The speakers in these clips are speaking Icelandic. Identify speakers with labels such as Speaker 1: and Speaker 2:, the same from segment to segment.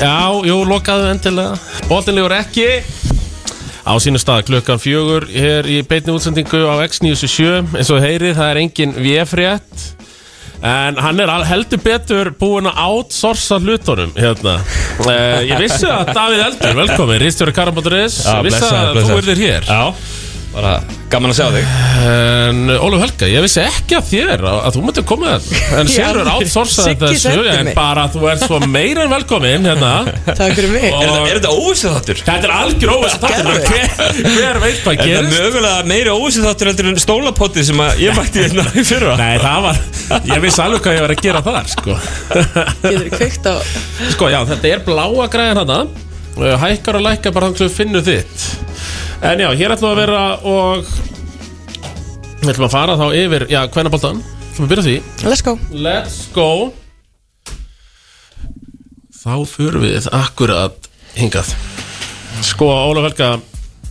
Speaker 1: Já, jú, lokaðu endilega Bóttinlegur ekki Á sínu stað klukkan fjögur Hér í beinni útsendingu á X97 Eins og heyrið, það er engin VF-rétt En hann er al- heldur betur búinn að outsourca hlutunum hérna. Eh, ég vissi að Davíð Eldur, velkomin, Ríðstjóri Karabóturis
Speaker 2: Já,
Speaker 1: Vissi
Speaker 2: blessaður,
Speaker 1: að þú
Speaker 2: blessaður.
Speaker 1: erðir hér
Speaker 2: Já, bara gaman að sjá þig
Speaker 1: En Óluf Helga, ég vissi ekki að þér að, að þú myndir koma þér En Sigurður outsourcaði
Speaker 3: Siggi
Speaker 1: þessu
Speaker 3: sendi
Speaker 1: En
Speaker 3: mig.
Speaker 1: bara þú ert svo meira en velkomin hérna.
Speaker 3: Takk fyrir mig
Speaker 2: Er, þetta- er þetta óvissið þáttur?
Speaker 1: Þetta er algjör óvist þáttur
Speaker 3: Gerðu.
Speaker 1: hver, hver veit hvað
Speaker 2: Er þetta
Speaker 1: gerist
Speaker 2: mögulega meiri óvissið þáttur heldur en stólapotti sem að ég mætti hérna í fyrra?
Speaker 1: Nei, það var, ég vissi alveg hvað ég var að gera þar sko.
Speaker 3: Getur kveikt á
Speaker 1: sko, já, þetta er bláa græðin hana Uh, Hækkar og lækkar bara þannig að finnu þitt En já, hér ætlum við að vera og Við ætlum að fara þá yfir, já, kvenaboltan Ætlum að byrja á því
Speaker 3: Let's go
Speaker 1: Let's go Þá fyrir við akkurat hingað Sko, Ólaf Helga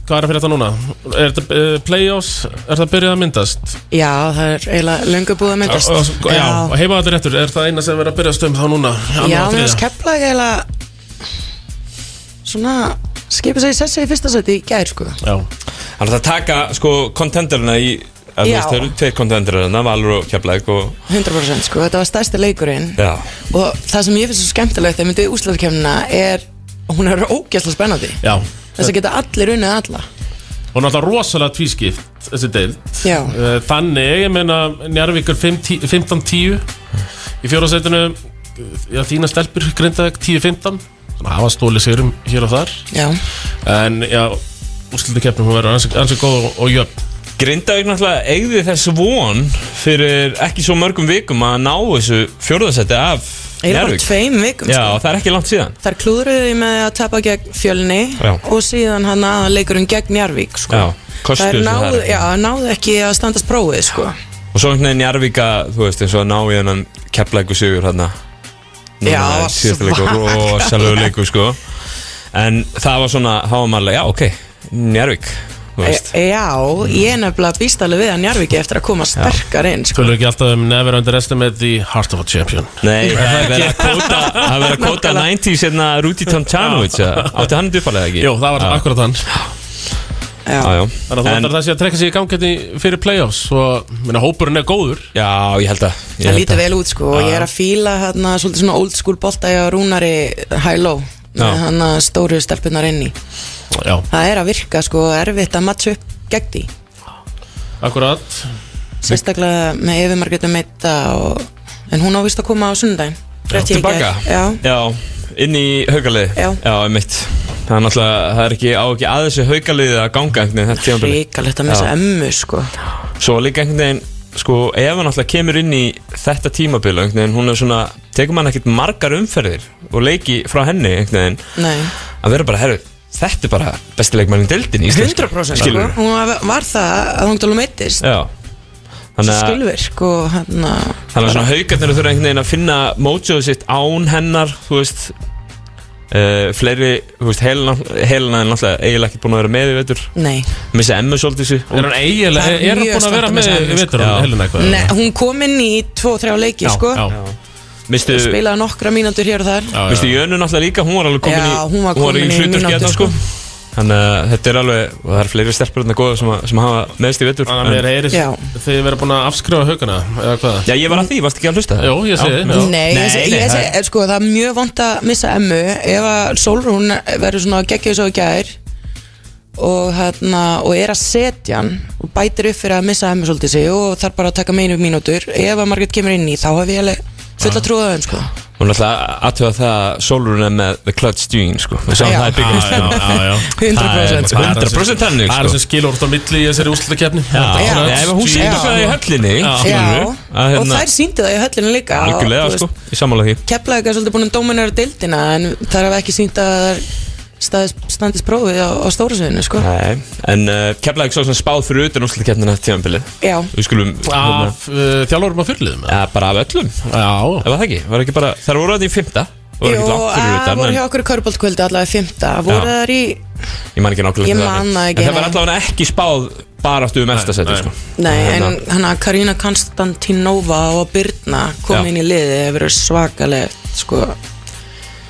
Speaker 1: Hvað er að fyrir þetta núna? Er þetta uh, play-offs? Er það byrjað að myndast?
Speaker 3: Já, það er eiginlega löngu búið að myndast
Speaker 1: Og- og- Já, og heima þetta réttur Er það eina sem verið að byrja stöðum þá núna?
Speaker 3: Já,
Speaker 1: Annað
Speaker 3: já
Speaker 1: og
Speaker 3: mér finnst
Speaker 1: þriðja?
Speaker 3: kepla eiginlega Svona skipa sig í sessi í fyrsta seti í gær sko
Speaker 1: Já,
Speaker 2: Þannig að það taka sko kontenderina í að þú
Speaker 3: Já.
Speaker 2: veist, Það eru tveir kontenderina, Valur og Keflæk og
Speaker 3: 100% sko, þetta var stærsti leikurinn
Speaker 2: Já,
Speaker 3: Og það sem ég finnst svo skemmtilegt þegar myndið úslandkemna er Hún er ógæsla spennandi
Speaker 1: já
Speaker 3: Þess að geta allir unnið alla
Speaker 1: Og náttúrulega rosalega tvískipt þessi deild
Speaker 3: Já.
Speaker 1: Eh, Þannig, ég meina Njarvíkur 15-10 Í fjóraðsætinu Já, þína stelpur grindaðeg 10-15 Þannig að hafa stóli sigurum hér og þar
Speaker 3: Já,
Speaker 1: En já, úrslutu keppnum hún verður ansi, ansi góð og, og jöfn
Speaker 2: Grindavík náttúrulega eigði þess von fyrir ekki svo mörgum vikum að ná þessu fjórðasetti af
Speaker 3: eiginlega bara
Speaker 2: Njárvík
Speaker 3: tveim vikum
Speaker 2: Já,
Speaker 3: sko.
Speaker 2: það er ekki langt síðan
Speaker 3: Þar klúðruðu því með að tapa gegn fjölni
Speaker 2: Já.
Speaker 3: og síðan hann aðan leikurinn gegn Njarvík sko.
Speaker 2: Já, kostuðu
Speaker 3: Þær
Speaker 2: sig
Speaker 3: náðu,
Speaker 2: þar.
Speaker 3: já, náðu ekki að standast prófið sko.
Speaker 2: Og svo einhvern veginn Njarvíka, þú veist, eins og að ná í hennan Keflæk og Sigur hérna
Speaker 3: Já,
Speaker 2: síðastileikur rosalegu leikur sko en það var svona, þá var maður alveg, já ok Njárvík, þú
Speaker 3: e,
Speaker 2: veist
Speaker 3: Já, ég er nefnilega býstalið við að Njarvík eftir að koma sterkar inn sko.
Speaker 1: Tölum ekki alltaf um never underestimate the heart of a champion
Speaker 2: Nei, það er verið að kóta það er verið að kóta
Speaker 3: Nákvæmlega.
Speaker 2: 90s hérna Rúti Tomtjanovic eða? átti hann dupalega ekki?
Speaker 1: Jó, það var akkurat hann
Speaker 3: já.
Speaker 2: já, já.
Speaker 1: Þannig að þú
Speaker 2: En,
Speaker 1: ætlar þessi að trekka sig í gangi fyrir playoffs og minna, hópurinn er góður
Speaker 2: já, ég held að ég
Speaker 3: Það
Speaker 2: held
Speaker 3: lítur
Speaker 2: að-
Speaker 3: vel út sko og ég er að fíla hérna svolítið svona old school bolta ég á Rúnari high-low
Speaker 2: Já.
Speaker 3: með hann að stóru stelpunar inn í
Speaker 1: Já,
Speaker 3: Það er að virka sko erfitt að matcha upp gegn því
Speaker 1: akkurat
Speaker 3: Sérstaklega með Efi Margrétu Meita og, en hún ávist að koma á sundaginn Rétt ég í
Speaker 2: Tilbaka?
Speaker 3: gær. Já,
Speaker 2: inn í haugalið
Speaker 3: Já.
Speaker 2: einmitt Það er náttúrulega, það er ekki á ekki að þessu haugaliði að ganga einhvern veginn þetta tímabili
Speaker 3: ríkalegt að missa
Speaker 2: Já.
Speaker 3: emmu sko
Speaker 2: Svo líka einhvern veginn sko, ef hann alltaf kemur inn í þetta tímabil einhvern veginn, hún er svona, tekur maður ekkert margar umferðir og leiki frá henni einhvern veginn,
Speaker 3: Nei,
Speaker 2: að vera bara, herru þetta er bara besti leikmann í deildin í íslensku.
Speaker 3: 100% sko.
Speaker 2: Skilurðu?
Speaker 3: Hún var- var það að hún tala meittist
Speaker 2: Já Þannig að,
Speaker 3: skilvirk og hann að
Speaker 2: þannig að svona haugarnir þurfa einhvern veginn að finna mótjóðu sitt án hennar, þú veist Uh, fleiri, þú veist, helina helina er náttúrulega eiginlega ekki búin að vera með í veitur
Speaker 3: Nei,
Speaker 2: missa emmu svolítið sér
Speaker 1: Er hann eiginlega,
Speaker 3: Það er
Speaker 1: er hann
Speaker 3: mjög
Speaker 1: búin að
Speaker 3: slæmt
Speaker 1: vera
Speaker 3: að
Speaker 1: með
Speaker 3: missa hann,
Speaker 1: í
Speaker 3: sko.
Speaker 1: vetur
Speaker 2: Já.
Speaker 1: Helena eitthvað
Speaker 3: Nei, hún kom inn í 2-3 leiki sko
Speaker 1: Já, já,
Speaker 2: mistu,
Speaker 3: Spilaði nokkra mínútur hér og þar
Speaker 1: já,
Speaker 2: Vistu,
Speaker 1: já.
Speaker 2: Jönu náttúrulega líka, hún var alveg komin
Speaker 3: Já,
Speaker 2: í
Speaker 3: hún var komin í
Speaker 2: hlutverki
Speaker 3: mínútu,
Speaker 2: hérna,
Speaker 3: sko.
Speaker 2: Þannig að þetta er alveg, og það er fleiri stelpur hérna góða sem, að- sem hafa meðst í vettur
Speaker 1: Þannig að mér
Speaker 3: Já.
Speaker 1: heyrist þið vera búin að afskrifa haugana eða hvað
Speaker 2: Já, ég var að því, varst ekki að hlusta?
Speaker 1: Jó, ég sé
Speaker 2: Já.
Speaker 1: þið já.
Speaker 3: Nei,
Speaker 2: Nei,
Speaker 3: ég seg-
Speaker 2: nei,
Speaker 3: ég
Speaker 2: það
Speaker 3: segi, sko, það er mjög vond að missa emmu ef að Solrún verður svona geggjus og gær og, hérna, og er að setja hann og bætir upp fyrir að missa emmu svolítið sig og þarf bara að taka meinu mínútur ef að Margrét kemur inn í þá hef ég alveg fulla trúið á henn sko.
Speaker 2: Hún er alltaf aðtöða það að Solurinn er með The Clutch Gene, sko Við sáum
Speaker 3: Já.
Speaker 2: það
Speaker 1: Já,
Speaker 2: í byggjum
Speaker 1: já, já, já.
Speaker 3: 100%
Speaker 2: sko. 100%
Speaker 1: Það
Speaker 2: þannig,
Speaker 1: er
Speaker 2: sko.
Speaker 1: sem skilur úr á milli í þessari úrslutakefni
Speaker 2: Já,
Speaker 3: Já.
Speaker 2: ef hún sýndur það í höllinni
Speaker 3: Já,
Speaker 2: skilurðu, að
Speaker 3: og
Speaker 2: hérna,
Speaker 3: þær síndi það í höllinu líka
Speaker 2: Algjörlega, sko, í sammála því
Speaker 3: Keflaðið er svolítið búin að dóminara deildina en þær hafa ekki sínt að þær staðist- standist prófið á, á stóra sviðinu sko.
Speaker 2: Nei, en uh, keflaði ekki svo sem spáð fyrir utan úrslitakeppnina eftir tímabilið
Speaker 3: Já,
Speaker 2: Við skulum, hérna,
Speaker 1: Af uh, þjálfurum að fyrirliðum eða?
Speaker 2: ja, bara af öllum
Speaker 1: Já,
Speaker 2: Ef það ekki, var ekki bara, þær voru að því fymta
Speaker 3: Jú, að voru hjá okkur í Körbóltkvöldi allavega fymta, voru
Speaker 2: Já.
Speaker 3: þær í
Speaker 2: Ég man ekki nákvæmlega
Speaker 3: Ég
Speaker 2: hvernig var.
Speaker 3: man það ekki,
Speaker 2: En það var
Speaker 3: nei.
Speaker 2: allavega ekki spáð baráttu um eftirsetti
Speaker 1: nei.
Speaker 2: sko.
Speaker 3: Nei, en
Speaker 2: Hérna,
Speaker 3: hann að Karina Konstantínova og Birna kom
Speaker 2: Já.
Speaker 3: inn í liði hefur verið svakalegt sko.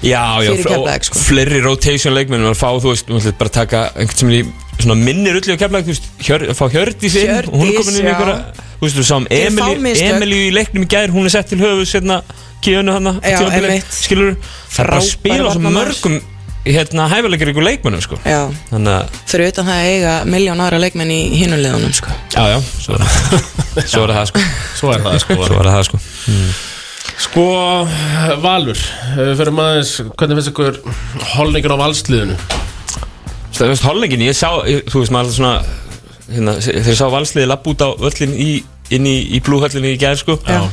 Speaker 2: Já, já,
Speaker 3: fyrir
Speaker 2: fl-
Speaker 3: Keflavík,
Speaker 2: og
Speaker 3: sko.
Speaker 2: fleiri rotation leikmennum að fá, þú veist, maður ætlar bara að taka einhvern sem er í svona minni rulli og keflag, þú veist, hjör, fá Hjördís inn,
Speaker 3: Hjördís,
Speaker 2: og hún er komin inn í
Speaker 3: já.
Speaker 2: einhverja, þú veist, þú sáum
Speaker 3: Þeir fá
Speaker 2: Emilíu
Speaker 3: mistök.
Speaker 2: Emilíu í leiknum í gær, hún er sett til hérna, höfuð, sérna, kíðunni hana,
Speaker 3: Já, einmitt.
Speaker 2: skilur, það er bara að
Speaker 3: Frábær
Speaker 2: spila á svo
Speaker 3: varnarmaður.
Speaker 2: mörgum, hérna, hæfilegur ykkur leikmennum, sko,
Speaker 3: Já,
Speaker 2: þannig að,
Speaker 3: fyrir utan það að eiga miljón aðra leikmenn í hinum liðunum sko.
Speaker 2: já, já, svo er það, svo er það, sko,
Speaker 1: Svo er það sko
Speaker 2: svo er það, sko.
Speaker 1: Sko, Valur eh, Fyrir maður, hvernig finnst ykkur Holningur á valsliðinu?
Speaker 2: Það veist, hollengin, ég sá, ég, þú veist, maður alltaf svona, hérna, þegar ég sá valsliði lapp út á öllin í, inn í, í blúhöllinni í gær, sko.
Speaker 3: Já.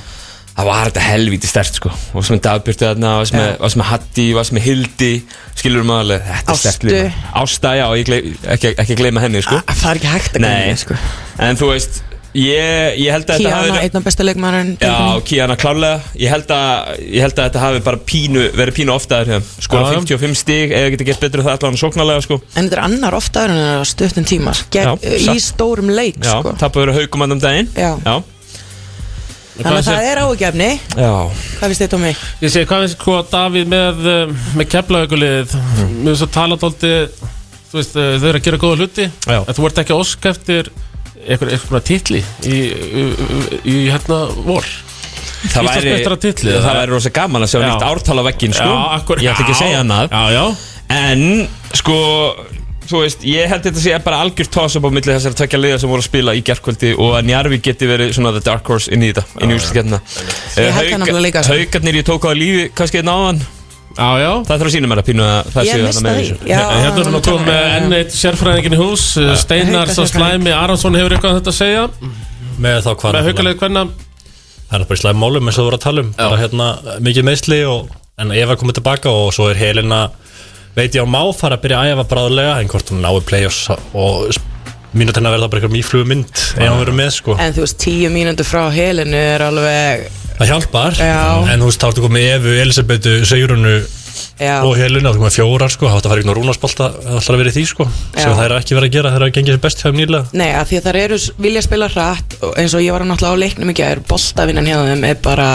Speaker 2: Það var þetta helvíti stert, sko. Og sem er dagbyrtu þarna, og sem er, og sem er Hatti, og sem er Hildi, skilur maður alveg, þetta er stert
Speaker 3: Ástu.
Speaker 2: lína. Ásta, já, ég gley, ekki, ekki gleyma henni, sko.
Speaker 3: Ah, Það er ekki hægt að
Speaker 2: Nei.
Speaker 3: ganga sko.
Speaker 2: En þú veist, ég, ég held að þetta hafi
Speaker 3: Kíana,
Speaker 2: verið-
Speaker 3: einn af besta leikmærin
Speaker 2: Já, Kíana klálega ég held, að, ég held að þetta hafi bara pínu verið pínu oftaður hérna skora
Speaker 1: Já, já.
Speaker 2: 55 stig, eða geta gett betur en það allan sóknarlega sko
Speaker 3: En þetta er annar ofta en það er stuttum tíma Ger,
Speaker 2: Já,
Speaker 3: Í stórum leik
Speaker 2: Já,
Speaker 3: sko.
Speaker 2: tapu verið haukum andan daginn
Speaker 3: Já.
Speaker 2: Já,
Speaker 3: Þannig að það er ágefni
Speaker 2: já.
Speaker 3: Hvað finnst þetta um mig?
Speaker 1: Ég segi, hvað finnst sko Davíð með, eh, með keflaugulið Mér finnst að tala dóldi Þú veist, eh, þau eru að gera góða hluti
Speaker 2: Já.
Speaker 1: En þú ert ekki að óska eftir einhver, einhver titli í, í, í hérna vor
Speaker 2: Það væri,
Speaker 1: Íslandsmeistara titlið,
Speaker 2: það
Speaker 1: það-
Speaker 2: væri rosa gaman að sjá
Speaker 1: Já.
Speaker 2: nýtt ártal á veggin sko. Ég ætla ekki að segja annað
Speaker 1: Já, já
Speaker 2: En, sko, þú veist, ég held þetta sé bara algjör toss-up á milli þessar tvekja liða sem voru að spila í gerkvöldi og að Njarvi geti verið svona the dark horse inn í þetta, inn í úrslutkettina
Speaker 3: Ég held það nefnilega líka, sko.
Speaker 2: Haukarnir ég tók á lífi, kannski einn áðan
Speaker 1: Já, já
Speaker 2: Það þarf að sína mér að pínu að það
Speaker 3: Ég
Speaker 2: séu
Speaker 3: mista
Speaker 2: þarna með
Speaker 3: því.
Speaker 2: þessu
Speaker 3: Já,
Speaker 1: En hérna erum við að koma með enn eitt sérfræðingin í hús eh, Steinar
Speaker 3: Hauka
Speaker 1: sá
Speaker 3: sérfræðing.
Speaker 1: slæmi Aronsson hefur eitthvað um þetta að segja
Speaker 4: með þá hvað
Speaker 1: Með haukalið hvernig
Speaker 4: það er bara í slæm málum eins og þú voru að tala um bara hérna mikið meðsli og en Eva komið tilbaka og svo er Helena veit ég á má fara að byrja að æfa bráðlega en hvort hún náir play-offs og mínutina verða bara eitthvað mýflugum mynd ef hún verður með sko
Speaker 3: En þú veist, tíu mínútur frá helinu er alveg
Speaker 4: það hjálpar
Speaker 3: Já.
Speaker 4: en þú veist þá ertu komið Evu, Elisabetu, Sigrunu
Speaker 3: Já,
Speaker 4: og Helena, þú komið fjórar sko þá ætti að fara í rúnarsbolta alltaf að vera í því sko sem
Speaker 3: Já.
Speaker 4: það er ekki verið að gera, það er að gengið sér best hjá þeim nýlega
Speaker 3: Nei, að því að þær eru s- vilja spila hratt og eins og ég var náttúrulega á leiknum ekki að er boltavinnan hjá þeim er bara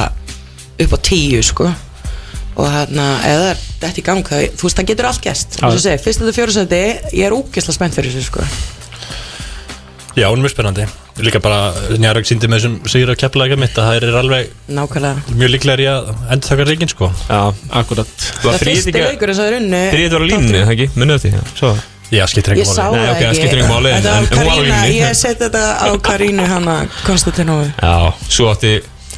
Speaker 3: upp á tíu sko og þarna, eða þetta er í gang það, þú veist, það getur allt gæst þú veist, fyrst þetta fjórusæti, ég er úkisla spennt fyrir þessu sko
Speaker 4: Já, hún er mjög spennandi. Líka bara Njarvík síndi með þessum sigur á kepplega mitt að það er alveg
Speaker 3: nákvæmlega
Speaker 4: mjög líklega í að enda þakkar reikin sko.
Speaker 2: Já,
Speaker 1: Akkurat
Speaker 2: þú
Speaker 3: það
Speaker 2: var
Speaker 3: fyrsti
Speaker 2: þrýðið
Speaker 3: leikur eins og þeir unnu
Speaker 2: var á línni, það ekki? Munið eftir, já, svo
Speaker 4: Já, skiptir
Speaker 3: ég
Speaker 4: engum
Speaker 3: sá
Speaker 4: máli.
Speaker 2: Nei,
Speaker 3: það
Speaker 2: ok, það
Speaker 3: ekki
Speaker 2: skiptir engu máli,
Speaker 3: þetta
Speaker 2: en-
Speaker 3: var
Speaker 2: en hún var á
Speaker 3: Karína,
Speaker 2: línni.
Speaker 3: ég seti þetta á Karínu hana Konstantinovi
Speaker 2: Já, svo átti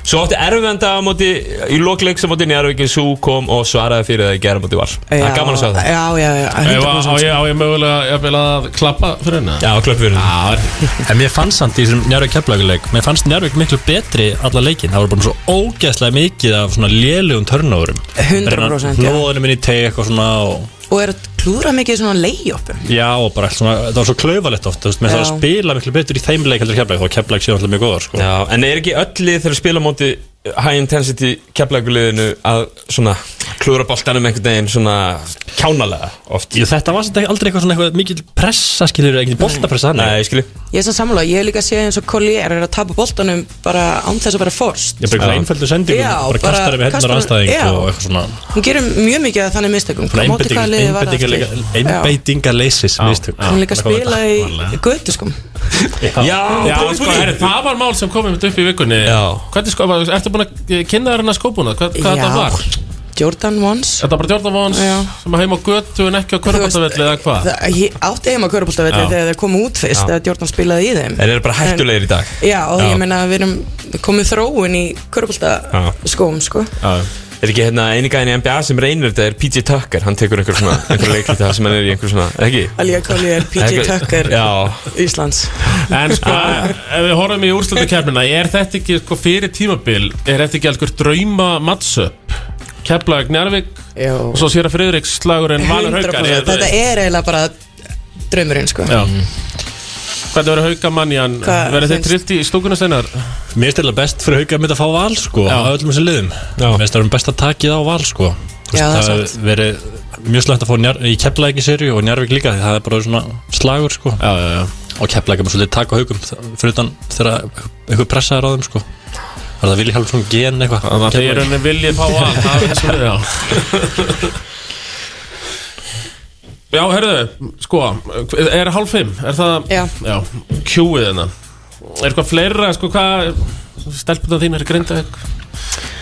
Speaker 2: Svo átti erfenda á móti Í lokleik sem móti Njarvíkin Sú kom og svaraði fyrir það í gera móti var Það er gaman að sjá það
Speaker 3: já, já, já,
Speaker 1: Ef að- Á
Speaker 3: 100%
Speaker 1: ég, á ég mögulega jafnvel að klappa fyrir henni
Speaker 2: Já, klöpp fyrir það
Speaker 4: En mér fannst samt í þessum Njarvík keppleguleik, mér fannst Njarvík miklu betri alla leikin. Það voru bara svo ógæslega mikið af svona lélugum törnóðurum.
Speaker 3: 100% já.
Speaker 4: Lóðunum inn í teg eitthvað svona og
Speaker 3: og er að klúra mikið í svona leiðjöfum
Speaker 4: já og bara allt svona, það var svo klauvalegt oft, þú veist, mér
Speaker 3: Já.
Speaker 4: það að spila miklu betur í þeim leik heldur keppleik, þá keppleik séu alltaf mjög góðar sko.
Speaker 2: Já, en er ekki öll lið þegar að spila á móti High intensity keflaguliðinu Að svona klúra boltanum einhvern veginn Svona kjánalega oft
Speaker 4: Jú, þetta var samt ekki- aldrei eitthvað svona eitthvað mikil pressa, skilur, eitthvað boltapressa þannig.
Speaker 2: Nei, skilji
Speaker 3: Ég er sem sammála, ég hef líka séð eins og Collier er að tapa boltanum bara án þess að vera forst
Speaker 4: Ég
Speaker 2: Já.
Speaker 4: bara eitthvað einföldu sendingum,
Speaker 3: Já,
Speaker 4: bara
Speaker 3: bara
Speaker 4: kastar við hennar
Speaker 3: kastar-
Speaker 4: anstæðing
Speaker 3: já.
Speaker 4: og eitthvað svona
Speaker 3: Hún gerir mjög mikið að þannig mistökum Hvað móti hvaða liði var það aftur? Já.
Speaker 4: Einbeitingaleisis mistök
Speaker 3: Hún er líka að spila í götu sko
Speaker 2: Já,
Speaker 1: Já,
Speaker 2: góð
Speaker 1: sko,
Speaker 2: spurning.
Speaker 1: er, það var mál sem komið mitt upp í vikunni
Speaker 2: Já.
Speaker 1: Hvernig sko, var- ertu búin að eh, kynna þér hennar skópuna? Hvað, hvað þetta var?
Speaker 3: Jordan Ones
Speaker 1: Þetta var bara Jordan Vons
Speaker 3: Já.
Speaker 1: sem að heima á götu en ekki á körfabattavelli eða hvað?
Speaker 3: Það- Ég átti heima að köruboltavelli
Speaker 1: Já.
Speaker 3: þegar þeir komu út fyrst þegar Jordan spilaði í þeim
Speaker 2: Þeir eru bara hættulegir í dag
Speaker 3: En- Já, og
Speaker 2: Já.
Speaker 3: ég meina að við erum komið þróun í köruboltaskóm sko
Speaker 2: Er ekki hérna einingæðin í NBA sem reynir þetta er PJ Tucker Hann tekur einhver svona, einhver leiklita sem hann er í einhver svona, ekki?
Speaker 3: Alíka Collier, PJ
Speaker 2: Einhver-
Speaker 3: Tucker
Speaker 2: Já,
Speaker 3: Íslands
Speaker 1: En sko, ef við horfum í úrslutakefnina er þetta ekki sko, fyrir tímabil er þetta ekki algjör drauma mattsöp Keflag Njarvík
Speaker 3: Jó.
Speaker 1: og svo sér að Friðrik slagur en Valur
Speaker 3: 100%
Speaker 1: Haukar Er-
Speaker 3: Þetta er eiginlega bara draumurinn sko
Speaker 1: Já Hvernig verður haukamannjan?
Speaker 3: Hvað
Speaker 1: Verður þið
Speaker 3: finnst-
Speaker 1: trillt í stúkunum steinar?
Speaker 4: Mér stila best fyrir hauga mitt að fá val sko
Speaker 1: Já.
Speaker 4: á öllum þessum liðum
Speaker 2: Já.
Speaker 4: Mér stila best að takið á val sko Þú
Speaker 3: Já, það er
Speaker 4: hefur verið mjög slæmt að fá njar, í keflaðið ekki serju og njárvík líka því það er bara svona slagur sko
Speaker 1: Já, já, já
Speaker 5: og kepla ekki með svolítið takk á haugum fyrir utan þegar einhver pressa er á þeim sko var það Vilhelm svona gen eitthvað
Speaker 1: Þannig að þið
Speaker 5: Keflavík.
Speaker 1: eru henni viljið fá að það er svo já Já, herðu, sko, er hálf fimm, er það
Speaker 3: Já.
Speaker 1: já kjúið hennan Er eitthvað fleira, sko, hvað stelpunna þín er grinda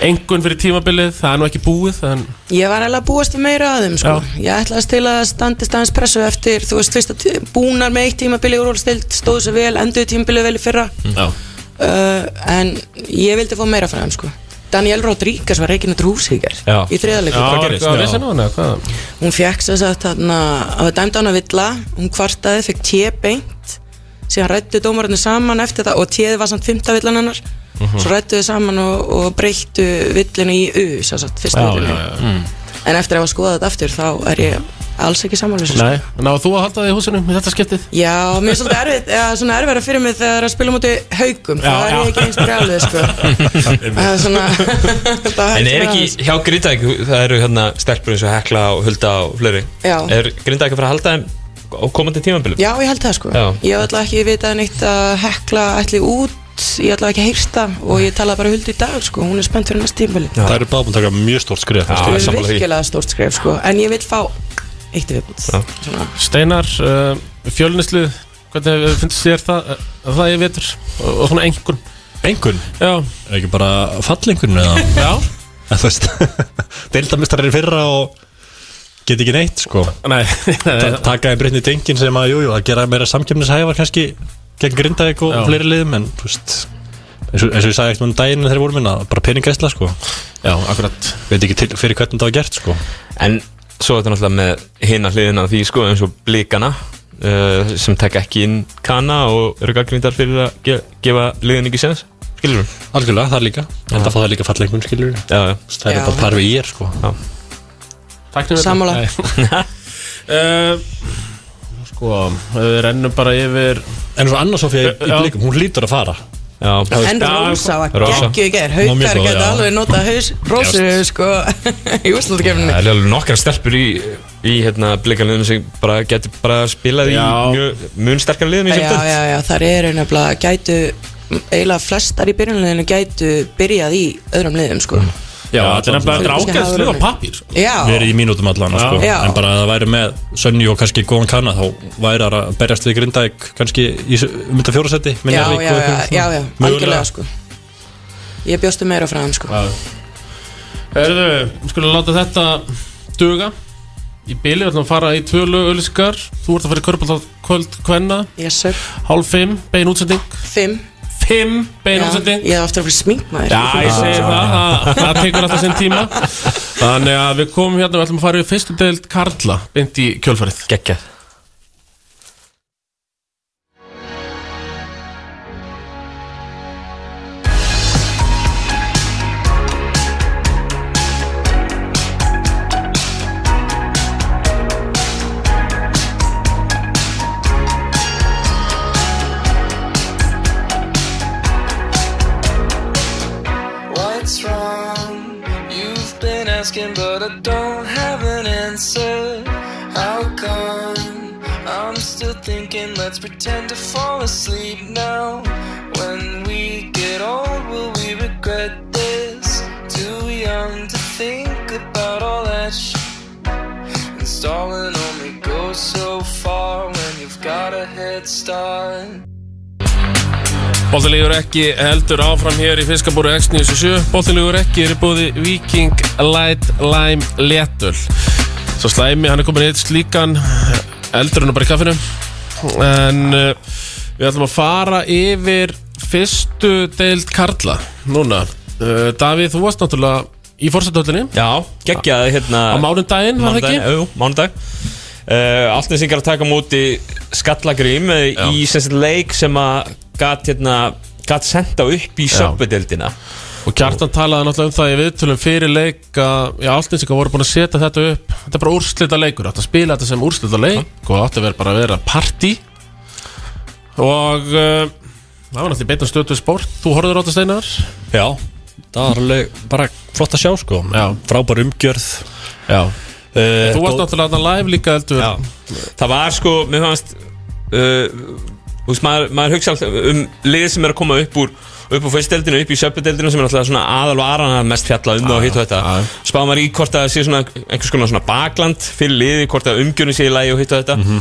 Speaker 1: Engun fyrir tímabilið, það er nú ekki búið en,
Speaker 3: Ég var eiginlega að búast við meira að þeim sko. Ég ætlaðist til að standist aðeins pressu eftir Þú veist, fyrst að búnar með eitt tímabili úrvalstild Stóðu sér vel, enduðu tímabilið vel í fyrra
Speaker 1: Mm. Já,
Speaker 3: uh, En ég vildi fá meira frá þeim sko. Daniel Rodríguez var reikinn eftir húsi í gær
Speaker 2: Já.
Speaker 3: Í þriðaleikur
Speaker 1: já
Speaker 2: gerðist?
Speaker 1: hvað
Speaker 2: Já.
Speaker 1: vissi nú hann eða hvað?
Speaker 3: Hún fekk sér satt hann að dæmda hann að villa Hún kvartaði, fekk tje beint Síðan rættu dómarinu saman eftir það Og tjeði var samt fymta villan hennar
Speaker 1: Mhm.
Speaker 3: Svo rættu þau saman og, og breyttu villinu í U Sér satt fyrsta villinu
Speaker 1: Mm.
Speaker 3: En eftir að hafa skoðað þetta aftur Þá er ég alls ekki samanlýsins
Speaker 1: Nei, náðu þú að halda þig í húsinu með þetta skiptið?
Speaker 3: Já, mér er svolítið erfitt, eða svona erfæra fyrir mig þegar að spila múti haugum, þá
Speaker 1: Já,
Speaker 3: er
Speaker 1: já.
Speaker 3: ég ekki eins brjálið, sko. Það er svona, það
Speaker 2: En er ekki hjá Grindavík, það eru hérna stelpur eins og Hekla og Hulda og fleiri
Speaker 3: Já.
Speaker 2: Er Grindavík að fara að halda þeim á komandi tímambilum?
Speaker 3: Já, ég held það sko
Speaker 2: Já.
Speaker 3: Ég hef alltaf ekki vitað neitt að hekla ætli út Ég hef alltaf ekki heyrst það Og ég talaði bara huldu í dag sko Hún er spennt fyrir næst tímvili
Speaker 5: það eru báðum að taka mjög stórt skrif
Speaker 2: Já,
Speaker 5: sko.
Speaker 3: Það
Speaker 2: ég er
Speaker 3: er
Speaker 2: sammála því.
Speaker 3: virkilega stórt skref sko En ég vil fá eitt viðbútt Svona.
Speaker 1: Steinar, uh, fjölnislið, hvernig hefur- finnst þér það, uh, það ég vetur og, og svona engun
Speaker 5: einhvern,
Speaker 1: Já,
Speaker 5: er ekki bara fallengun eða
Speaker 1: já
Speaker 5: En þú veist deildamistrar er fyrra og get ekki neitt sko
Speaker 1: Nei, nei,
Speaker 5: Ta- taka í Brynni Dengin sem að jújú, jú, að gera meira samkjöfnishævar kannski gegn Grindavík og
Speaker 1: Já.
Speaker 5: fleiri liðum en þú veist eins og, eins og ég sagði ekkert um daginn þegar þeir voru minna bara peningæsla sko,
Speaker 1: já, akkurat
Speaker 5: veit ekki til, fyrir hvernig það var gert sko
Speaker 2: En svo er þetta náttúrulega með hinna hliðina af því sko eins og blíkana uh, sem tek ekki inn kana og eru gaggrindar fyrir að ge gefa liðin ekki sens Skilur við?
Speaker 5: algjörlega, það líka, en það fá það líka fallengun skilur við.
Speaker 2: Já, já
Speaker 5: það er
Speaker 3: Já.
Speaker 5: bara par við ég sko
Speaker 1: Tæknum við
Speaker 3: Sammála.
Speaker 1: þetta? Nei. Eh, Sko, ef við rennum bara yfir
Speaker 5: en svo Anna Sofía í, í
Speaker 1: Já.
Speaker 5: blikum, hún lítur að fara
Speaker 2: Já,
Speaker 3: En
Speaker 1: Já,
Speaker 3: Rósa var
Speaker 2: Rósa.
Speaker 3: geggju í ger
Speaker 5: Hún var
Speaker 3: Haukar
Speaker 5: mjög góð,
Speaker 3: geta
Speaker 5: já.
Speaker 3: alveg nota haus Rósu sko Í úrslutgefni
Speaker 2: það er alveg nokkar stelpur í, í hérna, blíkanliðinu sem bara getur bara spilað í
Speaker 1: Já.
Speaker 2: mjög, mjög sterkar liðinu í
Speaker 3: Já,
Speaker 2: sem
Speaker 3: já, já, þar eru nefnilega gætu eiginlega flestar í byrjunleginu gætu byrjað í öðrum liðum sko
Speaker 1: Já, þetta er nefnilega þetta er
Speaker 3: Kannski
Speaker 1: ágætt
Speaker 3: hafa
Speaker 1: slið á
Speaker 3: verið.
Speaker 1: pappír sko.
Speaker 3: Já,
Speaker 5: Mm. verið í mínútum allan sko.
Speaker 3: Já.
Speaker 5: en bara að það væri með Sönni og kannski góðan kanna þá væri það að berjast við Grindavík kannski í
Speaker 4: um
Speaker 5: mynda fjórasetti
Speaker 3: já, já, já, já, já, já, algjörlega sko Ég bjóstu meira frá hann sko
Speaker 1: Herðu, við skulum láta þetta duga í bili, við ætlum að fara í tvö lög ölliskar Þú ert að fara í körbált kvöld kvenna
Speaker 3: Yes sir,
Speaker 1: Hálf fimm, bein útsending
Speaker 3: fimm
Speaker 1: Fimm, bein
Speaker 3: Já,
Speaker 1: útsending
Speaker 3: Ég hef aftur að fyrir sminkmaður
Speaker 1: Já, ég segi það, það, það tekur alltaf sinn tíma Þannig að við komum hérna, við ætlum að fara í fyrstu deild Karla, beint í kjölfarið
Speaker 2: geggjað
Speaker 6: What's wrong? You've been asking, but I don't have an answer. How come I'm still thinking? Let's pretend to fall asleep now. When we get old, will we regret this? Too young to think about all that shit. And stalling only goes so far when you've got a head start.
Speaker 1: Bóltilegur ekki heldur áfram hér í fiskabúru X97 Bóltilegur ekki er í búði Viking Light Lime Letul Svo slæmi, hann er komin eitt slíkan eldur hann er bara í kaffinu En uh, við ætlum að fara yfir fyrstu deild Karla Núna, uh, Davíð, þú varst náttúrulega í fórsetöldinni
Speaker 2: Já, geggjaði hérna
Speaker 1: Á mánudaginn, var það ekki?
Speaker 2: Jú, mánudag uh, Altnesingar að taka á móti Skallagrím eh, í sem sagt leik sem að gat hérna gat senda upp í söpvedeldina
Speaker 1: Og Kjartan talaði náttúrulega um það í viðtölum fyrir leik að já, alltinsingar voru búin að setja þetta upp Þetta er bara úrslita leikur, þetta spila þetta sem úrslita leik og átti að vera bara að vera partí og uh, það var náttúrulega beitna stötu sport Þú horfður á þetta steinar?
Speaker 5: Já, það var alveg bara flott að sjá sko
Speaker 1: Já.
Speaker 5: Frábær umgjörð
Speaker 1: Já
Speaker 5: uh,
Speaker 4: Eh,
Speaker 1: Þú varst náttúrulega þarna live líka heldur
Speaker 2: Já, það var sko, mér fannst uh, þú veist, maður, maður hugsa alltaf um liðið sem er að koma upp úr upp úr fyrstdeldinu, upp í sjöpbedeldinu sem er alltaf svona aðal og aran að mest fjalla um það og hitt og þetta spá maður í hvort að það sé svona einhvers konar svona bakland fyrir liðið, hvort að umgjörnum sé í lagi og hitt og þetta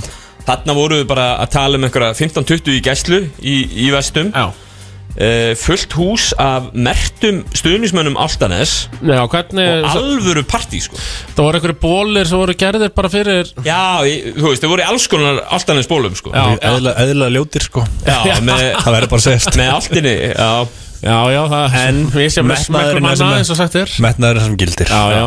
Speaker 2: þarna voru við bara að tala um einhverja 15-20 í gæslu í, í vestum
Speaker 1: Já
Speaker 2: uh, fullt hús af mertum stuðnismönnum Altanes
Speaker 1: Já, hvernig,
Speaker 2: og alvöru partí sko
Speaker 1: það voru einhverju bólir sem voru gerðir bara fyrir
Speaker 2: Já, ég, þú veist, þau voru í alls konar Altanes bólum sko
Speaker 1: Já.
Speaker 4: Eðla, eðla ljótir sko
Speaker 2: Já, með,
Speaker 4: Það verður bara að segjast
Speaker 2: með Altinni Já,
Speaker 1: Já, já, það
Speaker 4: En
Speaker 1: Við sem smekkur
Speaker 4: metnaðurinn er
Speaker 1: manna,
Speaker 4: sem-
Speaker 1: eins og sagt er
Speaker 4: Metnaður sem gildir
Speaker 1: Já, já,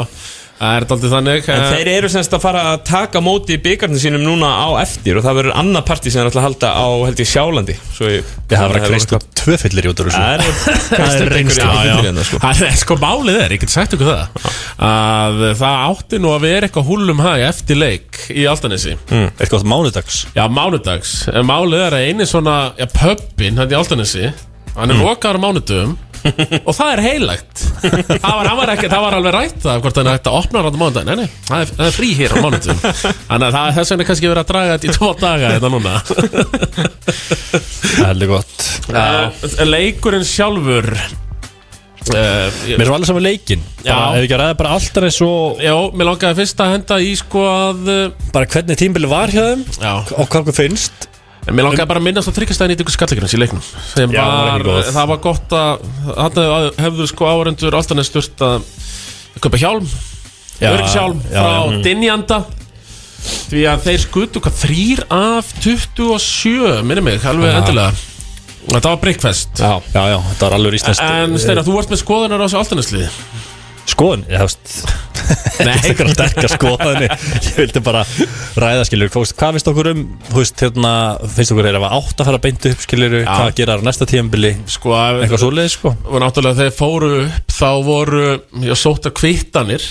Speaker 1: það er daldið þannig
Speaker 2: En
Speaker 1: eh,
Speaker 2: þeir eru semst að fara að taka móti í byggarnir sínum núna á eftir og það verður annað partí sem er alltaf að halda á held ég sjálandi Svo ég,
Speaker 4: Það verður að kreist upp tvö fyllir í út úr þessu
Speaker 2: Það er, það er reynsla
Speaker 1: Já, já.
Speaker 2: hérna, sko.
Speaker 1: Það er sko málið er, ég get sagt ykkur það að það átti nú að vera eitthvað húlum hæg eftir leik í Altanesi
Speaker 2: Mm.
Speaker 4: Mm. Eitthvað mánudags
Speaker 1: Já, mánudags En Málið er að eini svona, já, pöppin hann í Altanesi, hann
Speaker 2: Mm.
Speaker 1: er lokaður á mánudum og það er heilagt það var, hann var ekki, það var alveg rætt það hvort hann ætti að opna hann á mánudaginn Nei, nei, það er, það er frí hér á mánudum Þannig að það, þess vegna er kannski verið að draga þetta í tvo daga þetta núna
Speaker 4: Það er gott
Speaker 1: uh, Leikurinn sjálfur uh,
Speaker 4: Mér er svo alveg saman leikin bara,
Speaker 1: Já.
Speaker 4: Ef við ekki að ræða bara alltaf eins og
Speaker 1: Já, mér langaði fyrst að henda í sko að uh,
Speaker 4: Bara hvernig tímbili var hjá þeim
Speaker 1: Já
Speaker 4: Og hvað okkur finnst
Speaker 1: En Mér langaði bara að minnast á tryggjastæðin í ykkur skallegrins í leiknum sem
Speaker 4: Já, það var
Speaker 1: var,
Speaker 4: ekki góð.
Speaker 1: það var gott að þarna hefðu- hefðu sko árendur alltaf neð sturt að köpa hjálm
Speaker 4: Já,
Speaker 1: örgshjálm
Speaker 4: já, Mm.
Speaker 1: frá Dinjanda því að þeir skutu hvað þrýr af 27 minni mig, alveg endilega Þetta var breakfast
Speaker 4: Já, já, já þetta var alveg íslenskt
Speaker 1: En Steinar, þú vart með skoðunar á þessu altanesliði
Speaker 4: Skoðun, ég hefst
Speaker 1: Nei,
Speaker 4: Þegar að dekka skoðunni Ég vildi bara ræða skilur Fókst, Hvað finnst okkur um, þú veist, hérna Finnst okkur þeir að átt að fara beint upp skilur Hvað gera á næsta tímbili
Speaker 1: sko að-
Speaker 4: Eitthvað svoleiðis sko
Speaker 1: og náttúrulega þegar fóru upp þá voru, já, sóta kvittanir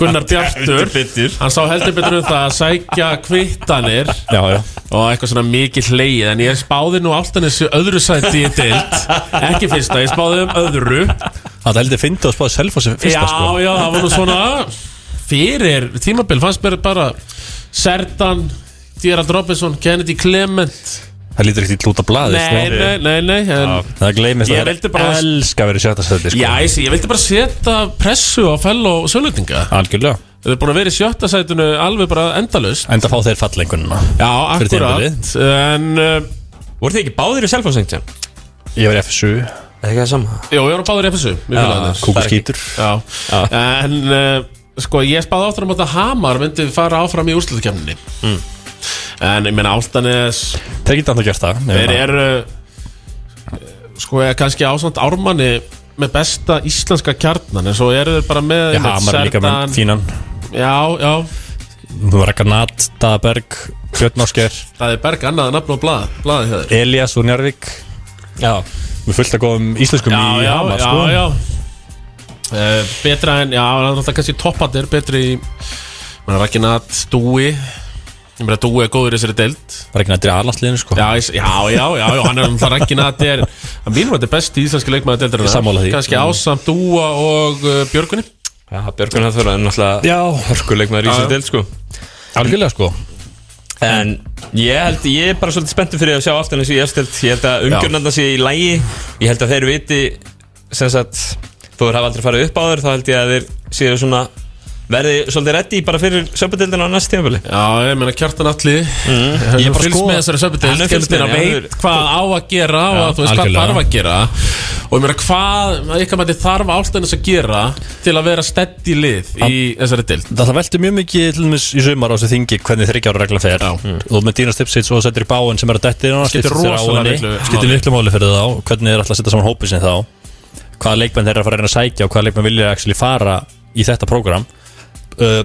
Speaker 1: Gunnar Bjartur hann sá heldur betur um það að sækja kvittanir
Speaker 4: Já, já
Speaker 1: og eitthvað svona mikið hleið en ég spáði nú alltaf þessu öðru sæti í deild ekki fyrsta, ég spáði um öðru
Speaker 4: Það heldur fyndi að spáði selfossi fyrsta
Speaker 1: já,
Speaker 4: sko
Speaker 1: já, það var nú svona fyrir tímabil fannst mér bara Sertan, Gerald Robinson Kennedy Clement
Speaker 4: Það lítur ekkert í lúta blaði sko.
Speaker 1: nei, nei, nei, nei en,
Speaker 4: Það gleymist
Speaker 1: Ég
Speaker 4: að
Speaker 1: vildi
Speaker 4: það
Speaker 1: bara-
Speaker 4: er elska að vera í sjötta seti sko
Speaker 1: já, ég, sé, ég vildi bara setja pressu á fell og sölendinga
Speaker 4: Algjörlega
Speaker 1: Þau eru búin að vera í sjötta sætinu alveg bara endalaust
Speaker 4: Enda fá þeir fallengununa
Speaker 1: Já,
Speaker 4: Fyrir
Speaker 1: akkurat En, uh,
Speaker 2: Voru þið ekki báðir í selfhássengt sem?
Speaker 4: Ég var í FSU
Speaker 2: Er ekki það sama?
Speaker 1: já, við erum báður í FSU Mjög fylgjaðir
Speaker 4: Kúku skítur
Speaker 1: Já, en uh, sko, ég spáði áttur um að Hamar myndi fara áfram í úrslutukemninni
Speaker 4: Hmm.
Speaker 1: En ég meina Áltanes
Speaker 4: Þeir geta annað gert það
Speaker 1: Þeir eru eh, Sko, ég kannski ásamt Ármanni með besta íslenska kjarnan en svo eru þeir bara með
Speaker 4: Já, maður er líka með fínan
Speaker 1: Já, já,
Speaker 4: Þú var ekki Nat, Daberg, Björn Ásker
Speaker 1: það er berg annað nafn og blað, blaði þeir
Speaker 4: Elias úr Njarvík Já Við fullt að góðum íslenskum
Speaker 1: já,
Speaker 4: í
Speaker 1: já,
Speaker 4: Hamar
Speaker 1: já,
Speaker 4: sko
Speaker 1: já. Uh, betra en, já, það er kannski toppatir betri í, maður Ragnat, Dúi ég meina Dúi er góður í þessari deild
Speaker 4: Var ekki nættir í aðlandsliðinu sko
Speaker 1: já, ég- já, já, já, já, hann er um það Ragnat er, hann mínum að þetta er besti íslenski leikmaður deildarinnar,
Speaker 4: Ég sammála því.
Speaker 1: kannski ásamt Dúa og uh, Björgunni
Speaker 2: Já, Björgun Hallþóra er náttúrulega
Speaker 4: Já,
Speaker 2: hörkuleikmaður í
Speaker 1: Já, já.
Speaker 2: sér deild sko
Speaker 4: algjörlega sko
Speaker 2: En ég held, ég er bara svolítið spenntur fyrir að sjá allt henni sem ég efstilt Ég held að umgjörnanda sé í lægi Ég held að þeir viti, sem sagt, þó þeir hafa aldrei farið upp á þeir Þá held ég að þeir séu svona, verði svolítið reddi bara fyrir söpudildina á næst tímafili
Speaker 1: já, ég meina Kjartan Alli mm.
Speaker 2: Ég
Speaker 1: ég
Speaker 2: bara
Speaker 1: fylgst
Speaker 2: skoða-
Speaker 1: með þessari söpudeild
Speaker 2: Hann er fylgst með
Speaker 1: Kjartan
Speaker 2: henni,
Speaker 1: veit hvað á að gera og að, þú veist hvað
Speaker 4: algjörlega.
Speaker 1: þarf að gera og ég meina hvað, að ykkar mæti þarf álstæðin að gera til að vera stedd í lið í þessari deild
Speaker 4: Það, það velti mjög mikið til dæmis í sumar á þessu þingi hvernig þryggjára reglan fer
Speaker 1: Já.
Speaker 4: mm. og með Dina Stipsits og settir í báinn sem er að detti inn á
Speaker 1: Skiptir
Speaker 4: Stipsits er á
Speaker 1: rosalega
Speaker 4: henni,
Speaker 1: miklu
Speaker 4: skiptir
Speaker 1: máli.
Speaker 4: miklu máli fyrir þá hvernig þeir ætla að setja saman hópið sinni þá hvaða leikmenn þeir eru að fara að reyna að sækja og hvaða leikmenn vilja actually fara í þetta prógram uh,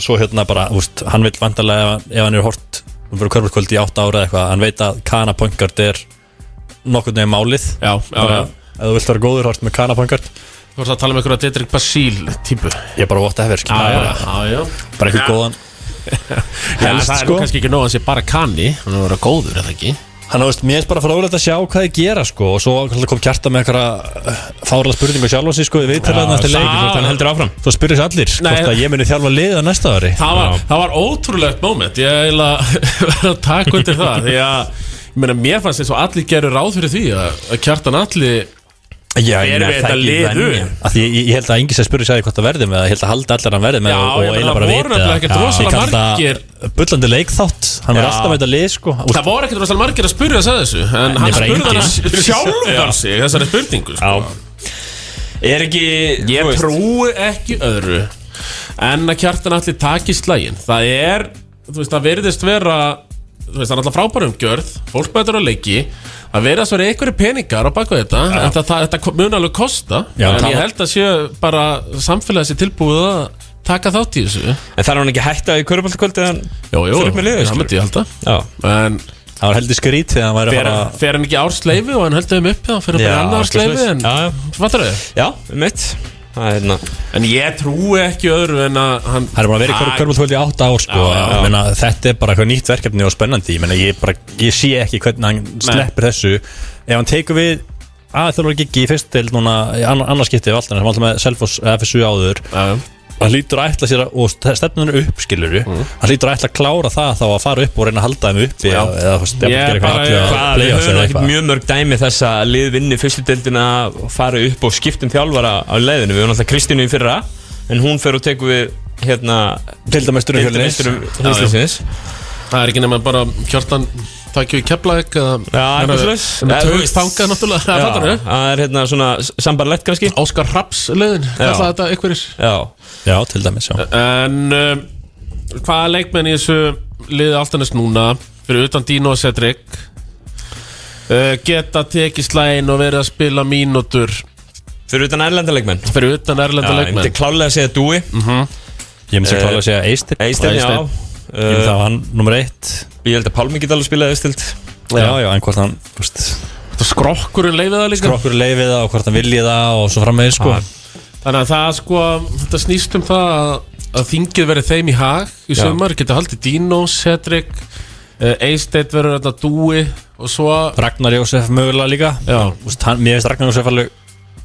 Speaker 4: svo hérna bara úst, hann vil vandarlega ef, ef hann er hort um fyrir körfurkvöld í 8 ára eða eitthvað hann veit að Kana Pongard er nokkurn veginn málið
Speaker 1: Já, já,
Speaker 4: bara,
Speaker 1: já.
Speaker 4: ef þú vilt vera góður hort með Kana Pongard
Speaker 1: Þú varst að tala um einhverja Didrik Basíl típu
Speaker 4: ég er bara ótt að hefur bara,
Speaker 1: já, já.
Speaker 4: bara eitthvað góðan
Speaker 1: Helst,
Speaker 4: Helst,
Speaker 1: það er
Speaker 4: sko.
Speaker 1: kannski ekki nóg að sé bara kanni Hann er að vera góður, eða ekki
Speaker 4: Þannig að veist, mér finnst bara frólægt að sjá hvað þið gera sko og svo náttúrulega kom kjarta með einhverja eh, fárlega spurningu sjálf og sér sko við viðtalaðan eftir leik
Speaker 2: það- hann heldur áfram.
Speaker 4: Þú spyrir sér allir
Speaker 1: Nei.
Speaker 4: hvort að ég muni þjálfa liða næsta ári
Speaker 1: það var, það var ótrúlegt moment ég vil að vera að taka undir það því að ég meina, mér fannst eins og allir gerur ráð fyrir því að að kjartan allir
Speaker 4: Já, ég
Speaker 1: Erum
Speaker 4: meina,
Speaker 1: við
Speaker 4: það
Speaker 1: þetta
Speaker 4: er ekki
Speaker 1: liðu?
Speaker 4: venja. Af því ég, ég- ég held að enginn sem spurði sér hvort það verði með það, ég held að halda allar hann verði með
Speaker 1: Já,
Speaker 4: og- og
Speaker 1: ég meina,
Speaker 4: eiginlega
Speaker 1: það
Speaker 4: bara
Speaker 1: voru
Speaker 4: viti
Speaker 1: nefnilega ekkert
Speaker 4: Já.
Speaker 1: rosalega
Speaker 4: Ég kalla það
Speaker 1: margir-
Speaker 4: bullandi leikþátt, hann verði
Speaker 2: Já.
Speaker 4: alltaf með þetta lið sko Úst,
Speaker 1: Það voru ekkert rosalega margir að spurja þess að þessu En
Speaker 4: Nei,
Speaker 1: hann
Speaker 4: bara
Speaker 1: spurði
Speaker 4: enginn.
Speaker 1: hann sjálfan sig Þessari spurningu sko.
Speaker 2: Er ekki þú
Speaker 1: Ég
Speaker 2: veist,
Speaker 1: trúi ekki öðru En að kjartan allir taki slægin Það er, þú veist, það verðist vera Þú veist, það er alltaf frábærum gjörð Fólk betur að leiki Það verðast verið einhverju peningar á baku þetta En það, það, þetta mun alveg kosta
Speaker 4: Já,
Speaker 1: En
Speaker 4: það-
Speaker 1: ég held að séu bara samfélagið sér tilbúið að taka þátt í þessu
Speaker 2: En þarf hann ekki að hætta í köruboltakvöld eða hann
Speaker 1: Jó, jó,
Speaker 2: Fyrir upp með liðið,
Speaker 1: það
Speaker 2: skilur.
Speaker 1: myndi ég halda
Speaker 2: Já
Speaker 1: En
Speaker 4: Það var heldur skrítið að hann væri að
Speaker 1: fer,
Speaker 4: fara
Speaker 1: fer hann ekki ársleifi og hann heldur þeim uppi Hann fer hann
Speaker 2: Já,
Speaker 1: bara annar ársleifi
Speaker 2: svoleiðis.
Speaker 1: En
Speaker 2: Já, já.
Speaker 1: fattar þau?
Speaker 2: Já, um eitt Það er hérna
Speaker 1: En ég trúi ekki öðru en að hann
Speaker 4: Það er bara að vera í hverju körfbólthvöld í átta ár sko.
Speaker 1: Já, já, já.
Speaker 4: Ég meina, Þetta er bara eitthvað nýtt verkefni og spennandi Ég, meina, ég, bara, ég sé ekki hvernig hann sleppur þessu Ef hann tekur við að þjálfur ekki í fyrst til núna í ann- annars skipti af allt sem alltaf með Selfoss eða FSU áður
Speaker 1: Já, já.
Speaker 4: hann lítur að ætla sér að, og stefnunum upp skilur hann lítur að ætla að klára það þá að fara upp og reyna að halda þeim uppi eða, eða þú veist,
Speaker 1: Ég
Speaker 4: jafnvel gera
Speaker 1: bara-
Speaker 4: eitthvað atriði á
Speaker 1: hvað,
Speaker 2: Við höfum
Speaker 4: playoffs
Speaker 2: ekkert
Speaker 4: eða eitthvað.
Speaker 2: mjög mörg dæmi þess að lið vinni fyrstu deildina fara upp og skiptum þjálfara á leiðinu Við höfum alltaf Kristínu í fyrra En hún fer og tekur við hérna
Speaker 4: Deildarmeisturum Fjölnis.
Speaker 2: Deildarmeisturum Íslandsins
Speaker 1: Það er ekki nema bara kjartan Takk við keflaðik Já,
Speaker 2: eitthvað svoleiðis. Já, þú
Speaker 1: Taug
Speaker 2: veist.
Speaker 1: þanga náttúrulega Það
Speaker 2: Já,
Speaker 1: fattar þau
Speaker 2: Það er hérna svona sambarlegt kannski
Speaker 1: Óskar Raps leiðin Kallaði þetta einhverjir
Speaker 2: Já
Speaker 4: já, til dæmis, já
Speaker 1: En um, hvaða leikmenn í þessu liði alltaf núna Fyrir utan Dino og Cedric uh, Geta tekið slægin og verið að spila mínútur
Speaker 2: Fyrir utan erlendalegmenn
Speaker 1: Fyrir utan erlenda
Speaker 2: Já, ég myndi
Speaker 1: leikmenn Mhm.
Speaker 2: klálega að segja Dúi
Speaker 1: Mm.
Speaker 4: ég myndi að klála að segja Eistir ég
Speaker 2: Eisteinn, já
Speaker 1: Eysteinn.
Speaker 4: myndi
Speaker 2: Uh,
Speaker 4: að hann nummer eitt
Speaker 2: Ég held að Pálmi geta alveg spilað Eistild
Speaker 4: já, já, en hvort hann, þú veist
Speaker 1: Skrokkurinn leifið það líka
Speaker 4: skrokkur leifið það og hvort hann viljið það og svo framvegis sko.
Speaker 1: Þannig að það sko, þetta snýst um það að, að þingið verið þeim í hag í
Speaker 2: Já.
Speaker 1: sumar, geta haldið Dino, Cedric uh, Eisteinn verður þetta Dúi og svo
Speaker 4: Ragnar Jósef mögulega líka
Speaker 1: Já.
Speaker 4: Úst, hann, mér finnst Ragnar Jósef alveg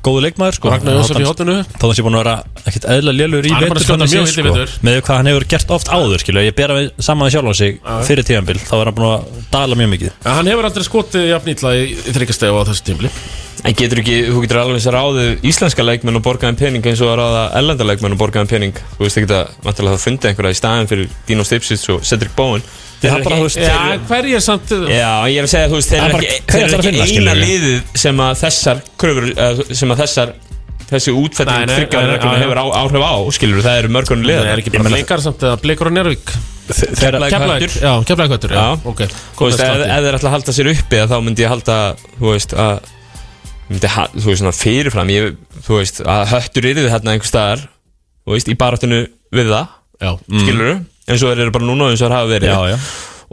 Speaker 4: góðu leikmaður sko.
Speaker 1: Ragnar Jósef í hotinu
Speaker 4: þá þannig sé búin að vera ekkert eðla lélur í
Speaker 1: Hann er búinn að skjóta
Speaker 4: þannig séð,
Speaker 1: mjög illa í vetur.
Speaker 4: með hvað hann hefur gert oft áður skilu. ég bera við, saman við sjálf á sig fyrir tíðanbíl þá er hann búin að dala mjög mikið
Speaker 1: En Hann hefur aldrei skotið jafn ítla í, í þryggjastegu á þessu tímli
Speaker 2: En getur ekki, þú getur alveg eins að ráðið íslenska leikmenn og borgaðin pening eins og að ráða ellenda leikmenn og borgaðin pening Þú veist ekki að, vantilega það fundið einhverja í staðin fyrir Dino Stipsits og Cedric Bowen Þeir
Speaker 4: hann
Speaker 2: eru
Speaker 4: bara,
Speaker 2: ekki-
Speaker 4: þú veist,
Speaker 1: Já, hverjir samt yeah.
Speaker 2: Já, ég er að segja, þú veist, þeir
Speaker 4: Það er
Speaker 2: eru
Speaker 4: bara-
Speaker 2: ekki,
Speaker 4: hver
Speaker 2: þeir
Speaker 4: ætlar
Speaker 2: eru ekki
Speaker 4: að finna,
Speaker 2: eina
Speaker 4: skilurðu?
Speaker 2: liðið sem að þessar kröfur, eh, sem að þessar þessi
Speaker 1: Nei,
Speaker 2: útfætting
Speaker 1: nei,
Speaker 2: þryggjaðar
Speaker 1: nei, já,
Speaker 2: reglum
Speaker 1: já.
Speaker 2: hefur á, áhrif á, skilur það eru mörgunni liðar
Speaker 1: Það er ekki bara leikar samt eða bleikur og njárvík
Speaker 4: þegar,
Speaker 1: Keflæk, já, keflæk höttur Já,
Speaker 2: Já.
Speaker 1: ok
Speaker 2: Þú veist, ef,
Speaker 1: Komið
Speaker 2: ef þeir ætla að halda sér uppi þá myndi ég halda, þú veist, að myndi, ha- þú veist, svona fyrirfram ég, þú veist, að höttur yfir þarna einhver staðar, þú veist, í baráttinu við það,
Speaker 1: Já,
Speaker 2: mm. skilur eins og þeir eru bara núna og eins og þeir hafa verið
Speaker 4: já, já.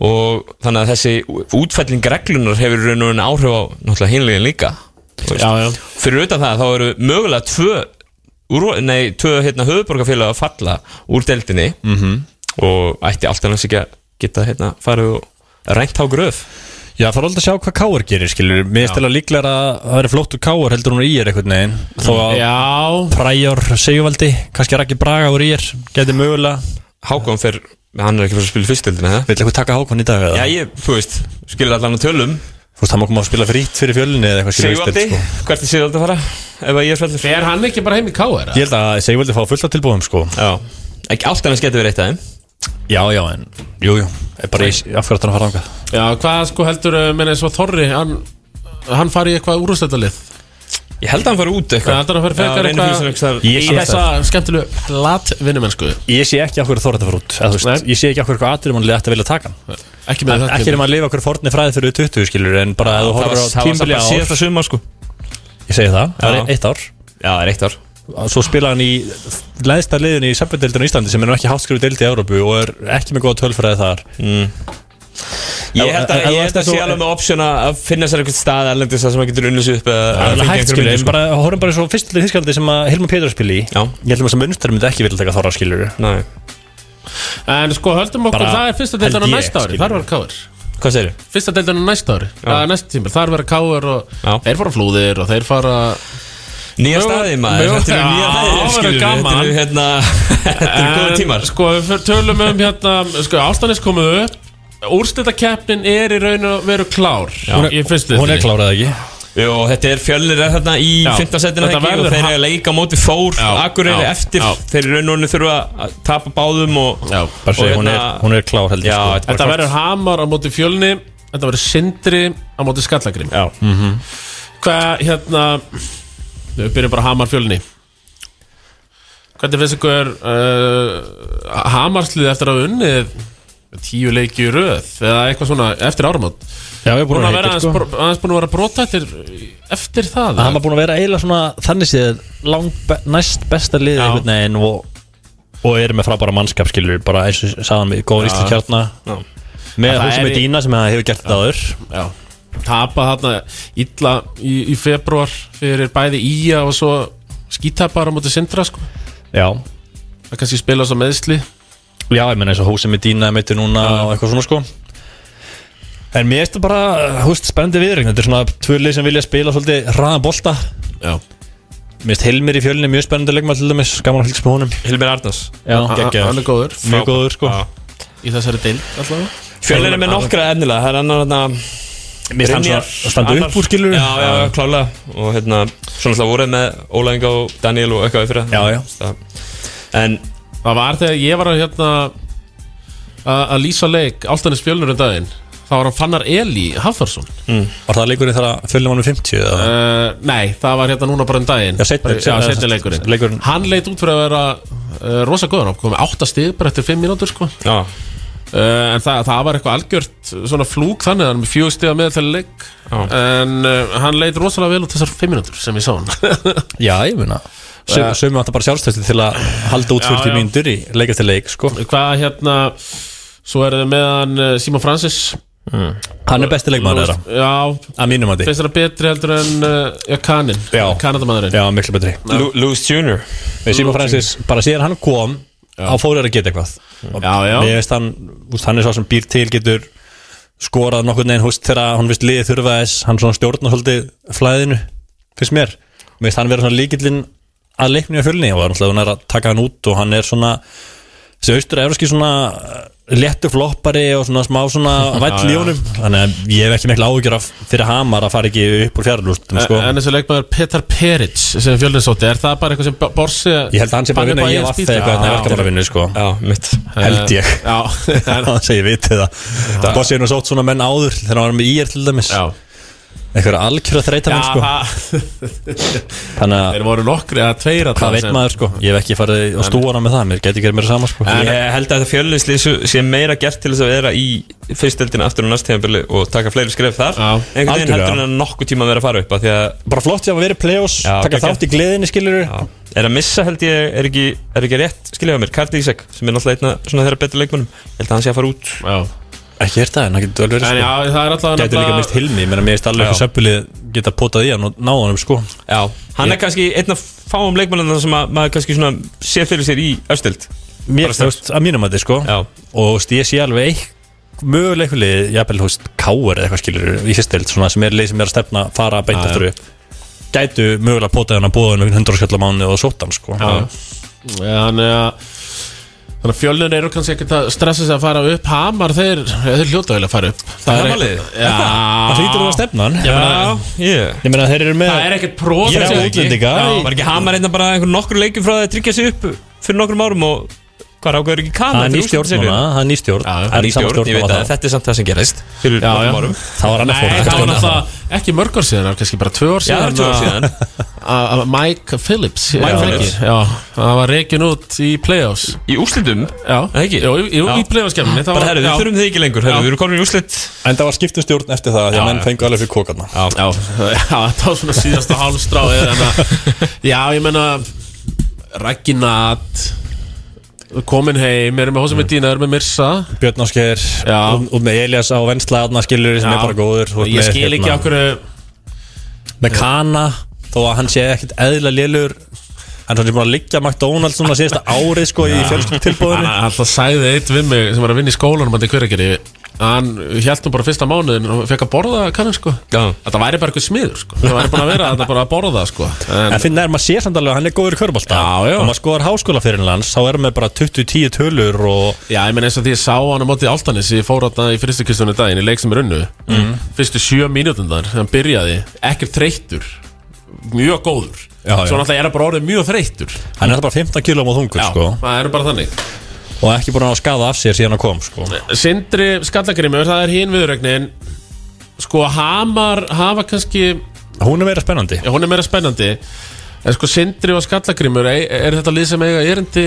Speaker 2: og þannig að þessi útfælling reglunar hefur í raun og raun áhrif á náttúrulega hinlegin líka þú veist.
Speaker 1: já, já
Speaker 2: fyrir utan það þá eru mögulega tvö, úr, nei, tvö hérna, höfuborgarfélag að falla úr deildinni
Speaker 4: Mhm.
Speaker 2: -hmm. og ætti allt annars ekki að geta hérna, farið og rænt á gröf
Speaker 4: Já, það er alltaf að sjá hvað Káur gerir, skilur Mér stela líklega að það verður flóttur Káur heldur hún í er einhvern veginn Þó að
Speaker 1: Mm, Já,
Speaker 4: Præjár Sigvaldi, kannski Raggi Braga úr í er Gæti mögulega
Speaker 2: Hákon fer, hann er ekki fyrir að spila fyrstildina
Speaker 4: Vil eitthvað taka Hákon í dag eða?
Speaker 2: Já, ég, þú veist, skilur allan að tölum
Speaker 4: Þú veist, hann má koma að spila frýtt fyrir fjölinni eða eitthvað skilur
Speaker 2: Sigvaldi,
Speaker 4: sko.
Speaker 2: hvert er Sigvaldi að fara? Ef að ég er fellur
Speaker 1: er hann ekki bara heim í K.R.?
Speaker 4: Ég held að Sigvaldi fá fullt af tilbúðum sko
Speaker 2: Já, ekki allt annars getur verið eitt aðeins
Speaker 4: Já, já, en Jú, jú, er bara í afhverjart hann að fara ánga
Speaker 1: Já, hvað sko heldur, menn eins og Þorri Hann, hann fari í eitthvað úrústættalið
Speaker 2: Ég held að hann fari út
Speaker 1: Það
Speaker 2: eitthvað
Speaker 1: heldur að fara frekar eitthvað
Speaker 4: Ég
Speaker 1: í
Speaker 4: sé
Speaker 1: þessa skemmtilegu platvinnumennsku
Speaker 4: Ég sé ekki af hverju þorðið fara út eða, þú veist,
Speaker 1: Nei.
Speaker 4: Ég sé ekki af hverju eitthvað aðrir mannlega ætti að vilja taka hann
Speaker 1: Ekki með þetta
Speaker 4: Ekki er maður að lifa okkur forni fræði fyrir 20 skilur En bara að þú
Speaker 2: Það var,
Speaker 4: horfir á
Speaker 2: það var samt
Speaker 4: tímbili
Speaker 2: bara
Speaker 4: ár
Speaker 2: síðasta sumar sko
Speaker 4: Ég segi það, það
Speaker 2: Já.
Speaker 4: er eitt ár
Speaker 2: Já, það er eitt ár
Speaker 4: Svo spila hann í leðsta liðin í sambundeldinu í Íslandi sem er nú ekki háskrifu deildi í Európu og er ekki með góða tölfræði þar
Speaker 2: Ég held að,
Speaker 4: Ef- ef-
Speaker 2: ég
Speaker 4: ef
Speaker 2: held að
Speaker 4: þú-
Speaker 2: sé alveg með option að að finna sér eitthvað stað erlendis þar sem að getur unnið sér upp eða
Speaker 4: Það er
Speaker 2: fengið
Speaker 4: alveg hægt
Speaker 2: einhverja
Speaker 4: skilur,
Speaker 2: vinnu,
Speaker 4: en
Speaker 2: sko.
Speaker 4: bara horfum bara svo fyrst til þískaldi sem að Hilmar Pétur spila í
Speaker 2: Já.
Speaker 4: Ég held að Munster myndi ekki vilja taka þorra skilur
Speaker 2: Nei.
Speaker 1: En sko höldum okkur,
Speaker 4: Bara
Speaker 1: það er fyrsta deildan á
Speaker 4: held ég,
Speaker 1: næsta ári
Speaker 4: skilur.
Speaker 1: Þar var káður
Speaker 2: Hvað segir þið?
Speaker 1: Fyrsta deildinu næsta ári, að næsta tíma Þar verða káur og
Speaker 2: Já.
Speaker 1: þeir fara á flúðir og þeir fara
Speaker 2: Nýja staði maður,
Speaker 1: Mjög-
Speaker 2: þetta eru nýja
Speaker 1: Já,
Speaker 2: hæðir,
Speaker 1: það verður
Speaker 2: skilurðu,
Speaker 1: gaman.
Speaker 2: Þetta eru hérna, þetta eru góða
Speaker 1: En,
Speaker 2: tímar
Speaker 1: Sko, við fyr- tölum um hérna Sko, ástanis komuð upp Úrslitakeppnin er í raun og veru klár
Speaker 4: Hún er-
Speaker 1: Í fyrstu
Speaker 4: Hún er
Speaker 1: deildinni.
Speaker 4: klárað ekki
Speaker 2: Jú, þetta er fjölnir er þarna í
Speaker 1: Já.
Speaker 2: fintasettina
Speaker 1: Þetta
Speaker 2: ekki og
Speaker 1: verður
Speaker 2: þeir
Speaker 1: ha-
Speaker 2: eru að leika á móti fór
Speaker 1: Já.
Speaker 2: Akureyri
Speaker 1: Já.
Speaker 2: eftir,
Speaker 1: Já.
Speaker 2: þeir eru raun og rauninu þurfa að tapa báðum og
Speaker 1: Já.
Speaker 4: Bara
Speaker 2: Og
Speaker 4: segja, hún,
Speaker 2: hérna-
Speaker 4: er- hún er klár heldur
Speaker 2: Já,
Speaker 4: sko.
Speaker 2: þetta er
Speaker 1: Þetta
Speaker 2: bara
Speaker 1: verður hamar á móti fjölni Þetta verður sindri á móti skallagrim
Speaker 2: Já,
Speaker 1: Hvað, hérna Við byrjum bara hamar fjölni Hvernig finnst ykkur uh, hamarslið eftir að hafa unnið tíu leiki í röð eða eitthvað svona eftir áramót
Speaker 4: Já, ég er búin
Speaker 1: Búin að
Speaker 4: að
Speaker 1: vera
Speaker 4: heita
Speaker 1: aðeins,
Speaker 4: sko.
Speaker 1: bro- aðeins búin að vera brota eftir, eftir það
Speaker 4: Hann var búin að vera eiginlega svona þannig séð langt be næst besta liðið einhvern veginn og, og er með frábæra mannskap skilur bara eins og sagðan við góðan íslensk kjartna með
Speaker 1: það
Speaker 4: húsum
Speaker 1: er
Speaker 4: með
Speaker 1: í-
Speaker 4: Dína sem hefur gert þetta aður
Speaker 1: Já, tapa þarna illa í, í februar fyrir bæði ía og svo skítapar á móti sindra sko
Speaker 4: Já,
Speaker 1: Það kannski spila svo meðsli
Speaker 4: já ég menna eins og húsum með Dína mitt núna og eitthvað svona sko En mér erstu bara, húst, spennandi viðregn Þetta er svona tvölið sem vilja spila svolítið hraðan bolta
Speaker 1: Já
Speaker 4: Mér erst Hilmir í fjölunni mjög spennandi leikmann til dæmis Gaman að fylgst með honum
Speaker 2: Hilmir Arnars
Speaker 4: Já,
Speaker 1: Hann er
Speaker 4: geggjaður
Speaker 1: góður
Speaker 4: Mjög góður sko
Speaker 2: Já.
Speaker 1: í þessari deild allavega
Speaker 2: Fjölnir er með nokkra hérna- efnilega, það er annar þarna
Speaker 4: Mér finnst hann
Speaker 2: Brynjar,
Speaker 4: svona standa
Speaker 2: annar-
Speaker 4: upp úr skilur
Speaker 2: Já, já, já, klálega Og hérna, svona alltaf voruð með Ólæðinga og Daniel og eitthvað fyrir
Speaker 4: Já, já.
Speaker 2: En,
Speaker 1: Það var þegar ég var að hérna að að lýsa leik Áltanis Fjölnur um daginn þá var hann Fannar Eli Hafþórsson
Speaker 4: Var það leikurinn þar að fjölunni var um 50 eða?
Speaker 1: uh, Nei, það var hérna núna bara um daginn
Speaker 4: Já, seinni-
Speaker 1: Já, seinni leikurinn.
Speaker 4: leikurinn.
Speaker 1: Hann leit út fyrir að vera uh, rosa góðan átt komið átta stig bara eftir fimm mínútur sko
Speaker 2: já,
Speaker 1: Uh, en það, það var eitthvað algjört svona flúk þannig að hann er með fjögur stiga með til leik
Speaker 2: Já.
Speaker 1: en uh, hann leit rosalega vel út þessar fimm minútur sem ég sá hann
Speaker 4: Já, ég meina
Speaker 1: Eh.
Speaker 4: Sum- Sumir vantar bara sjálfstöðstu til að halda út 40
Speaker 1: já.
Speaker 4: mínútur í leik eftir leik sko.
Speaker 1: hvað hérna svo er þið með hann uh, Simon Francis
Speaker 4: Hann er besti leikmaður þeirra
Speaker 1: já,
Speaker 4: Að mínum að því
Speaker 1: finnst það betri heldur en uh, já, Kanin,
Speaker 4: Já.
Speaker 1: Kanadamæðurinn
Speaker 4: Já, miklu betri
Speaker 2: Lu- Lewis Jr.
Speaker 4: Við Simon Francis, bara síðan hann kom á fórir að geta eitthvað
Speaker 1: já, já,
Speaker 4: Mér veist hann, úst, hann er svo sem býr til getur skorað nokkur neginn húst þegar hann veist liðið þurfa þess hann svona stjórna svolítið flæðinu finnst mér, mér veist hann vera svona líkillinn að leiknum í fjölni og náttúrulega hún er að taka hann út og hann er svona þessi austur evroski svona eh, léttur floppari og svona smá svona væll í honum, þannig að ég hef ekki mikla áhugjur af fyrir Hamar að fara ekki upp úr fjarlústum
Speaker 1: En-
Speaker 4: sko.
Speaker 1: en þessi leikmaður Petar Peric sem fjöldinsótti, er það bara eitthvað sem Bo- Borsi
Speaker 4: ég held að hann sé bara að vinna E ég var þegar eitthvað hann er verkefna að vinna sko.
Speaker 2: Já, mitt
Speaker 4: held ég
Speaker 1: já, en,
Speaker 4: það segir vitið það Bossi er nú sótt svona menn áður þegar hann var með ír til dæmis
Speaker 1: já,
Speaker 4: einhverja algjörða þreita menn sko
Speaker 1: það
Speaker 4: þannig að
Speaker 1: þeir voru nokkri að tveira
Speaker 4: hvað veit maður sko ég hef ekki farið á stúana með það mér geti ekki verið mér sama sko
Speaker 2: Ég held að þetta fjölnisli sé meira gert til þess að vera í fyrstöldina aftur á næstíðanbili og taka fleiri skref þar
Speaker 1: Já.
Speaker 2: einhvern veginn
Speaker 4: Algjörlega.
Speaker 2: heldur hann að nokkuð tíma að vera að fara upp að því að
Speaker 4: bara flott ég að vera í play-offs
Speaker 2: Já,
Speaker 4: taka
Speaker 2: geggjað.
Speaker 4: þátt í gleðinni skilur
Speaker 2: Já. Er að missa held ég, er ekki, er ekki rétt skiljaðu mér, Kardi Ísak, sem er náttúrulega einna svona þeirra betri leikmönnum, Ég held að hann sé að fara út
Speaker 1: já
Speaker 4: ekki hérta en það getur vel verið
Speaker 1: En
Speaker 4: sko
Speaker 1: já, það er alltaf
Speaker 4: getur líka mist hilmi mér er alveg
Speaker 2: Já.
Speaker 4: eitthvað söpulið geta potað í hann og náða hann sko
Speaker 2: Já, hann er kannski einn af fáum leikmönnum sem að, maður kannski svona sé fyrir sér í östild
Speaker 4: mér
Speaker 2: Bara strax.
Speaker 4: veist að mínum að þið sko
Speaker 2: Já,
Speaker 4: og þú veist, ég sé alveg eik möguleiku lið, jafnvel, þú veist, káur eða eitthvað skilur í sérstild, svona sem er lið sem er að stefna fara beint aftur upp gætu mögulega potað hann að bóða hann um 100 skall á mánu og sótt hann, sko
Speaker 1: Já. Þannig að Þannig að fjölnir eru kannski ekkert að stressa sig að fara upp Hamar, þeir, þeir hljóta vel að fara upp Það
Speaker 2: Hamarliðið?
Speaker 1: Já
Speaker 4: það hlýtur þú að stefna hann ég meina,
Speaker 2: ég
Speaker 4: ég meina þeir eru með
Speaker 1: Það er ekkert próf
Speaker 4: Ég er útlendinga
Speaker 2: Var ekki Hamar einna bara einhver nokkur leikum frá það að tryggja sig upp fyrir nokkrum árum og hvað rákaður ekki
Speaker 4: það
Speaker 2: Kana
Speaker 4: er nýstjórn núna, það er nýstjórn
Speaker 1: Já,
Speaker 4: það er
Speaker 2: Nýstjórn,
Speaker 4: samstjórn
Speaker 2: ég
Speaker 4: og
Speaker 2: veit að
Speaker 4: það
Speaker 2: þetta er samt það sem gerist fyrir
Speaker 1: Já, já
Speaker 2: nokkrum árum
Speaker 4: þá var
Speaker 1: Nei,
Speaker 4: annað fólk
Speaker 1: það var
Speaker 4: að stjórna
Speaker 1: náttúrulega ekki mörg ár síðan, það var kannski bara tvö ár
Speaker 2: Já, það
Speaker 1: síðan uh,
Speaker 2: er tjóra síðan
Speaker 1: að- að Mike Phillips
Speaker 2: Mike
Speaker 1: já,
Speaker 2: Phillips.
Speaker 1: Já, það var reikin út í playoffs
Speaker 2: Í úrslitum
Speaker 1: Já,
Speaker 2: Það ekki?
Speaker 1: Jú, jú,
Speaker 2: Já.
Speaker 1: í playoffskemmni
Speaker 2: Bara herru, við þurfum þið ekki lengur
Speaker 1: Já.
Speaker 2: herru, Við erum komin í úrslit
Speaker 4: en það var skiptum stjórn eftir það, því að menn fengu alveg fyrir kókarna
Speaker 1: Já, já, þetta var svona síðasta hálfstráið en að, Já, ég menna Ragginat Komin heim, erum
Speaker 4: Mm.
Speaker 1: með hósa með Dína, erum með Mirsa
Speaker 4: Björn Áskeir,
Speaker 1: Já.
Speaker 4: út út með Elias á vensla þarna skilur sem er bara góður þú ert
Speaker 1: Ég
Speaker 4: með,
Speaker 1: skil ekki
Speaker 4: hérna,
Speaker 1: okkur
Speaker 4: með Kana þó að hann sé ekkit eðla lélur hann er svona búin að liggja McDonalds núna síðasta árið sko í fjölskyldutilbúðinu
Speaker 1: Alltaf sagði eitt við mig sem var að vinna í skólanum hann til hverjargeri hann held nú bara fyrsta mánuðin og fekk að borða kannan sko
Speaker 2: Já.
Speaker 1: þetta væri bara eitthvað smiður sko það væri búin að vera þetta bara að borða sko en,
Speaker 4: En finn er maður sé samt alveg að hann er góður í körbólta
Speaker 1: Já, já.
Speaker 4: Og maður skoðar háskóla fyrir hans Þá er maður bara 20-10 tölur og
Speaker 1: já ég menn eins og því ég sá hann á móti áltanis ég fór þarna í fyrstu kistunni daginn í leik sem er unnu
Speaker 4: Mhm.
Speaker 1: fyrstu sjö mínútundar hann byrjaði ekkert þreyttur mjög góður
Speaker 4: Já, já.
Speaker 1: svo náttúrulega er hann bara orðið mjög þreyttur
Speaker 4: Hann er bara 15 kílum og þungur sko
Speaker 1: það eru bara þannig
Speaker 4: Og ekki búin að ná að skaða af sér síðan að kom sko
Speaker 1: Sindri Skallagrimur, það er hinn viðrögnin Sko Hamar hafa kannski já,
Speaker 4: Hún er meira spennandi
Speaker 1: Hún er meira spennandi En sko Sindri og Skallagrimur Er, er þetta lið sem eiga erindi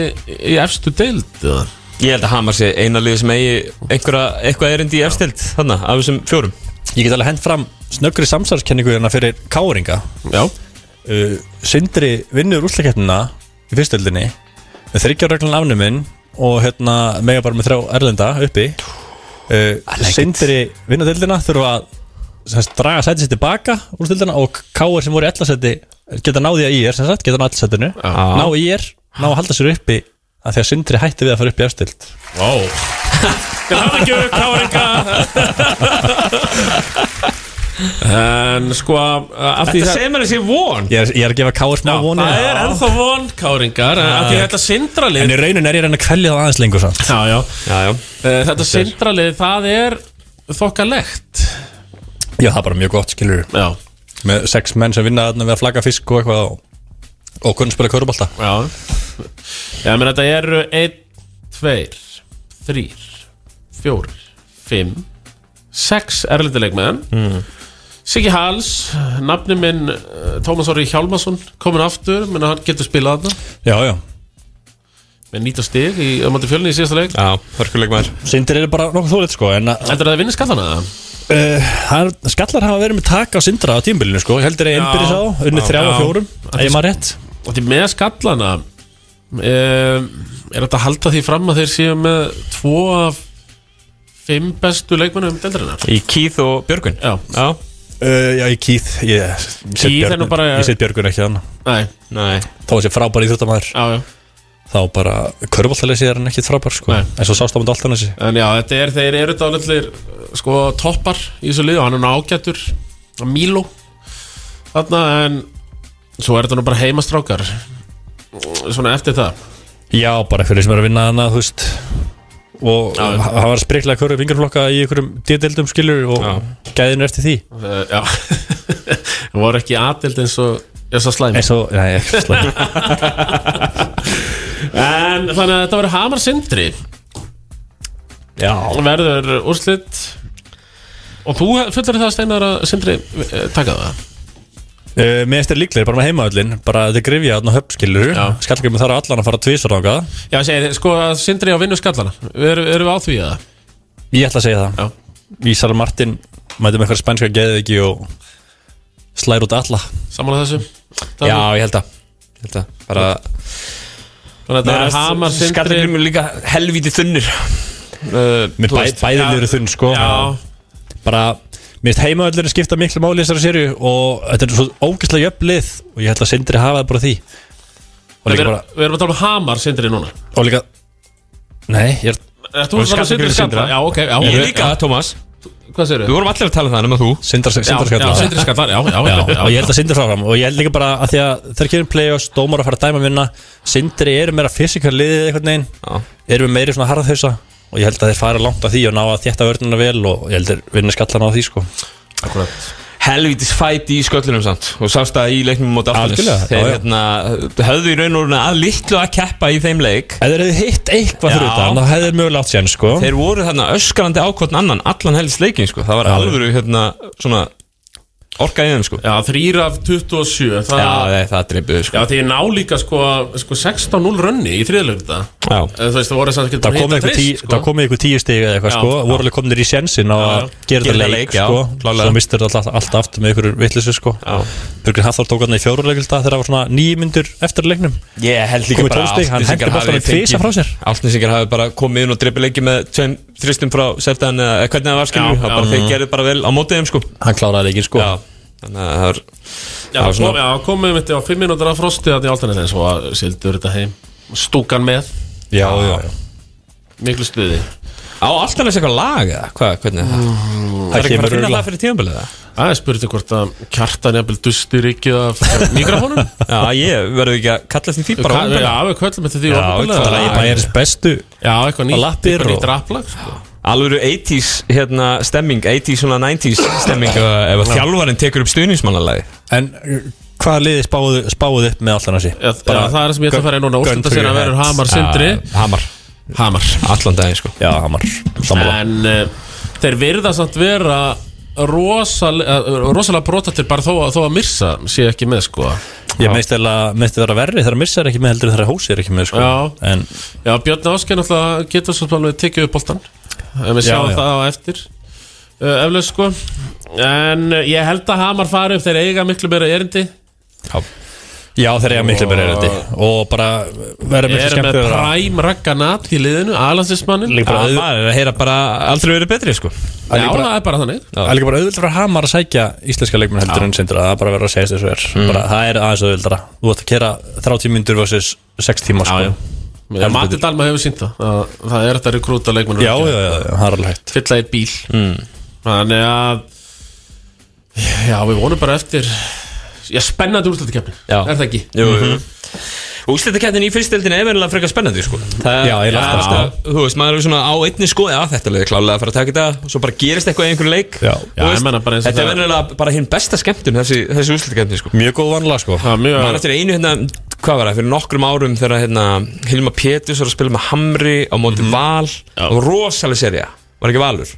Speaker 1: í efstu deild? eða?
Speaker 2: Ég held að Hamar sé eina liði sem eigi einhverja, eitthvað erindi í efstild þarna, af þessum fjórum
Speaker 4: Ég get alveg hend fram snöggri samstarfskenningu hérna fyrir Káringa
Speaker 1: Já,
Speaker 4: uh, Sindri vinnur úrslakettina í fyrstöldinni með þryggjarreglun afnuminn og hérna mega bara með þrjá erlenda uppi uh, Sindri vinnur dildina þurfa að sem sagt, draga sæti sér tilbaka úr dildina og K.R. sem voru í ellasetti geta náði að IR sem sagt, geta náði ellasettinu ná IR, ná að halda sér uppi að því að Sindri hætti við að fara upp í afstild
Speaker 1: en sko af því
Speaker 2: Þetta
Speaker 1: það
Speaker 2: segir mér þessi von
Speaker 4: ég er, ég er að gefa K.R. smá voni
Speaker 1: Það er ennþá von, Káringar en af því þetta
Speaker 4: en
Speaker 1: Sindralið
Speaker 4: í raunin er ég að reyna að kvelja það aðeins lengur samt
Speaker 1: Já, já
Speaker 2: Já, já
Speaker 1: Eh, Þetta Sindralið, það er þokkalegt
Speaker 4: já, það er bara mjög gott skilur
Speaker 1: Já,
Speaker 4: með sex menn sem vinna þarna við að flagga fisk og eitthvað og, og kunn spila körubálta
Speaker 1: já Já, menn þetta eru einn, tveir, þrýr, fjórir, fimm, sex erlendileikmenn mm. Siggi Hals, nafni minn eh, Tómas Orri Hjálmason komin aftur, menn hann getur spilað þarna
Speaker 4: Já, já
Speaker 1: með nýta stig í ömandi fjölni í síðasta leik
Speaker 2: Já, hörkuleik maður
Speaker 4: Sindir eru bara nokkuð þúlið sko en uh,
Speaker 1: Heldur það að vinna skallana?
Speaker 4: hann, skallar hafa verið með tak á Sindra á tímbilinu sko heldur ég einbyrðis á unni
Speaker 1: já,
Speaker 4: þrjá og
Speaker 1: já.
Speaker 4: fjórum eða maður rétt
Speaker 1: Og því með skallana um, er þetta að halda því fram að þeir séu með tvo af fimm bestu leikmennum deildarinnar?
Speaker 2: Í Keith og Björgun
Speaker 1: Já,
Speaker 2: Já,
Speaker 4: uh, Já, ég kýð Ég set
Speaker 1: Keith er
Speaker 4: Björgun-
Speaker 1: nú bara-
Speaker 4: Ég set Björgun ekki þannig
Speaker 1: nei,
Speaker 2: nei
Speaker 4: Þá var sér frábær íþróttamæður
Speaker 1: já, já
Speaker 4: Þá bara körubáltalessi er hann ekki frábær sko
Speaker 1: Nei.
Speaker 4: En svo sást á myndi alltaf nessi
Speaker 1: En já, þetta er, þeir eru dálitlir sko toppar í þessu liðu og hann er nú ágætur á Milo þarna en svo er þetta nú bara heimastrákar svona eftir það
Speaker 4: Já, bara fyrir sem eru að vinna hana, þú veist Og
Speaker 1: Já.
Speaker 4: hann var spriklega körub vingarflokka í einhverjum dildum skilur og gæðinu eftir því
Speaker 1: uh, Já, það voru ekki aðild eins og þess að slæmi
Speaker 4: eins og, nei, ekki slæm
Speaker 1: En þannig að þetta verður Hamar Sindri
Speaker 4: Já
Speaker 1: verður úrslit og þú fullur það steinar að Sindri eh, taka það
Speaker 4: uh, Mér finnst þér líklegir bara með heimaöllin bara þetta er grifja þarna á höfn skilur
Speaker 1: Já.
Speaker 4: Skallgjum þarf allan að fara tvísar ánga
Speaker 1: Já, ég segi, sko að Sindri á vinnu skallana Erum er við á því að
Speaker 4: Ég ætla að segja það
Speaker 1: Já.
Speaker 4: Ísar Martin mæti með eitthvað spænska geðviki og slær út alla
Speaker 1: samanlega þessu? Það-
Speaker 2: Já, ég held að Ég held að Bara
Speaker 1: Þannig að þetta er Hamar Sindri
Speaker 2: Skallargrymur líka helvíti þunnir
Speaker 1: uh,
Speaker 4: Mér bæ, bæði liður þunn sko
Speaker 1: Já,
Speaker 4: bara Mér finnst heimaöllin skipta miklu máli í þessari sériu og þetta er svo ógeðslega jöfnlið og ég ætla að sindri hafa það bara á því og
Speaker 1: við
Speaker 4: líka
Speaker 1: erum,
Speaker 4: bara,
Speaker 1: við erum að tala um Hamar Sindri núna
Speaker 4: og líka Nei, ég er
Speaker 1: Þú erum að tala um Sindri
Speaker 2: Skallagrimur
Speaker 1: Skalla
Speaker 2: Sindra.
Speaker 1: Já, ok, já
Speaker 2: Ég líka, Tómas
Speaker 1: Hvað segir
Speaker 2: Við vorum allir að tala um það nema þú
Speaker 4: sindra,
Speaker 1: Já,
Speaker 4: sindra
Speaker 1: já, Sindri Skalla, já, já,
Speaker 4: Já,
Speaker 1: já,
Speaker 4: og ég held að Sindri fráfram og ég held líka bara að því að þeir kemur play-offs, dómar að fara að dæma minna Sindri eru meira fysikal liðið einhvern veginn
Speaker 2: Já
Speaker 4: eru meiri svona harðhausa og ég held að þeir fara langt að því og ná að þétta vörnuna vel og ég held að vinna skallan á því sko
Speaker 1: Akkurat.
Speaker 2: Helvítis fæti í sköllunum samt Og sást það í leiknum mót
Speaker 4: Algjörlega,
Speaker 2: aftalis
Speaker 4: já,
Speaker 2: Þeir
Speaker 4: já.
Speaker 2: hérna höfðu í raun og raun að litlu að keppa í þeim leik
Speaker 4: Ef þeir hefðu hitt
Speaker 2: Já.
Speaker 4: eitthvað fyrir utan þá hefðu þeir mögulega átt sér sko
Speaker 2: Þeir voru þarna öskarandi ákvotn annan Allan helst leikin sko Það var alvöru hérna svona Orka í þeim sko
Speaker 1: já þrýr af 27 Það
Speaker 2: Já, nei, það dreipuðu sko
Speaker 1: Já, því ég ná líka sko, sko 16-0 rönni í þriðleikta
Speaker 2: Já.
Speaker 1: Þú veist, það voru þess að ekki
Speaker 4: Það komið einhver, tí, sko. kom einhver tíu stig eða eitthvað
Speaker 1: Já,
Speaker 4: sko
Speaker 1: já.
Speaker 4: voru alveg komnir í sensin á að gera þetta leik,
Speaker 2: já,
Speaker 4: sko
Speaker 2: klárlega.
Speaker 4: svo mistur þetta alltaf, alltaf aftur með einhverjum vittlisu sko Björgur Hafþór tók hann í fjóruleikilda þegar það var svona níu myndur eftir leiknum
Speaker 2: Ég held
Speaker 4: Komið tólf stig, hann hendi boltanum tvisvar frá sér.
Speaker 2: Áltnesingar hafi bara komið inn og dreipið leiki með tveim þristum frá Seftan eða hvernig það var skilur
Speaker 1: Já,
Speaker 2: Það
Speaker 1: já.
Speaker 2: bara þeir gerðu bara vel á mótið þeim sko
Speaker 4: Hann kláraði leikin sko
Speaker 2: Já, þannig að það er
Speaker 1: Já,
Speaker 2: það var
Speaker 1: kom,
Speaker 2: svona-
Speaker 1: já komið mitt á 5 minútur af frosti að því áltanir þeim svo að sildur þetta heim Stúkan með,
Speaker 4: já, já, já.
Speaker 1: miklu stuði
Speaker 2: Á alltaf næst eitthvað lag eða? Hvað, hvernig er það? Mm. Það er ekki bara
Speaker 4: kemur
Speaker 2: að finna
Speaker 4: örugglega.
Speaker 2: lag fyrir tíðanbilið það?
Speaker 1: Það er spurning hvort að kjartan jafnvel dustir ekki af mikrofónum
Speaker 2: Já, ég verður ekki að kalla eftir því bara
Speaker 1: Hvað- Já,
Speaker 2: opinberlega.
Speaker 1: við kvöldum þetta því
Speaker 2: Já,
Speaker 1: opinberlega.
Speaker 2: eitthvað
Speaker 4: Það er bara erist bestu
Speaker 1: Já, eitthvað nýtt
Speaker 4: lappir
Speaker 1: Eitthvað
Speaker 4: og-
Speaker 1: nýtt rapplag sko.
Speaker 2: Alvöru 80s hérna stemming, 80s svona 90s stemming ef að- ef að þjálfarinn tekur upp stuðningsmannalagi
Speaker 4: En hvað liði spáðu, spáðu upp með allan þessi?
Speaker 1: Já, bara, það er það sem ég ætla að fara í núna Úrstunda sér að verður Hamar Sindri
Speaker 2: Hamar,
Speaker 1: Hamar
Speaker 2: allan daginn sko
Speaker 4: Já, Hamar Sammála
Speaker 1: En uh, þeir virða samt vera rosalega, rosalega brota til bara þó að, þó að Mirsa sé ekki með sko
Speaker 4: Ég meist eða, meist vera verri þegar missa er ekki með heldur en þegar hósi er ekki með sko.
Speaker 1: Já.
Speaker 4: En
Speaker 1: Já, Björn Áskein alltaf getur svo alveg tekið upp boltan Ef við
Speaker 4: Já,
Speaker 1: sjáum
Speaker 4: já.
Speaker 1: það á eftir uh, Eflaust sko En eh, ég held að Hamar fari upp þeir eiga miklu meira erindi
Speaker 4: já, þeir eiga miklu byrja reyndi Og bara verða miklu
Speaker 1: Eru með
Speaker 4: skemmtilega
Speaker 1: Prime Ragganat í liðinu, aðlandsismannin Já,
Speaker 4: Líka bara,
Speaker 2: Það
Speaker 4: auð,
Speaker 2: er að heyra bara aldrei verið betri sko
Speaker 1: það er bara þannig
Speaker 4: það er líka bara auðvöld fyrir Hamar að sækja íslenska leikmenn heldur en sindur Það er bara verður að segja þessu er bara, Það er aðeins auðvöldra Þú ætti að kera 30 myndur versus 6 tíma sko.
Speaker 1: Já, já Matti Dalma hefur sínt það að Það er þetta að rekrúta leikmennur
Speaker 4: já, já, já, já, það er alveg hægt
Speaker 1: Fylla í bíl Þannig að Já, við vonum bara eftir Já, spennandi úrslutakefni
Speaker 2: Já.
Speaker 1: Er það ekki?
Speaker 2: Jú, jú, jú Úsletakettin í fyrstildin er verðilega frekar spennandi sko Það
Speaker 4: Já, ég las það, sko.
Speaker 2: alltaf Þú veist, maður er svona á einni sko Já, þetta er klálega að fara að taka þetta Svo bara gerist eitthvað í einhverju leik
Speaker 4: Já.
Speaker 2: Þú
Speaker 1: Já, ég meina bara eins og
Speaker 2: Þetta er
Speaker 1: það-
Speaker 2: verðilega bara hinn besta skemmtun Þessi, þessi úsletakettin sko
Speaker 4: Mjög góð vanlega sko
Speaker 1: Það er
Speaker 2: Man
Speaker 1: mjög
Speaker 2: eftir einu hérna, hvað var það, fyrir nokkrum árum þegar hérna Hilma Pétus var að spila með Hamri á móti
Speaker 1: Mhm.
Speaker 2: Val og rosalega serja, var ekki Valur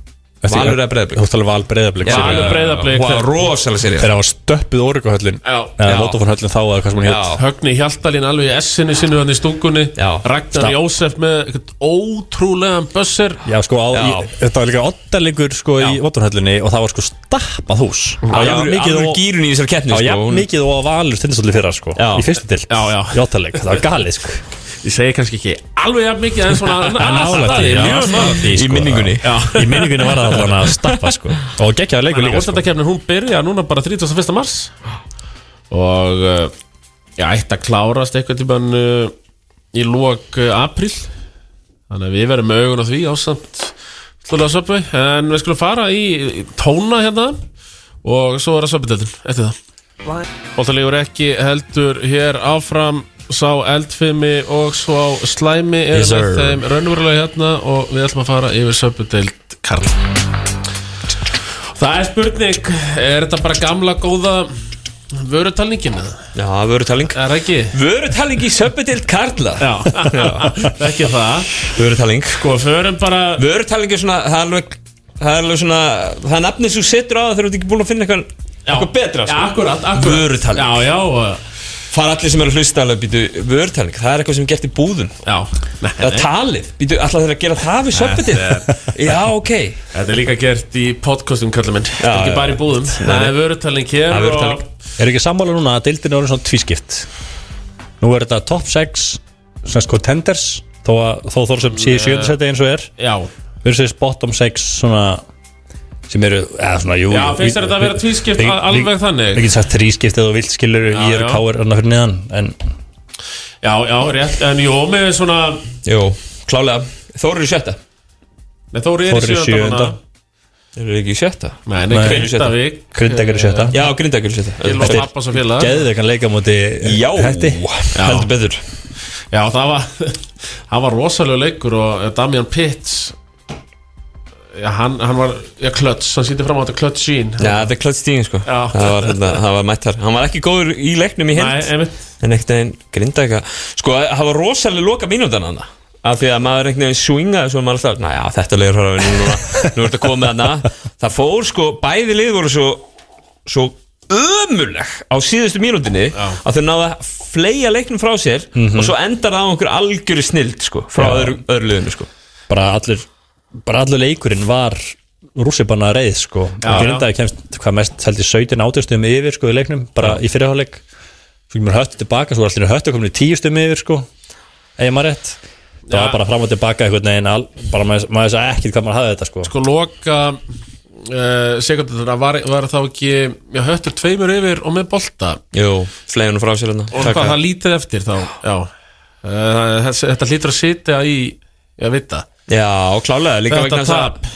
Speaker 2: Valur eða
Speaker 4: Þú
Speaker 2: Breiðablík
Speaker 4: ætti alveg val breyðablík
Speaker 1: Valur Breiðablik,
Speaker 2: var
Speaker 1: þeir-
Speaker 2: rosalega serja
Speaker 4: Þegar það var stöppuð orguhöllin
Speaker 1: Já.
Speaker 4: Eða Lótofórhöllin þá eða hvað sem hún hétt
Speaker 2: Já,
Speaker 1: Högni Hjaltalín alveg í S-inu sinu hann í stúkunni
Speaker 2: Já.
Speaker 1: Ragnar
Speaker 4: Stað.
Speaker 1: Jósef með eitthvað ótrúlegan bössir
Speaker 4: Já, sko, á,
Speaker 2: Já.
Speaker 4: Ég, þetta var líka oddalingur sko í Votunhöllinni og það var sko stappað hús Það var jafn
Speaker 2: alveg
Speaker 4: mikið og-
Speaker 2: gýrun í þessari keppni
Speaker 4: Já,
Speaker 2: sko,
Speaker 4: jafn
Speaker 2: hún-
Speaker 4: mikið og að valur stundastalli fyrra sko
Speaker 2: Já.
Speaker 4: Í fyrstu dild
Speaker 1: Já, já.
Speaker 4: Í oddaleg, það var galið sko
Speaker 1: Ég segi kannski ekki alveg jafn mikið en svona
Speaker 4: nálægt
Speaker 1: það
Speaker 4: því,
Speaker 1: er
Speaker 4: já,
Speaker 1: mjög
Speaker 4: nálægt
Speaker 1: nálægt.
Speaker 4: því.
Speaker 2: í
Speaker 4: sko,
Speaker 2: minningunni
Speaker 4: Í minningunni var það allan að stappa sko Og geggjaði
Speaker 1: Þannig
Speaker 4: leikur
Speaker 1: að
Speaker 4: líka sko
Speaker 1: úrslutakefnin hún byrja núna bara 31. mars Og uh, Ég ætti að klárast eitthvað tímann uh, Í lók uh, april Þannig að við verðum með augun á því ásamt Slúlega söpvi En við skulum fara í í tóna hérna Og svo er að söpvideldin Eftir það Bóltalegur ekki heldur hér áfram Sá eldfimi og svo á slæmi Er
Speaker 4: Yes,
Speaker 1: með
Speaker 4: sir.
Speaker 1: þeim raunverulega hérna Og við ætlum að fara yfir söpvideld Karl Það er spurning, er þetta bara gamla góða vörutalningin eða?
Speaker 2: Já, vörutaling
Speaker 1: Er það ekki?
Speaker 2: Vörutaling í söpudelt Karla
Speaker 1: Já, ekki það
Speaker 2: Vörutaling
Speaker 1: Sko, förum bara
Speaker 2: Vörutaling er svona, það er alveg Það er alveg svona, það er nafnið sem þú setur á það þegar þú ert ekki búin að finna eitthvað, eitthvað betra sko.
Speaker 1: Já, akkurat, akkurat
Speaker 2: Vörutaling.
Speaker 1: Já, já,
Speaker 2: fara allir sem eru að hlusta alveg býtu vörutaling, það er eitthvað sem er gert í búðun
Speaker 1: já Nei,
Speaker 2: eða talið, býtu allar þeir að gera það við söpudið já, ok
Speaker 1: Þetta er líka gert í podcastum, kallum minn Þetta er
Speaker 2: já,
Speaker 1: ekki bara í búðum Það er vörutalning hér
Speaker 2: Það er vörutalning.
Speaker 4: Er ekki sammála núna að deildin er orðin svona tvískipt Nú er þetta top 6 Svona sko tenders Þó að þó þór sem sé í sjöndasæti eins og er
Speaker 1: Og, já,
Speaker 4: verið þessi bottom 6 svona sem eru, eða svona, jú
Speaker 1: Já, finnst þér þetta að vera tvískipt
Speaker 4: Við-
Speaker 1: al- alveg
Speaker 4: við-
Speaker 1: þannig?
Speaker 4: Við getum sagt þrískipt eða þú vilt skilur ég er
Speaker 1: já.
Speaker 4: káir annað fyrir neðan en
Speaker 1: já, já, rétt En jú, með svona
Speaker 2: jú, klálega, þóru eru í sjötta
Speaker 1: Nei, Þóri er
Speaker 4: Þórir
Speaker 1: í
Speaker 4: er í
Speaker 1: sjönda núna.
Speaker 4: sjöunda.
Speaker 2: þeir eru ekki í sjötta
Speaker 1: Nei, nei,
Speaker 4: Nei.
Speaker 1: Grindavík
Speaker 4: Grindag er í sjötta
Speaker 2: já, grindakur í sjötta
Speaker 1: Gylfa Pappas og félag
Speaker 4: Geðið kann leika á móti eh,
Speaker 2: já,
Speaker 4: hætti
Speaker 2: heldur betur
Speaker 1: Já, það var það var rosalega leikur og eh, Damian Pitts já, hann, hann var já, klöts, hann sýndi fram á þetta klöts sín
Speaker 2: já, þetta er klart stíðin sko
Speaker 1: Já.
Speaker 2: það var, hérna, það var mættar, hann var ekki góður í leiknum í
Speaker 1: Nei,
Speaker 2: hild
Speaker 1: einmitt
Speaker 2: en ekkert einn grindæka sko, það var rosalega loka mínútan hann af því að maður einhvern veginn swingaði svo maður alltaf, næja, þetta leiður frá við núna nú ertu að koma með hana það fór sko, bæði lið voru svo svo ömuleg á síðustu mínútinni að þau náða að fleia leiknum frá sér
Speaker 1: Mhm.
Speaker 2: og svo endar það á einhver algjöru snild sko, frá öðru, öðru liðinu sko.
Speaker 4: bara allir bara allur leikurinn var rússipanna reið sko
Speaker 1: Já,
Speaker 4: Grindag kemst hvað mest held ég 17 áttjastum yfir sko í leiknum bara í fyrirháleik svo kemur höttu tilbaka svo var allir höttu komin í tíustum yfir sko eða maður rétt það var bara fram og tilbaka einhvern veginn al, bara maður, maður sagði ekkert hvað maður hafði þetta sko
Speaker 1: sko loka uh, sekundina var, var þá ekki já, höttur tveimur yfir og með bolta
Speaker 2: jú, fleia hann frá sér hérna
Speaker 1: og hvað Eh, það lítið eftir þá já, uh, þetta hlýtur að sitja í já, vita
Speaker 2: Já, og klálega, líka
Speaker 1: Þetta
Speaker 2: vegna þess að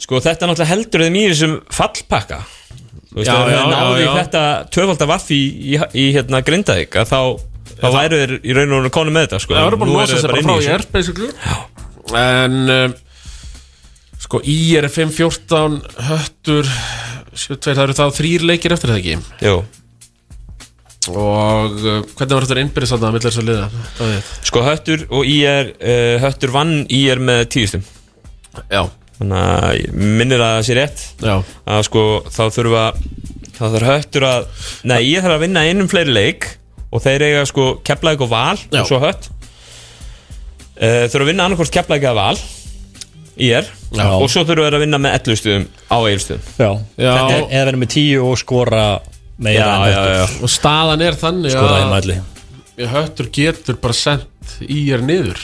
Speaker 2: Sko, þetta náttúrulega heldur þeim í þessum fallpakka Þú veist,
Speaker 1: Já,
Speaker 2: ef
Speaker 1: já,
Speaker 2: þeir
Speaker 1: já,
Speaker 2: náðu í
Speaker 1: já.
Speaker 2: þetta tvöfaldar vaffi í, í, í hérna Grindavík að þá, þá væru þeir í raun og raun konum með þetta sko.
Speaker 1: Það verður bara
Speaker 2: Nú
Speaker 1: að losa
Speaker 2: eru þeir
Speaker 1: sér bara frá
Speaker 2: inni í þessu.
Speaker 1: IR basically En um, Sko IR er 5-14 Höttur 7-2, það eru þá þrýr leikir eftir þetta ekki
Speaker 2: Jú,
Speaker 1: Og uh, hvernig var þetta innbyrðis þarna að millir þess að liða? Það veit.
Speaker 2: sko Höttur og IR uh, Höttur vann IR með tíðustum
Speaker 1: Já,
Speaker 2: Þannig að ég minnir að það sé rétt
Speaker 1: já,
Speaker 2: að sko þá þurfa þá þarf Höttur að Nei, ég þarf að vinna einum fleiri leik og þeir eiga sko Keflæk og Val
Speaker 1: Já.
Speaker 2: og svo Hött uh, þurfa að vinna annarkvort Keflæk eða Val IR
Speaker 1: Já.
Speaker 2: og svo þurfa þeir að vinna með 11 stuðum á Egilstuðum
Speaker 4: Já,
Speaker 1: já
Speaker 4: Þetta er- Eða verið með tíu og skora meira en þetta
Speaker 1: Og staðan er þannig
Speaker 4: Skora í
Speaker 1: að
Speaker 4: mæli
Speaker 1: Höttur getur bara sendt IR niður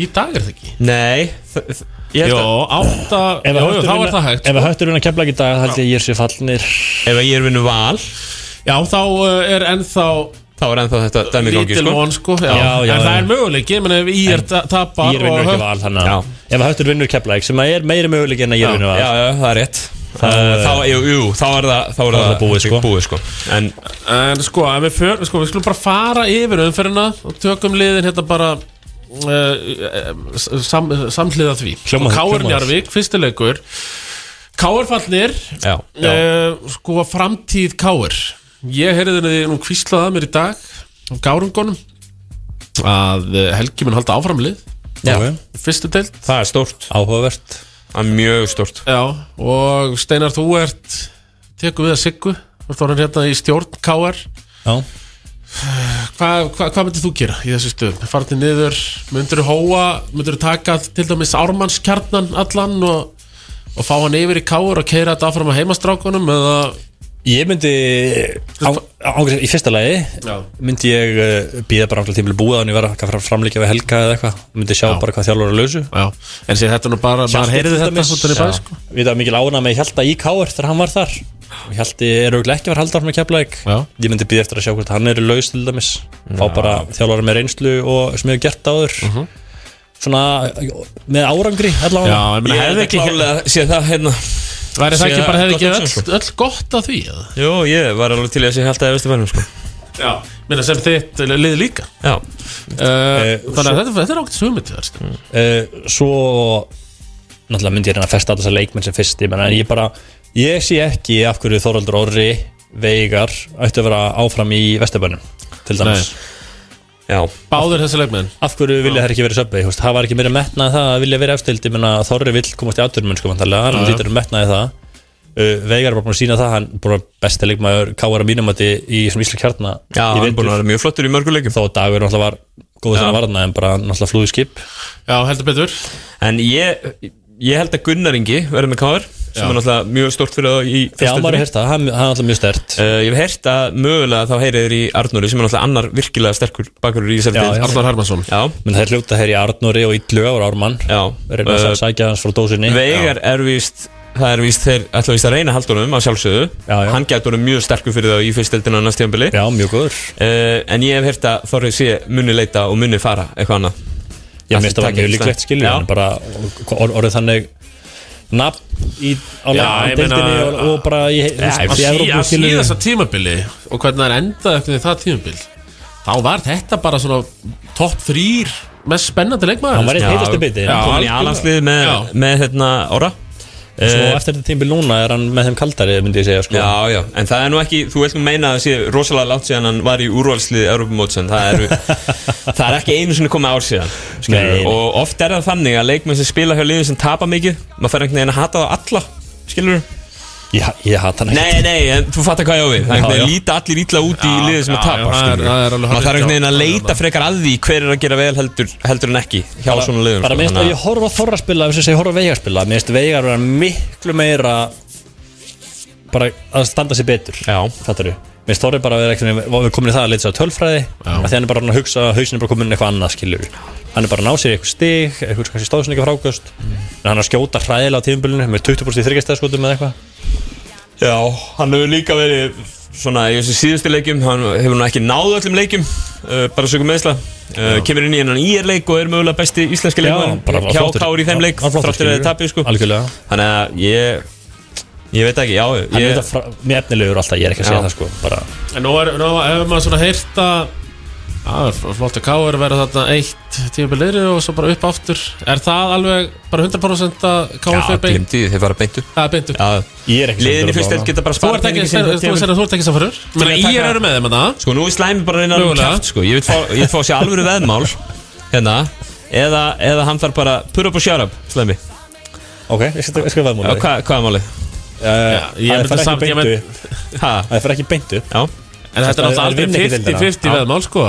Speaker 1: Í dag er það ekki
Speaker 2: Nei þ- þ- ég
Speaker 1: Jó,
Speaker 2: held að-
Speaker 1: átta,
Speaker 4: Ef
Speaker 1: jú,
Speaker 4: að
Speaker 1: jú,
Speaker 4: höttur
Speaker 1: þá
Speaker 4: vinna-
Speaker 1: er það hægt sko.
Speaker 4: Ef að höttur vinna kemla ekki í dag þá held ég að ég sé fallnir
Speaker 2: Ef að ég er vinnu Val
Speaker 1: Já, þá uh, er ennþá
Speaker 2: þá er ennþá þetta dæmi í gangi
Speaker 1: lítil
Speaker 2: sko
Speaker 1: von sko já.
Speaker 4: Já, já,
Speaker 1: En það
Speaker 4: já.
Speaker 1: er möguleiki, ég meina ef IR ta- tapar
Speaker 4: Ég er
Speaker 1: og
Speaker 4: vinnur ekki
Speaker 1: Höttur-
Speaker 4: val þannig að
Speaker 2: Já.
Speaker 4: Ef að höttur vinnur kemla ekki sem að er meiri möguleik en að ég er
Speaker 2: Já,
Speaker 4: vinnur val
Speaker 2: já, það er rétt Þá,
Speaker 4: Það-
Speaker 2: þá, jú, jú, þá er það, þá er það,
Speaker 4: það búið, sko.
Speaker 2: búið sko En
Speaker 1: En sko, ef við, för, sko, við skulum bara fara yfir umferðina og tökum liðin hérna bara uh, sam, samhliða því
Speaker 4: Hljómar-
Speaker 1: Káur
Speaker 4: hljómar.
Speaker 1: Njarvík, fyrstilegur Káur fallnir
Speaker 2: já, já.
Speaker 1: uh, sko framtíð Káur Ég heyrði henni nú kvíslaða mér í dag á Gárungunum að eh, Helgi mun halda áframlið
Speaker 2: Já.
Speaker 4: Ok.
Speaker 1: fyrstu deild
Speaker 2: það er stórt
Speaker 4: Áhugavert
Speaker 2: Það er mjög stórt
Speaker 1: Já, og Steinar, þú ert tekur við að Siggu og þú erum hérna í stjórn KR
Speaker 4: Já
Speaker 1: Hvað hva, hva myndir þú gera í þessu stöðum? Farnir niður, myndir þú hóa myndir þú taka til dæmis ármannskjarnan allan og, og fá hann yfir í KR og keira þetta áfram að heimastrákunum eða
Speaker 4: Ég myndi á- ángríns- Í fyrsta lagi
Speaker 1: Já.
Speaker 4: myndi ég uh, býða bara ánglega tímil búið þannig vera að framlíkja við helga eða eitthvað myndi sjá bara hvað þjálfur er að lausu
Speaker 1: Já, en sé þetta er nú bara, bara heyrði þetta út hann í bæ sko.
Speaker 4: Við það mikil ána með Hjalta í Káar þegar hann var þar og Hjalti er auðvitað ekki að vera haldar með keflæk
Speaker 1: Já.
Speaker 4: Ég myndi býða eftir að sjá hvort hann er í laus til dæmis Fá bara þjálfur með reynslu og sem hefur gert áður Svona uh, með árangri
Speaker 1: Mhm. Já,
Speaker 4: allavega
Speaker 1: ég meina,
Speaker 2: Ég
Speaker 1: hefði
Speaker 2: hefði
Speaker 1: ekki
Speaker 2: klálega sé það hérna
Speaker 1: væri það ekki
Speaker 2: sé
Speaker 1: bara hefði
Speaker 2: gott
Speaker 1: ekki
Speaker 2: hugsun,
Speaker 1: öll, öll gott að því eða?
Speaker 2: Jú, ég var alveg til í að sé held að Vesturbænum sko
Speaker 1: Já, minna sem þitt lið líka
Speaker 2: Já,
Speaker 1: uh,
Speaker 4: Eh,
Speaker 1: Þannig að þetta, þetta er ákveðt sumið til þar
Speaker 4: uh, Svo náttúrulega myndi ég reyna að festa alltaf þessa leikmenn sem fyrst ég, menna, en ég, bara, ég sé ekki af hverju Þoraldur Orri Veigar ættu að vera áfram í Vesturbænum til dæmis
Speaker 2: já,
Speaker 1: Báður þessi leikmenn
Speaker 4: af hverju vilja þær ekki verið söpbi það var ekki meira metnað það að vilja verið efstild ég menna Þorri vill komast í aðdurum sko, væntanlega, hann lítur um metnaði það uh, Veigar er bara búin að sína það hann er bara besti leikmaður káar að mínum að í svona Ísla kjarna
Speaker 2: já
Speaker 4: í
Speaker 2: hann er
Speaker 4: vetur.
Speaker 2: búin að vera mjög flottur í mörgum leikum
Speaker 4: þó að dagur náttúrulega var góð þannig að varna en bara náttúrulega flúði skip
Speaker 1: Já, heldur betur
Speaker 2: En ég, ég held að Gunnar Ingi verður með káður sem er náttúrulega mjög stórt fyrir það í
Speaker 4: já, maður
Speaker 2: fyrstöldinni
Speaker 4: hefði það, hann, hann er alltaf mjög stert
Speaker 2: Uh, ég hef heyrt að mögulega þá heyrið þér í Arnóri sem er náttúrulega annar virkilega sterkur bakurur í þessari
Speaker 4: Já,
Speaker 2: deild.
Speaker 4: já.
Speaker 1: Arnar Hermansson
Speaker 2: já,
Speaker 4: menn það er hljóta hér í Arnóri og í Dlögur Ármann
Speaker 2: já.
Speaker 4: reyna að
Speaker 2: Uh,
Speaker 4: sækja hans frá dósinni
Speaker 2: Veigar er víst það er víst þeir ætla víst að reyna haldunum að sjálfsögðu
Speaker 4: Já, já.
Speaker 2: hann getur mjög sterkur fyrir það í fyrstildina næst tíðanbili
Speaker 4: já, mjög góður
Speaker 2: Uh, en ég hef heyrt að Þorri sé munni leita og munni fara eitthvað annað
Speaker 4: Ég
Speaker 2: Allt
Speaker 4: minnst að það var
Speaker 2: taki
Speaker 4: mjög
Speaker 2: slæmt.
Speaker 4: líklegt skilju
Speaker 2: Já.
Speaker 4: en bara or, orðið þannig nafn í á
Speaker 1: Já,
Speaker 4: á
Speaker 1: ég
Speaker 4: deildinni
Speaker 1: meina-
Speaker 4: og, og bara í,
Speaker 1: Að
Speaker 4: í,
Speaker 1: sí- að
Speaker 4: í
Speaker 1: síðasta tímabili og hvernig það er endað eftir það tímabil þá var þetta bara svona topp þrýr mest spennandi sko. leikmaður
Speaker 4: Hann var einn heitastu biti
Speaker 1: Já.
Speaker 2: komin í
Speaker 1: algjörlega.
Speaker 2: alansliði með,
Speaker 1: Já.
Speaker 2: með hérna orra
Speaker 4: Svo eftir þetta tímbil núna er hann með þeim kaldari myndi ég segja sko
Speaker 2: Já, já, en það er nú ekki, þú veist nú meina að það sé rosalega látt síðan hann var í úrvalsliði Europamótsan, það eru það er ekki einu sinni komið ár síðan skilurðu.
Speaker 4: Nei, nei.
Speaker 2: og oft er það þannig að leikmenn sem spila hjá liðin sem tapa mikið, maður fer einhvern veginn að hata það alla, skilur
Speaker 4: Ég, ég hata hann
Speaker 2: Nei, nei, en þú fattar hvað ég á við Það er einhvern
Speaker 4: Já,
Speaker 2: veginn
Speaker 4: já.
Speaker 2: líta allir ítla út í
Speaker 1: Já,
Speaker 2: liðið sem
Speaker 1: já,
Speaker 2: að tapa
Speaker 1: já, það er-
Speaker 2: skilurðu.
Speaker 1: það er alveg hárrétt,
Speaker 2: Maður þarf einhvern veginn að
Speaker 1: já,
Speaker 2: leita
Speaker 1: já.
Speaker 2: frekar að því hver er að gera vel heldur, heldur en ekki hjá svona liðum
Speaker 4: Bara
Speaker 2: sko,
Speaker 4: minnst
Speaker 2: þannig
Speaker 4: að ég horfa á þorra spila þess að ég horfa á veigar spila minnst veigar vera miklu meira bara að standa sér betur
Speaker 2: Já.
Speaker 4: Fattar þú? Minnst þorri bara að vera ekki við komin í það að leita sér að tölfræði að því hann er bara að hugsa að hausin er bara komin eitthvað annað skilur hann er bara að ná sér í eitthvað stig eitthvað kannski stóðsninga frákast
Speaker 2: Mm.
Speaker 4: en hann er að skjóta hræðilega á tíðumbilinu með 20% í þryggjastæðskotum eða eitthvað
Speaker 2: Já, hann hefur líka verið svona í þessu síðustu leikjum, hann hefur nú ekki náðu öllum leikjum uh, bara sögum meðsla uh, kemur inn í hennan íerleik og er mögulega besti íslenski leikmann
Speaker 4: bara
Speaker 2: hjá
Speaker 4: flottur.
Speaker 2: Káur í þeim leik
Speaker 4: Hann var flottur,
Speaker 2: þráttur að
Speaker 4: skilur.
Speaker 2: þið tapir sko
Speaker 4: Algjörlega
Speaker 2: þannig að ég ég veit ekki, já
Speaker 4: Hann er
Speaker 2: ég,
Speaker 4: þetta mjög efnilegur alltaf, ég er ekki að segja
Speaker 2: Já.
Speaker 4: það sko bara,
Speaker 1: En nú er, nú hefur maður svona heyrt að Það er flott að K.R. verða þarna eitt tímabiliðri og svo bara upp aftur Er það alveg bara 100% að K.R.
Speaker 2: já,
Speaker 1: fyrir beint?
Speaker 2: glimti, þið fara beintu
Speaker 1: Það er beint upp
Speaker 2: já,
Speaker 4: Ég er ekki
Speaker 2: liðin
Speaker 4: sannfærður
Speaker 2: í fyrst
Speaker 4: um
Speaker 2: deild geta bara
Speaker 1: Þú ert
Speaker 2: sparað
Speaker 1: ekki,
Speaker 2: peningi
Speaker 1: þú
Speaker 2: sína
Speaker 1: ert- þú
Speaker 2: til-
Speaker 1: segir að þú ert ekki samfarur
Speaker 2: Til að
Speaker 1: Menni ég
Speaker 2: taka-
Speaker 1: eru með þeim en það
Speaker 2: sko, nú er slæmi bara að reyna að
Speaker 1: Mögulega.
Speaker 2: kæft sko, ég vil fá, ég vil fá að sé alvöru veðmál hérna, eða, eða hann þarf bara put up og shut up, slæmi já,
Speaker 4: Ok, ég skal ég skal veðmála því.
Speaker 2: hvað, hvað er málið?
Speaker 4: Eh,
Speaker 1: ég
Speaker 4: Það
Speaker 1: myndi
Speaker 4: fer ekki
Speaker 1: samt- ég
Speaker 4: beint
Speaker 1: myndi-
Speaker 4: upp.
Speaker 2: Ha,
Speaker 4: Það fer ekki beint upp
Speaker 2: já,
Speaker 1: En þetta er
Speaker 4: Það er-
Speaker 1: náttúrulega
Speaker 4: það vinna
Speaker 1: aldrei
Speaker 4: ekki
Speaker 1: 50-50
Speaker 4: deildina.
Speaker 1: veðmál sko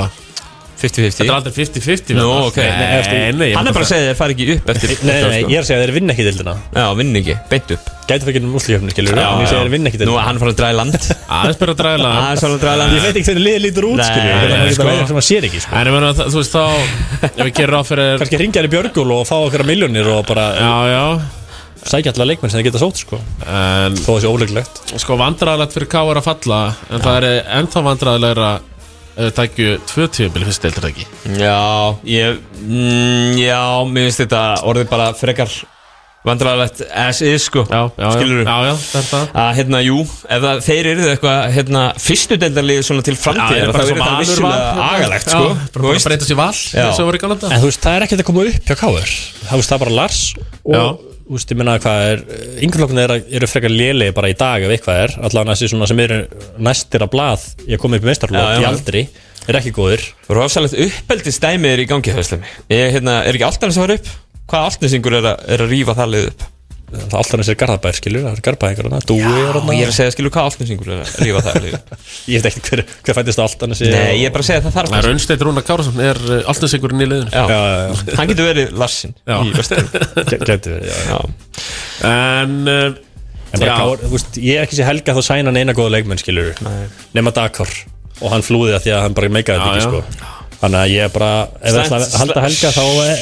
Speaker 1: Þetta
Speaker 2: 50-50
Speaker 1: er aldrei 50-50
Speaker 2: Nú,
Speaker 1: veðmál
Speaker 2: ok. Nei,
Speaker 1: Nei, nei, ég
Speaker 2: hann er
Speaker 1: myndi
Speaker 2: bara að segja þér fara ekki upp eftir sko.
Speaker 4: Nei, nei, nei, ég er að segja að þeir vinna ekki dildina
Speaker 2: já, vinn ekki, beint upp
Speaker 4: Gæti fyrir ekki um úslíkjöfni, skilur
Speaker 2: Já,
Speaker 4: En ég segja að
Speaker 2: já.
Speaker 4: þeir vinna ekki
Speaker 2: Nú er
Speaker 4: dildina
Speaker 2: hann farið að draga í land
Speaker 1: Aðeins bara að dræla
Speaker 2: Aðeins farið að draga í land
Speaker 4: Ég veit ekki hvernig liðið lítur út,
Speaker 2: Nei,
Speaker 4: skilur Það
Speaker 1: nei,
Speaker 4: er
Speaker 1: sko.
Speaker 4: ekki það sem maður sér ekki, sko
Speaker 1: En ég meina, það- þú veist þá Ef við gerum ráð fyrir
Speaker 4: Kannski ringja þær í Björgul og fá okkar miljónir og bara
Speaker 1: Já, já
Speaker 4: sækja allar leikmenn sem þeir geta sótt, sko
Speaker 1: En
Speaker 4: Þó það sé óleiklegt
Speaker 1: sko vandræðalegt fyrir K.R. að falla en það er ennþá vandræðilegra ef við tækju tvö tíubil fyrst deildir ekki
Speaker 2: Já, ég mm, Já, mér finnst þetta orðið bara frekar vandræðalegt as is sko
Speaker 1: já, já,
Speaker 2: Skilurðu?
Speaker 1: já, já, það er það
Speaker 2: að hérna, jú, ef það, þeir eru eitthvað hérna, fyrstu deildarlið svona til
Speaker 1: Já,
Speaker 2: framtíð
Speaker 1: já,
Speaker 2: þá
Speaker 1: bara
Speaker 2: er
Speaker 1: svo
Speaker 2: þetta
Speaker 1: vanur
Speaker 2: vissulega
Speaker 1: var.
Speaker 2: agalegt
Speaker 1: hérna. Já,
Speaker 2: sko
Speaker 1: bara bara breyta sér val eins og voru í galanda
Speaker 4: En þú veist, það er ekkert að koma upp hjá Káur Það veist, það er bara Lars
Speaker 1: Já.
Speaker 4: og Þú veist, ég minna hvað er Yngurflokkuna eru, eru frekar léli bara í dag ef eitthvað er Allan þessi svona sem eru næstir að blað Ég kom
Speaker 2: Já,
Speaker 4: upp í
Speaker 2: já.
Speaker 4: meistarflokk í aldri Er ekki góður
Speaker 2: Rósalegt uppeldistæmi er í gangi höfslemi Ég, hérna, er ekki alltaf að fara upp? Hvaða alltnesingur er, að- er að rífa það lið upp?
Speaker 4: Það er alltaf þessi garðabær, skilur, það er garðbæðingar hana, dúi er
Speaker 2: Og
Speaker 4: hana
Speaker 2: ég er að segja, skilur, hvað alltnesingur er að rífa það lið upp?
Speaker 4: Ég veit ekki hver, hver fættist alltaf þessi
Speaker 2: Nei, ég er bara að segja að það þarf
Speaker 1: Það er Unnsteit Rúna Kárasson er alltaf sigurinn í liðinu
Speaker 2: Já,
Speaker 4: Já, já,
Speaker 2: hann getur verið Larsin
Speaker 1: Já.
Speaker 2: í Vesturlum
Speaker 4: já, gæ- gæti verið, já, já
Speaker 2: Já,
Speaker 1: en uh,
Speaker 4: En bara
Speaker 1: Já.
Speaker 4: Kár, þú veist, ég er ekki sé helga þá sæna neina góða leikmenn, skilur Nefna Dakar Og hann flúði það því að hann bara meikaði
Speaker 1: Já,
Speaker 4: þetta
Speaker 1: já.
Speaker 4: ekki, sko Þannig að ég er bara, ef
Speaker 2: Slæmt-
Speaker 4: það ætla að halda helga þá er,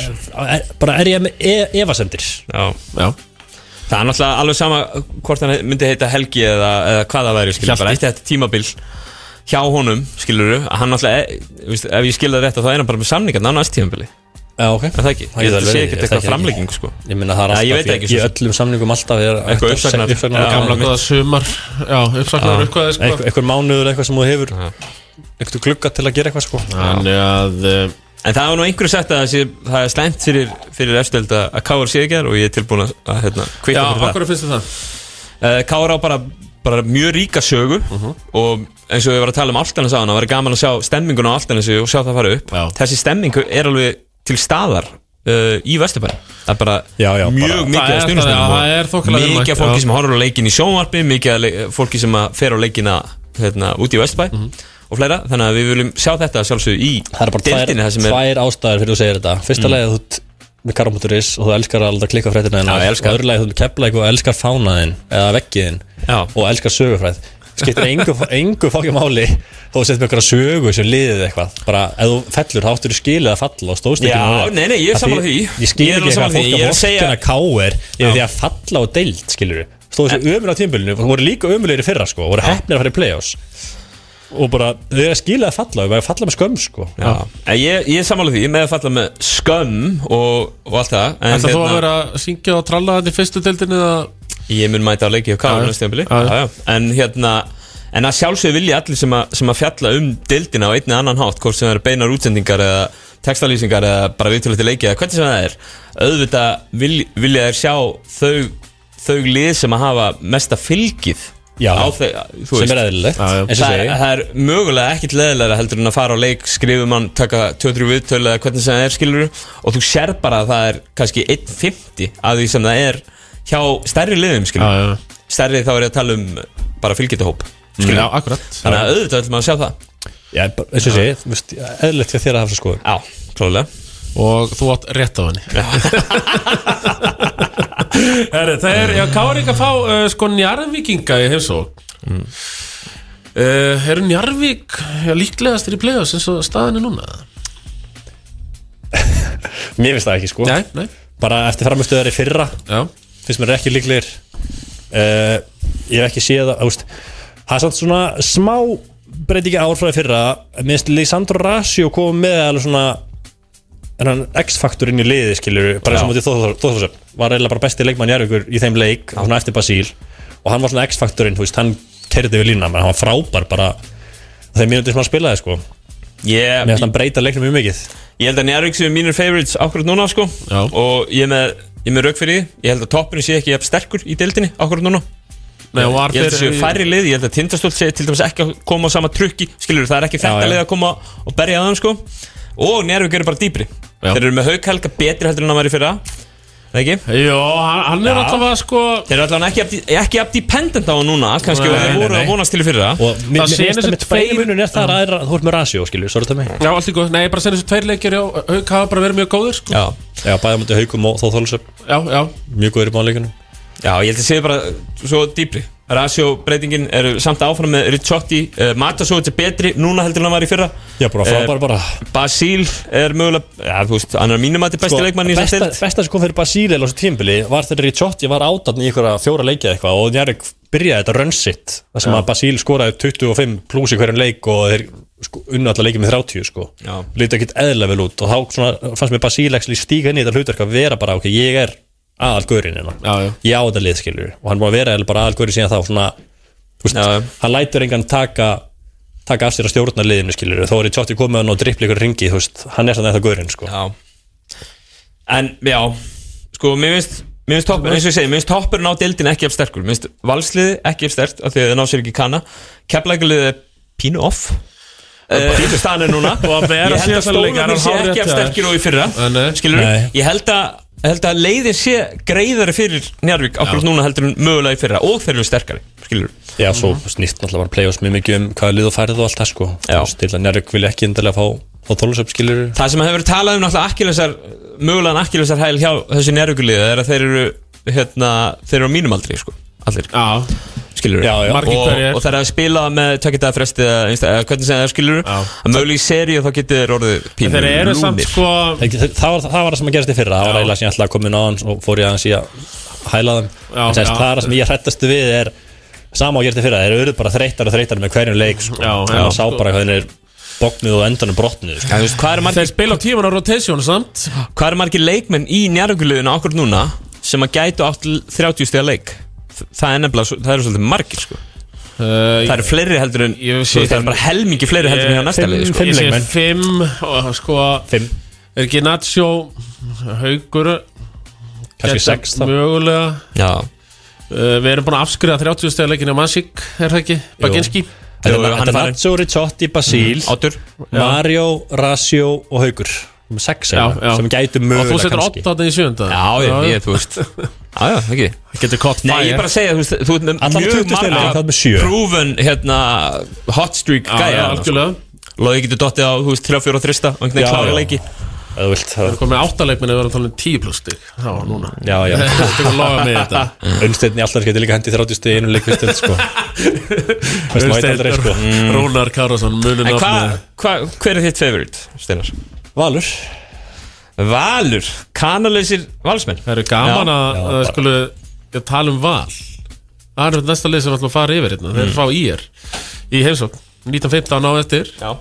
Speaker 4: er, bara er ég með e efasendir
Speaker 2: já
Speaker 1: já,
Speaker 2: Það er náttúrulega alveg sama hvort hann myndi heita Helgi eða, eða hvað það væri, skilur,
Speaker 1: Hjalti.
Speaker 2: bara eftir þetta tímabil hjá honum, skilur, að hann náttúrulega, e, veist, ef ég skil það rétt, að þá er hann bara með samningarna á næst tímabili,
Speaker 4: Já, ok
Speaker 2: er það ekki?
Speaker 4: Það
Speaker 2: Ég
Speaker 4: getur
Speaker 2: þetta sé ekkert
Speaker 4: verið, ég þekki
Speaker 2: eitthvað
Speaker 4: ekki.
Speaker 2: framlegging, sko.
Speaker 4: Ég minna það er
Speaker 2: Já, ég
Speaker 4: alltaf
Speaker 2: veit ekki,
Speaker 4: í- í
Speaker 2: svo sem.
Speaker 4: öllum samningum alltaf er
Speaker 2: Eitthvað uppsagnar. Já,
Speaker 1: gamla
Speaker 4: Eitthvað
Speaker 1: góða sumar já, uppsaknaður uppkvæði sko
Speaker 4: Eitthvað mánuður eitthvað sem þú hefur Eitthvað glugga til að gera eitthvað sko
Speaker 1: þannig að uh,
Speaker 2: En það var nú einhverju sagt að það sé, það er slæmt fyrir, fyrir efstöld að að Káur sé ekki þar og ég er tilbúin að, að hérna,
Speaker 1: já,
Speaker 2: kvita fyrir það.
Speaker 1: okkur finnst þér það
Speaker 2: Uh, Káur á bara, bara mjög ríka sögu
Speaker 4: Mhm.
Speaker 2: og eins og við varum að tala um Altanes á hann, það væri gaman að sjá stemminguna á Altanesi og sjá það fara upp.
Speaker 1: Já.
Speaker 2: Þessi stemming er alveg til staðar uh, í Vesturbæn. Það er bara
Speaker 4: Já, já,
Speaker 2: mjög
Speaker 4: bara-
Speaker 2: mikið
Speaker 1: Það
Speaker 2: af
Speaker 1: er-
Speaker 2: stuðningsmönnum
Speaker 1: það- já,
Speaker 2: og
Speaker 1: það er þokkalega vel
Speaker 2: Mikið af
Speaker 1: mætt,
Speaker 2: fólki
Speaker 1: já.
Speaker 2: sem horfur á leikin í sjónvarpi, mikið af le- fólki sem að fer á leikina hérna, út í Vesturbæn og fleira. Þannig að við viljum sjá þetta sjálfsög í
Speaker 4: Mhm. Það er bara
Speaker 2: deildinni
Speaker 4: tvær,
Speaker 2: það sem er...
Speaker 4: tvær ástæður fyrir þú segir þetta Fyrsta mm. leið þú ert með karamóturis og þú elskar alltaf að klikka fréttina þínar.
Speaker 2: Já, ég elska.
Speaker 4: Og öðru leið þú kepla eitthvað og elskar fánaðin eða veggiðin
Speaker 2: Já.
Speaker 4: og elskar sögufræð Skiptir engu, engu fákja máli þó þú setjum einhverja sögu sem liðið eitthvað Bara ef þú fellur þá áttur þú skilið að falla og stóðst ekki
Speaker 2: Já,
Speaker 4: með það.
Speaker 2: nei, nei, ég er
Speaker 4: Af
Speaker 2: sammála því.
Speaker 4: Ég
Speaker 2: Ég
Speaker 4: skil
Speaker 2: er
Speaker 4: ekki
Speaker 2: alveg sammála
Speaker 4: eitthvað
Speaker 2: því. Ég
Speaker 4: fólk
Speaker 2: er
Speaker 4: að
Speaker 2: að segja-
Speaker 4: vorkina káir yfir því að falla og deild skilur Stóðu þessu ömur á tímbilinu og voru líka ömurlegir í fyrra sko voru hefnir að fara í play-offs og bara þau er að skila að falla þau er að falla með skömm sko
Speaker 2: Já. En Ég, ég samála því, ég með að falla með skömm og, og allt það en hérna-
Speaker 1: ætla þú að vera að syngja og tralla þetta í fyrstu deildinni eða
Speaker 2: Ég mun mæta á leiki og káður
Speaker 1: Já,
Speaker 2: næstu tímabili.
Speaker 1: já.
Speaker 2: Já, já. En hérna En að sjálfsögðu vilja allir sem, að sem að fjalla um dildina á einni annan hátt, hvort sem það eru beinar útsendingar eða textalýsingar eða bara viðtölu til leiki eða hvernig sem það er auðvitað vil, vilja þær sjá þau, þau lið sem að hafa mesta fylgið
Speaker 4: Já.
Speaker 2: á þeir,
Speaker 4: sem er eðlilegt
Speaker 1: Já, já.
Speaker 4: eins og
Speaker 2: það,
Speaker 4: segi
Speaker 2: er- það er mögulega ekkit leðilega heldur en að fara á leik, skrifum hann taka 2-3 viðtöl eða hvernig sem það er skilur og þú sér bara að það er kannski 1.50 að því sem það er hjá stærri liðum skilur
Speaker 1: Já, já.
Speaker 2: stærri þá er ég að tala um bara fylgitahóp
Speaker 1: já, akkurat
Speaker 2: þannig að auðvitað vil maður sjá það
Speaker 4: Já, bara- eins og segi, þú veist, eðlilegt fyrir þér að hafa svo skoðum
Speaker 2: já, klálega
Speaker 1: og þú átt rétt á henni Herri, það er, já, Kári ekki að fá uh, sko njarðvíkinga í heimsók mm. uh, Er njarðvík já, líklegast er í play-offs eins og staðan er núna?
Speaker 4: Mér finnst það ekki sko
Speaker 1: Nei, nei,
Speaker 4: Bara eftir framistöðari fyrra
Speaker 1: já
Speaker 4: finnst mér ekki líklegir uh, Ég hef ekki séð að, þú veist Það er samt svona smá breytingi ár frá því fyrra Minnst Lisandro Rasio kom með alveg svona en hann X-faktur inn í liði skilur bara eins og mútið Þóðhúsöfn var eiginlega bara besti leikmann Jærvíkur í þeim leik svona eftir Basíl og hann var svona X-fakturinn þú veist, hann kerði við lína menn hann var frábær bara þegar mínútið sem hann spilaði sko mér
Speaker 2: Ég,
Speaker 4: finnst hann breyta leiknum mjög mikið
Speaker 2: ég held að Njárvík séu mínir favorites akkurat núna sko
Speaker 1: Já.
Speaker 2: og ég er með, ég er með rauk fyrir því ég held að toppurinn sé ekki jafn sterkur í deildinni akkurat núna
Speaker 1: Nei, og var
Speaker 2: ég held að séu
Speaker 1: fyrir-
Speaker 2: færri lið, ég held að Tindastóll sé til dæmis ekki að koma á sama trukki skilur það er ekki þetta
Speaker 4: já.
Speaker 2: lið að koma og berja að hann sko og Njárvík eru bara dýpri
Speaker 1: Já.
Speaker 2: þeir eru með haughelga betri heldur en hann var í fyrra Nei, ekki?
Speaker 1: Jó, hann, hann er alltaf að sko
Speaker 2: Þeir eru allavega ekki, jafn- ekki jafn dependent á hann núna kannski
Speaker 1: Nei,
Speaker 2: og þeir
Speaker 1: nei,
Speaker 2: voru
Speaker 4: nei.
Speaker 2: að vonast til í fyrra
Speaker 4: og mér mér
Speaker 1: séu
Speaker 4: finnst
Speaker 1: þessi
Speaker 4: það með tveir
Speaker 1: tveir-
Speaker 4: munun er það að þú ert með rasjó skilur svo er þetta með
Speaker 1: Já, allt í góð, nei, ég bara senni þessu tveir leikir Já, Hauk hafa bara verið mjög góður sko.
Speaker 2: Já.
Speaker 4: já bæða mútið Haukum og Þóðhúsöfn
Speaker 1: Já, já,
Speaker 4: mjög góður í bánleikinu
Speaker 2: Já, ég held að séu bara svo dýpri Rasjóbreytingin eru samt áfram með Ricciotti uh, Matasóvits er betri núna heldur en hann var í fyrra
Speaker 4: já bara frábær bara
Speaker 2: Basíl er mögulega Já, þú veist, hann er mínum að þetta besti
Speaker 4: Sko,
Speaker 2: leikmann í þess
Speaker 4: besta,
Speaker 2: að stilt
Speaker 4: besta sem kom fyrir Basíli á þessu tímbili var þegar Ricciotti var átatn í einhverja fjóra leikja eitthvað og Njarek byrjaði þetta run sitt þar sem að Basíl skoraði 25 pluss í hverjum leik og þeir sko, unna alltaf leikið með 30 sko
Speaker 2: Já.
Speaker 4: lítið ekkert eðlega vel út og þá svona, fannst mér Basíl ekki stíga inn í þetta hlutverk að vera bara ok, ég er aðalgurinn hérna
Speaker 1: Já, já.
Speaker 4: ég á þetta lið skilur og hann búið að vera eiginlega bara aðalgurinn síðan þá svona, þú veist,
Speaker 2: Já, já.
Speaker 4: hann lætur engan taka taka af sér að stjórna liðinu skilur þó er í tjótti komið hann og dripli ykkur ringi þú veist, hann er samt eða gurinn sko.
Speaker 2: Já En, já Sko, mér finnst Mér finnst toppurinn, eins og ég segi, mér finnst toppurinn á deildin ekki af sterkur Mér finnst valsliði ekki af sterkt af því að það ná sér ekki í kanna Keflækuliði er pínu off Pínu staðan er núna
Speaker 1: Og að vera
Speaker 2: Ég held að
Speaker 1: síðasta leik, er hann
Speaker 2: stóðunir sé
Speaker 1: hárrétt
Speaker 2: ekki af
Speaker 1: hjá þér?
Speaker 2: sterkir og í fyrra
Speaker 1: Nei, nei.
Speaker 2: Skilur
Speaker 4: Nei.
Speaker 2: Ég held að, held að leiðin sé greiðari fyrir Njarvík Akkurat núna heldur en mögulega í fyrra Og þeir eru sterkari, skilur
Speaker 4: Já, svo snýtt náttúrulega bara play-offs mjög mikið um hvaða lið og færið og allt það sko
Speaker 2: Mhm. Já.
Speaker 4: Til að Njárvík vilja ekki endilega fá, fá þólusöp skilur
Speaker 2: Það sem hefur verið talað um náttúrulega akkilesar Mögulegan akkilesar hæl hjá þessi Njarvíkuliði Er að þeir eru, hérna, þeir eru á mínum aldri, sko Allir
Speaker 1: já,
Speaker 2: skilur
Speaker 4: Já, já.
Speaker 1: Margir
Speaker 2: og,
Speaker 1: hverjir.
Speaker 2: og það er að spila með tökitaða fresti eða einsta- eða hvernig sem það er skilur
Speaker 1: Já.
Speaker 2: að mögulega í seri og þá getur þeir orðið
Speaker 1: En
Speaker 2: pínur
Speaker 1: þeir eru samt sko
Speaker 4: það, það, var, það var það sem að gerast í fyrra Það var
Speaker 1: Já.
Speaker 4: eiginlega sem ég ætlaði að koma inn á hann og fór ég aðeins í að hæla þeim
Speaker 1: Já,
Speaker 4: En sérst,
Speaker 1: já.
Speaker 4: Það er það sem ég hrættastu við er sama og gerði fyrra, þeir eru bara þreytar og þreytar með hverjum leik sko
Speaker 1: Já,
Speaker 4: Og
Speaker 1: já,
Speaker 4: maður sá
Speaker 1: sko.
Speaker 4: bara hvernig er bóknuð og endanum brotnuð sko.
Speaker 2: Já, þú veist, hvað, er margir,
Speaker 1: Þeir spila á tíman á rotation samt
Speaker 2: hvað er margir leikmenn í njárhuguleginu okkur núna sem að gætu átt l- 30 stiga leik Þ- það er nefnilega, svo- það eru svolítið margir sko.
Speaker 1: uh,
Speaker 2: það eru fleiri heldur en
Speaker 1: Ég
Speaker 2: þú
Speaker 1: sé-
Speaker 2: veist, það eru bara helmingi fleiri heldur en hjá næsta leik sko.
Speaker 1: Ég sé
Speaker 4: leikmenn.
Speaker 1: Fimm og sko
Speaker 4: Fimm,
Speaker 1: Er ekki Nacho Haugur
Speaker 4: kannski
Speaker 1: gæti
Speaker 4: sex þá
Speaker 1: Mögulega
Speaker 2: já,
Speaker 1: uh, Við erum búin að afskriða 30 stegar leikinu Masík, er það ekki? Baginski
Speaker 4: Þetta
Speaker 2: Jú,
Speaker 4: er-
Speaker 2: hann
Speaker 4: þetta
Speaker 2: er
Speaker 4: er
Speaker 2: farinn.
Speaker 4: Nacho, Ricciotti, Basíl,
Speaker 1: Mm.
Speaker 2: áttur
Speaker 4: Mario, Rasio og Haugur Um Sex
Speaker 1: Já,
Speaker 4: eiginlega,
Speaker 1: já.
Speaker 4: sem gætu
Speaker 1: Og þú
Speaker 4: mögulega
Speaker 1: setur
Speaker 4: kannski
Speaker 1: 8 á þetta í sjönda
Speaker 2: já, ég, ég, þú veist já, já, ekki
Speaker 1: Getur kott
Speaker 2: Nei, ég er bara að segja, þú veist, þú ert með
Speaker 4: Allan 20
Speaker 2: mjög
Speaker 4: stiga leik, þá
Speaker 2: marga
Speaker 4: er með sjö.
Speaker 2: proven, hérna, hot streak gæja þarna, sko.
Speaker 1: Algjörlega
Speaker 2: Lóði getur dottið á, þú veist, 3-4 og 3 og einhvern veginn
Speaker 4: Já,
Speaker 2: klára
Speaker 4: já.
Speaker 2: leiki
Speaker 4: Ef þú vilt, það
Speaker 1: Það er komið áttaleikminni að vera að tala um 10 pluss stig Það var núna
Speaker 4: Já, já,
Speaker 1: Þú tekur að laga mig þetta
Speaker 4: unnstæðin í alltaf getur líka hendið 30 stegi í einu leik fyrstild, sko Fyrst maður veit aldrei, sko
Speaker 1: Mm. Rúnar Kárasson munur
Speaker 2: En hva,
Speaker 1: nafni
Speaker 2: hva, hver er þitt favorite, Steinar?
Speaker 4: Valur
Speaker 2: Valur, kanaleysir valsmenn
Speaker 1: Það eru gaman
Speaker 2: Já.
Speaker 1: að
Speaker 4: Já,
Speaker 1: að
Speaker 4: bara-
Speaker 1: skulu ég tala um val Það er næsta lið sem við ætlum að fara yfir hérna Þeir fá ír í heimsókn 1915 á eftir
Speaker 2: Já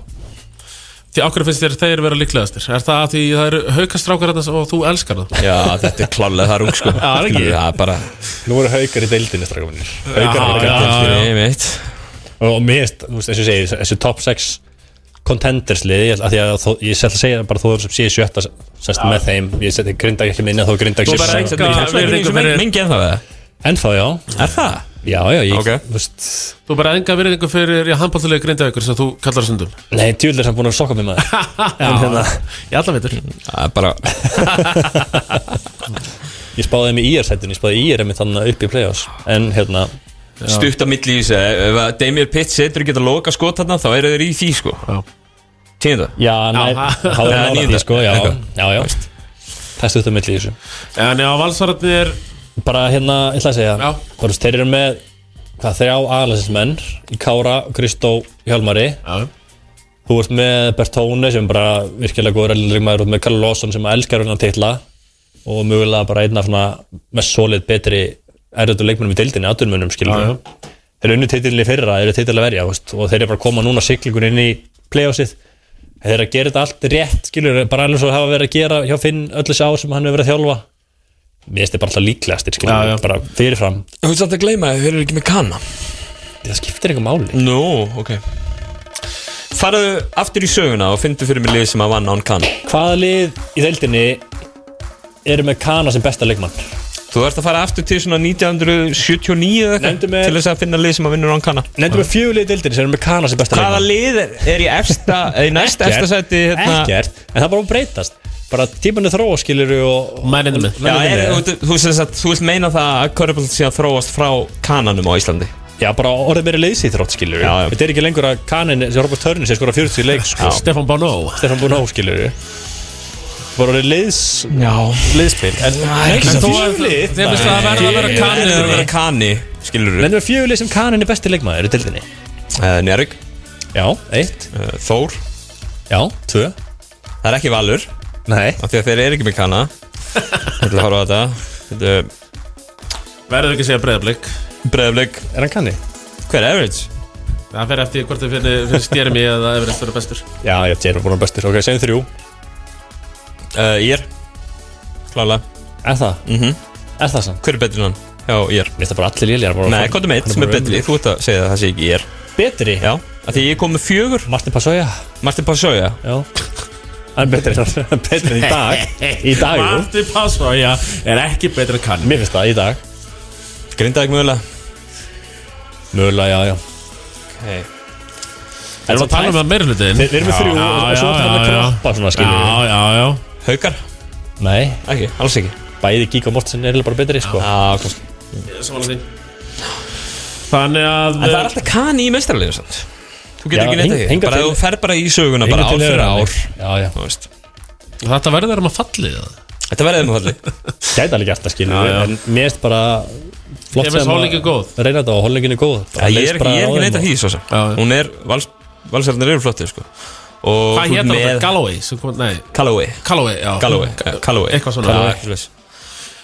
Speaker 1: Því okkur finnst þér þeir vera líklegastir Er það að því það eru haukastrákar hérna og þú elskar það
Speaker 2: Já, þetta er klálega það rúk, sko Já,
Speaker 1: það er ekki.
Speaker 2: Já, bara
Speaker 4: Nú eru haukar í deildinni strax minnir Haukar
Speaker 1: Já,
Speaker 4: eru
Speaker 1: já,
Speaker 4: gætið
Speaker 1: já.
Speaker 2: sko. Ég veit
Speaker 4: Og mér, finnst, þú veist, eins og ég segi, þessi top 6 contenders liði, að því að þó, ég sætla að segja bara þó sem sé í sjötta sérst með þeim, ég seti grindag ekki minna þó grindag
Speaker 1: Þú
Speaker 4: sé
Speaker 1: bara
Speaker 4: sjötta.
Speaker 1: ekki- virðingu fyrir-
Speaker 2: Mingi en það við það
Speaker 4: Ennþá, já,
Speaker 2: Er það?
Speaker 4: já, já, ég,
Speaker 2: Ok.
Speaker 4: þú veist
Speaker 1: Þú bara enga virðingu fyrir í handbóltulega grindavíkur sem þú kallar sundum
Speaker 4: Nei, djúlega sem búin að sokka mér maður En hérna,
Speaker 1: Ég allan veitur
Speaker 2: Það er bara
Speaker 4: ég spáði þeim í IR-sættinu, ég spáði IR einmitt þannig upp í play-offs En hérna,
Speaker 2: stutt á milli í þessu Ef að Damir Pitt setur ekki að loka skot þarna Þá eru þeir í því, sko
Speaker 1: Já.
Speaker 2: Týnda
Speaker 4: já, næ,
Speaker 1: ha.
Speaker 4: þá er
Speaker 2: Nei,
Speaker 4: nála
Speaker 2: níunda.
Speaker 4: því, sko, já,
Speaker 2: Eitthvað.
Speaker 4: já, já Það stutt á milli í þessu
Speaker 1: En já, valsararnir
Speaker 4: bara hérna, ég ætla að segja
Speaker 1: Já.
Speaker 4: bara, þú veist, þeir eru með hvað, þrjá aðlæsinsmenn í Kára, Kristó, Hjálmari
Speaker 1: Já,
Speaker 4: þú ert með Bertone sem bara virkilega góður ellegrikmaður, þú ert með Karl Lawson sem elskar hérna titla og mögulega bara einna svona með solid betri erðutu leikmennum í deildinni, aðdurmunum
Speaker 1: Já,
Speaker 4: skilur
Speaker 1: já.
Speaker 4: við. þeir eru unni titilin í fyrra, þeir eru titil að verja þú veist, og þeir eru bara að koma núna siglingun inn í playoffsið þeir eru að gera þetta allt rétt skilur, bara alveg svo hafa verið að gera hjá Finn öll þessi ár sem hann hefur verið að þjálfa mér finnst þetta bara alltaf líklegast skilur,
Speaker 1: Já, já.
Speaker 4: bara fyrirfram,
Speaker 2: Þú veist að gleyma þið, þeir eru ekki með kanna
Speaker 4: það skiptir eitthvað máli
Speaker 2: Nú, ok Farðu aftur í söguna og fyndu fyrir mig lið sem að vann án kann
Speaker 4: Hvaða lið í deildinni eru með Kana sem besta leikmann?
Speaker 2: Þú ert að fara aftur til svona 1979 eða
Speaker 4: Nefndu
Speaker 2: eitthvað
Speaker 4: mér-
Speaker 2: Til þess að finna lið sem að vinnur án kanna
Speaker 4: Nefndum við fjögur lið í deildinni sem eru með Kana sem besta
Speaker 2: Hvaða
Speaker 4: leikmann?
Speaker 2: lið er- er í efsta, eða í næst
Speaker 4: Ekkert.
Speaker 2: efsta sæti hérna
Speaker 4: Ekkert, en það bara að breytast Bara tímanu þróa skilur og
Speaker 1: Menninu minn
Speaker 2: Já,
Speaker 4: Mennirnir
Speaker 2: er,
Speaker 4: eru-
Speaker 2: þú, þú, sem sagt, þú vilt meina það að Körbjöld sé að þróast frá kananum á Íslandi
Speaker 4: Já, bara orðið meira leiðsýþrótt skilur
Speaker 2: Já, já.
Speaker 4: Þetta er ekki lengur að Kanin, sem Robert Törnin sem skora 40 í leik sko.
Speaker 1: Stefán Bánó
Speaker 4: Stefán Búná skilur Bara orðið leiðs
Speaker 2: Já
Speaker 4: Leiðspil En
Speaker 1: en þó
Speaker 4: fjögur
Speaker 1: að-
Speaker 4: lið
Speaker 1: Þeir finnst það að verða að vera
Speaker 2: Kani
Speaker 1: kanið
Speaker 2: er að vera kani, skilur þú
Speaker 4: Nefndum við fjögur lið sem Kanin er besti leikmann eru í deildinni
Speaker 2: Njörg,
Speaker 4: Já, eitt
Speaker 2: eh, Þór
Speaker 4: Já, tvö
Speaker 2: Það er ekki Valur
Speaker 4: Nei
Speaker 2: af því að þeir eru ekki með kanna Ég ætla að horfa á þetta Þetta
Speaker 1: Verður ekki að segja breyðablík
Speaker 2: er Breiðablik
Speaker 4: Er hann Kani?
Speaker 2: Hver er average?
Speaker 1: Það fer eftir hvort þau finnir fyrir stjermi eða Everest verður bestur
Speaker 4: Já, ég hef Jeremy Búná bestur Ok, segjum þrjú
Speaker 2: Uh, ég Klála
Speaker 4: Er það? Mm Er það sann?
Speaker 2: Hver er betri en hann? Já, ég
Speaker 4: Mér finnst það bara allir lélir bara
Speaker 2: Nei, hvað er meitt sem er betri? Þú ert að segja það, það sé ekki ég
Speaker 4: Betri?
Speaker 2: Já af Því ég kom með fjögur
Speaker 4: Martin Passoja
Speaker 2: Martin Passoja
Speaker 4: Já Hann er betri en- betri en í dag Í dag, jú
Speaker 1: Marti Pásvá, já, er ekki betra en kanið
Speaker 4: Mér finnst það, í dag
Speaker 2: Grindaðið mögulega
Speaker 4: Mögulega, já, já
Speaker 2: okay.
Speaker 1: Þeir eru að tala um það meira hlutin
Speaker 4: Við við erum með þrjú
Speaker 1: Já,
Speaker 4: og svo
Speaker 1: já,
Speaker 4: erum við að
Speaker 1: já, já.
Speaker 4: kroppa svona,
Speaker 1: Já,
Speaker 4: skiljum við
Speaker 1: já, já
Speaker 2: Haukar?
Speaker 4: Nei,
Speaker 2: Ekki, alls ekki
Speaker 4: bæði Gík og Mortensen er eiginlega bara betri, sko
Speaker 2: ah, En
Speaker 1: Ég er sammála því. Þannig að
Speaker 2: það er alltaf kani í mestrarleginu samt Þú
Speaker 4: Já,
Speaker 2: getur ekki neitt
Speaker 4: hing-
Speaker 2: að því
Speaker 4: hingað
Speaker 2: Bara
Speaker 4: til-
Speaker 2: ef þú fer bara í söguna
Speaker 4: Hingað
Speaker 2: bara ár
Speaker 4: til hefur
Speaker 2: fyrir
Speaker 4: hann
Speaker 2: ár
Speaker 4: ekki. Já, já
Speaker 2: Þú veist
Speaker 1: Þetta verður um að falli það
Speaker 2: Þetta verðið um falli
Speaker 4: Gæti alveg gert það, skiljum
Speaker 1: Já,
Speaker 4: við
Speaker 1: já.
Speaker 4: En mér finnst bara
Speaker 1: Ég
Speaker 4: Flott
Speaker 1: finnst
Speaker 4: sem að
Speaker 1: hollingin góð.
Speaker 4: Reyna þetta og hollingin er góð Bara
Speaker 2: Ég
Speaker 4: leist
Speaker 2: er ekki,
Speaker 4: bara
Speaker 2: ég er
Speaker 4: á
Speaker 2: ekki
Speaker 4: þeim
Speaker 2: neitt að
Speaker 4: og-
Speaker 2: því svo sem
Speaker 1: Já, já.
Speaker 2: Hún er, vals, valsarnir eru flottið sko Og
Speaker 1: Hvað
Speaker 2: þú ert
Speaker 1: hétt hann þetta?
Speaker 2: með-
Speaker 1: Galloway? sem kom- Nei,
Speaker 2: Callaway
Speaker 1: Calloway, já
Speaker 2: Callaway Eh, Callaway
Speaker 1: Eitthvað svona.
Speaker 2: Callaway
Speaker 1: Já,
Speaker 2: eitthvað svoleiðis.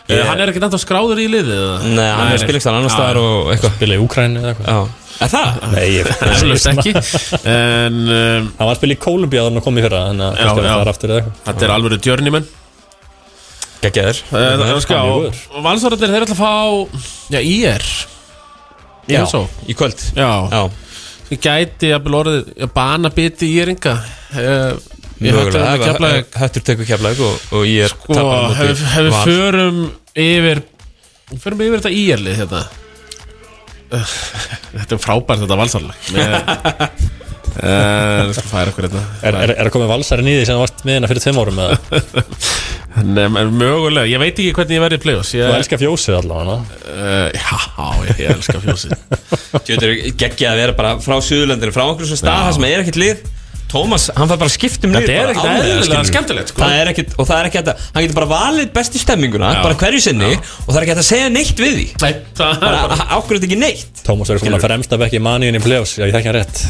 Speaker 1: Eh, Hann er ekkert ennþá skráður í liðið eða?
Speaker 2: Nei, hann er spilingstar annars
Speaker 1: Já,
Speaker 2: staðar og eitthvað
Speaker 4: Spila í Úkræni eða eitthvað
Speaker 2: Já Er það?
Speaker 4: Nei, ég
Speaker 1: Eflaust ekki En um,
Speaker 4: Hann var að spila í Kólumbíu að hann kom í fyrra Þannig að
Speaker 1: Já,
Speaker 4: kannski er
Speaker 1: já.
Speaker 4: það aftur eða eitthvað
Speaker 1: þetta er alveg journeyman
Speaker 2: Gægjaður
Speaker 1: En en sko,
Speaker 4: hann er
Speaker 1: og- og Valsararnir þeir ætla að fá Já, IR Í
Speaker 2: Já,
Speaker 1: hansó
Speaker 2: í kvöld
Speaker 1: Já,
Speaker 2: Já
Speaker 1: sem gæti jafnvel orðið að bana biti IR-inga Eh, Ég hætti
Speaker 2: Mögulega
Speaker 1: að
Speaker 2: ef
Speaker 1: kefla
Speaker 2: að- ef Höttur tekur keflaug og, og ég er
Speaker 1: Sko, ef ef við
Speaker 2: Val.
Speaker 1: förum yfir Förum yfir þetta IR-lið hérna Þetta er frábært þetta valsarlag Eh, Ég skal færa okkur hérna. þetta
Speaker 4: Er, er, er að koma valsarinn í því sem það varst með hérna fyrir tveim árum eða?
Speaker 1: Nefn, en mögulega, ég veit ekki hvernig ég verði í play-offs
Speaker 4: Þú
Speaker 1: ég,
Speaker 4: elskar fjósið allavega
Speaker 1: uh, Já, ég, ég elska fjósið
Speaker 2: Djöfull er geggjað að vera bara frá Suðurlandinu Frá okkur svona stað þar sem er ekkert lið Tómas, hann fær bara að skipta um lið
Speaker 1: Þetta er
Speaker 2: bara
Speaker 1: ekkert
Speaker 2: ánægður,
Speaker 1: eðlilega
Speaker 2: skilurðu.
Speaker 1: skemmtilegt, sko.
Speaker 2: Það er ekkert, og það er ekki hægt að Hann getur bara valið bestu stemminguna,
Speaker 1: Já.
Speaker 2: bara hverju sinni Og það er ekki hægt að segja neitt við því
Speaker 1: Nei, það er
Speaker 2: Bara ákveður þetta ekki neitt
Speaker 4: Tómas verður komin að fremsta bekki maníun í play-offs Já, ég þekki hann rétt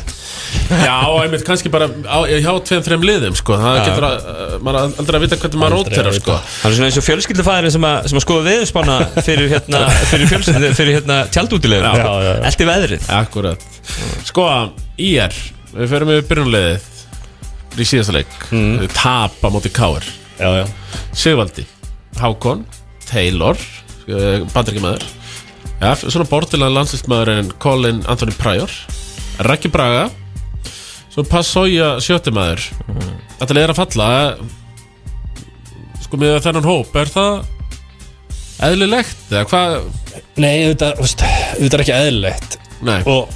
Speaker 1: Já, einmitt kannski bara á, hjá tveim, þreim liðum sko. það getur að, uh, maður er aldrei að vita hvernig maður
Speaker 4: Aldrei að
Speaker 1: rótir
Speaker 4: vita.
Speaker 1: sko.
Speaker 2: Það er svona eins og fjölskyldufæðin sem, að- sem að skoða veðurspána fyrir hérna, fyrir fjölskyldu, fyrir hérna tjaldútilegur.
Speaker 4: Já, já, já.
Speaker 2: Elti veðrið.
Speaker 1: Akkurat Sko, IR, við förum við byrjunliðið í síðasta leik mm. tapa móti Káir
Speaker 4: Já, já
Speaker 1: Sigvaldi, Hákon Taylor, uh, bandryggjumæður ja, svona bortilega landslistmaður en Colin Anthony Pryor Raggi Braga svo Passoja sjöttimaður Þetta leiðir að falla eh, sko með þennan hóp er það eðlilegt eða hvað,
Speaker 4: Nei, auðvitað, þú veist, auðvitað er ekki eðlilegt
Speaker 1: nei,
Speaker 4: Og,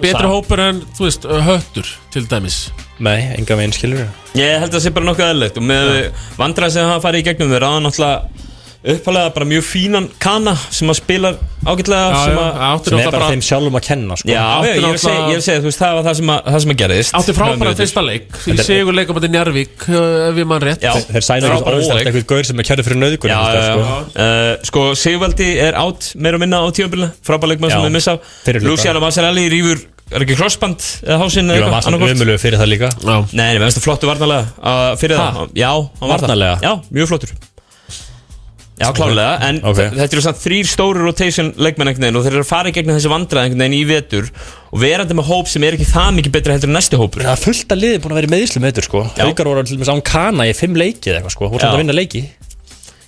Speaker 1: betri
Speaker 4: Sam-
Speaker 1: hópur en þú veist, höttur til dæmis
Speaker 4: nei, enga veginn skilur
Speaker 2: Ég held að það sé bara nokkuð aðlegt og með vandræði sem hafa farið í gegnum þeir aða náttúrulega uppalega bara mjög fínan kana sem að spila ágætlega
Speaker 1: Já,
Speaker 2: sem
Speaker 1: já,
Speaker 2: að...
Speaker 1: átti
Speaker 4: Sem er
Speaker 1: náttúrulega
Speaker 4: bara
Speaker 1: bara
Speaker 4: þeim sjálfum að kenna, sko
Speaker 2: Já,
Speaker 1: Átti
Speaker 2: já, ég er að segja,
Speaker 1: náttúrulega-
Speaker 2: ég er að segja, þú veist, það var það sem að, það sem að gerðist
Speaker 1: átti frábæra
Speaker 2: Mömmu-
Speaker 1: fyrsta leik í
Speaker 4: Þetta er-
Speaker 1: sigur leikum að Njarvík uh, ef ég mann rétt
Speaker 2: Já.
Speaker 4: Þeir sæna
Speaker 2: Frábæra
Speaker 4: ekkert
Speaker 2: óleik.
Speaker 4: óvart eitthvað gaur sem er kærið fyrir nöðgur
Speaker 2: Já, já, já,
Speaker 4: sko.
Speaker 2: Uh, sko Sigvaldi er átt meira og minna á tíumbyrna frábæleikmann sem
Speaker 4: Já.
Speaker 2: við missa af.
Speaker 4: Fyrir líka.
Speaker 2: Luciano Mazzarelli rýfur, er ekki crossband eða hásinn
Speaker 4: Ég var svona
Speaker 2: annaðhvort?
Speaker 4: umulögu fyrir það líka
Speaker 1: Já.
Speaker 2: Nei, nei, mér finnst það flottu varnalega uh, fyrir
Speaker 4: Ha?
Speaker 2: það Já, hann var
Speaker 4: Varnarlega?
Speaker 2: það Já, mjög flottur Já, klálega, en
Speaker 4: Ok.
Speaker 2: okay. þetta eru samt þrýr stóru rotation leikmenn einhvern veginn og þeir eru að fara í gegnum þessi vandræð einhvern veginn í vetur og verandi með hóp sem er ekki það mikið betra heldur en næsti hópur
Speaker 4: Það er fullt að liðin búin að vera með Íslu með þetta sko Haukar voru til dæmis án kana í fimm leiki eða eitthvað sko
Speaker 2: Já.
Speaker 4: Voru samt að vinna leiki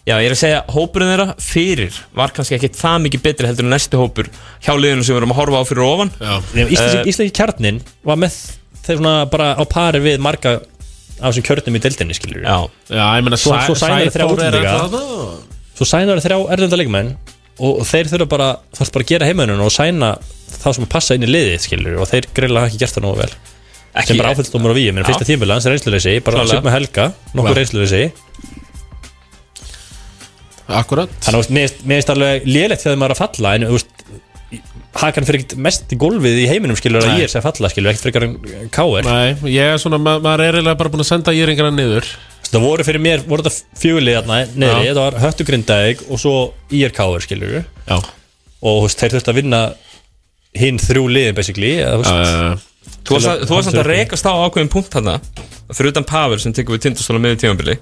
Speaker 2: Já, ég er að segja, hópurinn þeirra fyrir var kannski ekki það mikið betra heldur en næsti hópur hjá liðinu sem við erum að horfa á fyrir ofan Eh,
Speaker 4: Íslenski, íslenski kjarnin var með þeir svona bara á pari við marga af þessum kjörnum í deildinni skilur
Speaker 2: Já,
Speaker 1: Já, ég meina
Speaker 4: Svo- svo sænar þrjá
Speaker 1: Sæþór er
Speaker 4: útlendinga.
Speaker 1: alltaf það
Speaker 4: Svo sænar þrjá erlenda leikmenn og, og þeir þurfa bara, þarf bara að gera heimennun og sæna þá sem passa inn í liðið skilur og þeir greiðlega hafa ekki gert það nógu vel
Speaker 2: ekki
Speaker 4: sem bara áfællstómur á víum, en
Speaker 2: Já.
Speaker 4: fyrsta tímbil hans er reynsluleysi, bara
Speaker 2: Klálega.
Speaker 4: sjöfn með helga nokkur reynsluleysi,
Speaker 1: Akkurat
Speaker 4: þannig að þú veist, mér finnst- mér finnst alveg lélegt þegar maður er að falla en þú veist, hakan fyrir ekkert mest í gólfið í heiminum skilur að
Speaker 1: Nei.
Speaker 4: ég er sem falla skilur, ekkert fyrir ekkert káir
Speaker 1: Nei, ég er svona, ma maður er eiginlega bara búin að senda írengina niður
Speaker 4: það voru fyrir mér, voru þetta fjögulið þarna neðri,
Speaker 1: Já.
Speaker 4: þetta var höttugrindaðeg og svo IR káir skilur og
Speaker 1: Já,
Speaker 4: þú veist, þeir þurftu að vinna hinn þrjú liðin basically eða, þú veist,
Speaker 1: uh,
Speaker 2: Þú varst
Speaker 4: til
Speaker 2: að-
Speaker 4: að-
Speaker 2: þú varst samt að
Speaker 4: til að-
Speaker 2: rekast á ákveðin punkt þarna fyrir utan Pavel sem tekur við tindastóla með í tímanbili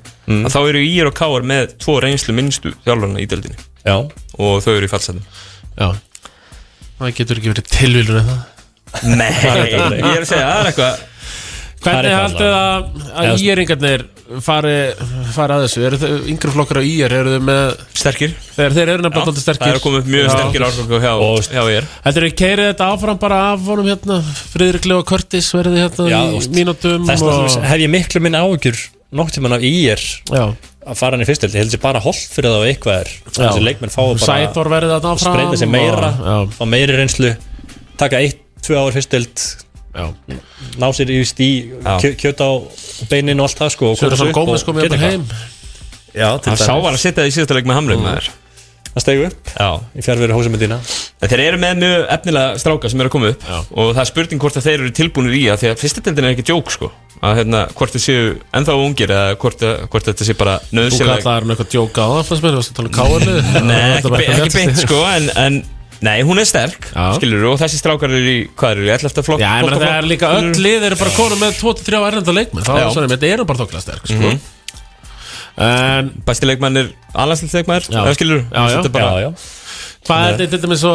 Speaker 2: að þá eru Ír og Káar með tvo reynslu minnstu þjálfarna í deildinni
Speaker 4: já,
Speaker 2: og þau eru í fallsetum
Speaker 1: já Það getur ekki verið tilvílun eða
Speaker 2: Nei, ég er að segja, það er eitthvað
Speaker 1: Hvernig
Speaker 4: eitthvað
Speaker 1: haldið að,
Speaker 4: Eða-
Speaker 1: að íringarnir fari, fari að þessu? Eru þau yngri flokkar á ír? Eru þau með,
Speaker 2: sterkir
Speaker 1: þegar þeir eru nefnilega alltaf
Speaker 2: Það er
Speaker 1: sterkir?
Speaker 2: að koma upp mjög
Speaker 1: Já.
Speaker 2: sterkir árgangu hjá,
Speaker 4: Og-
Speaker 2: hjá Ír
Speaker 1: Heldur þau keirið þetta áfram bara af honum hérna Friðrik Leo Curtis verði hérna
Speaker 4: Já,
Speaker 1: í
Speaker 4: úst,
Speaker 1: mínútum
Speaker 4: þess
Speaker 1: og,
Speaker 4: vegna hef ég miklu minn áhugjur nokktíman af IR
Speaker 1: Já,
Speaker 4: að fara hann í fyrstöld, ég held þessi bara holt fyrir það og eitthvað er,
Speaker 1: Já.
Speaker 4: þessi leikmenn fá bara
Speaker 1: Sæþór verði þetta áfram
Speaker 4: spreita sig
Speaker 1: og-
Speaker 4: meira,
Speaker 1: Já,
Speaker 4: fá meiri reynslu taka eitt, tvö ár fyrstöld
Speaker 1: já
Speaker 4: ná sér í stí, kjö, kjöt á beinin og allt það sko og
Speaker 1: Sjóra
Speaker 4: komast
Speaker 1: svona
Speaker 4: upp
Speaker 1: gómið
Speaker 4: og
Speaker 1: sko með
Speaker 4: geta
Speaker 1: bara
Speaker 4: eitthvað.
Speaker 1: heim
Speaker 4: já, til
Speaker 2: Það sá
Speaker 4: dæmis,
Speaker 2: var að setja það í síðasta leik með hamlaug maður
Speaker 4: það stegu upp
Speaker 2: Já,
Speaker 4: í fjárveru hósamöndina
Speaker 2: en þeir eru með mjög efnilega stráka sem eru að koma upp og það er spurning hvort að þeir eru tilbúinir í að því að fyrsta deildin er ekki djók sko að hérna, hvort þeir séu ennþá ungir eða hvort, að- hvort þetta sé bara
Speaker 1: Þú
Speaker 2: nöðsynlega
Speaker 1: kallar hann eitthvað djóka á það fannst mér, þú varst að tala um káinu
Speaker 2: Nei, ekki, be ekki beint sko en, en Nei, hún er sterk,
Speaker 1: Já.
Speaker 2: skilur og þessi strákar eru í, hvað eru, í 11. flokk
Speaker 1: Já, ég meina
Speaker 2: flokk-
Speaker 1: það er líka öll lið eru bara konum með 2-3 erlenda leikmenn Það
Speaker 2: Mm. Já.
Speaker 1: er svona, þetta eru bara þokkilega sterk sko. En
Speaker 2: Bæsti leikmann er allanslið leikmann
Speaker 1: Já.
Speaker 2: er, skilur
Speaker 1: Já, já.
Speaker 2: bara,
Speaker 4: já, já.
Speaker 1: hvað er þetta með svo,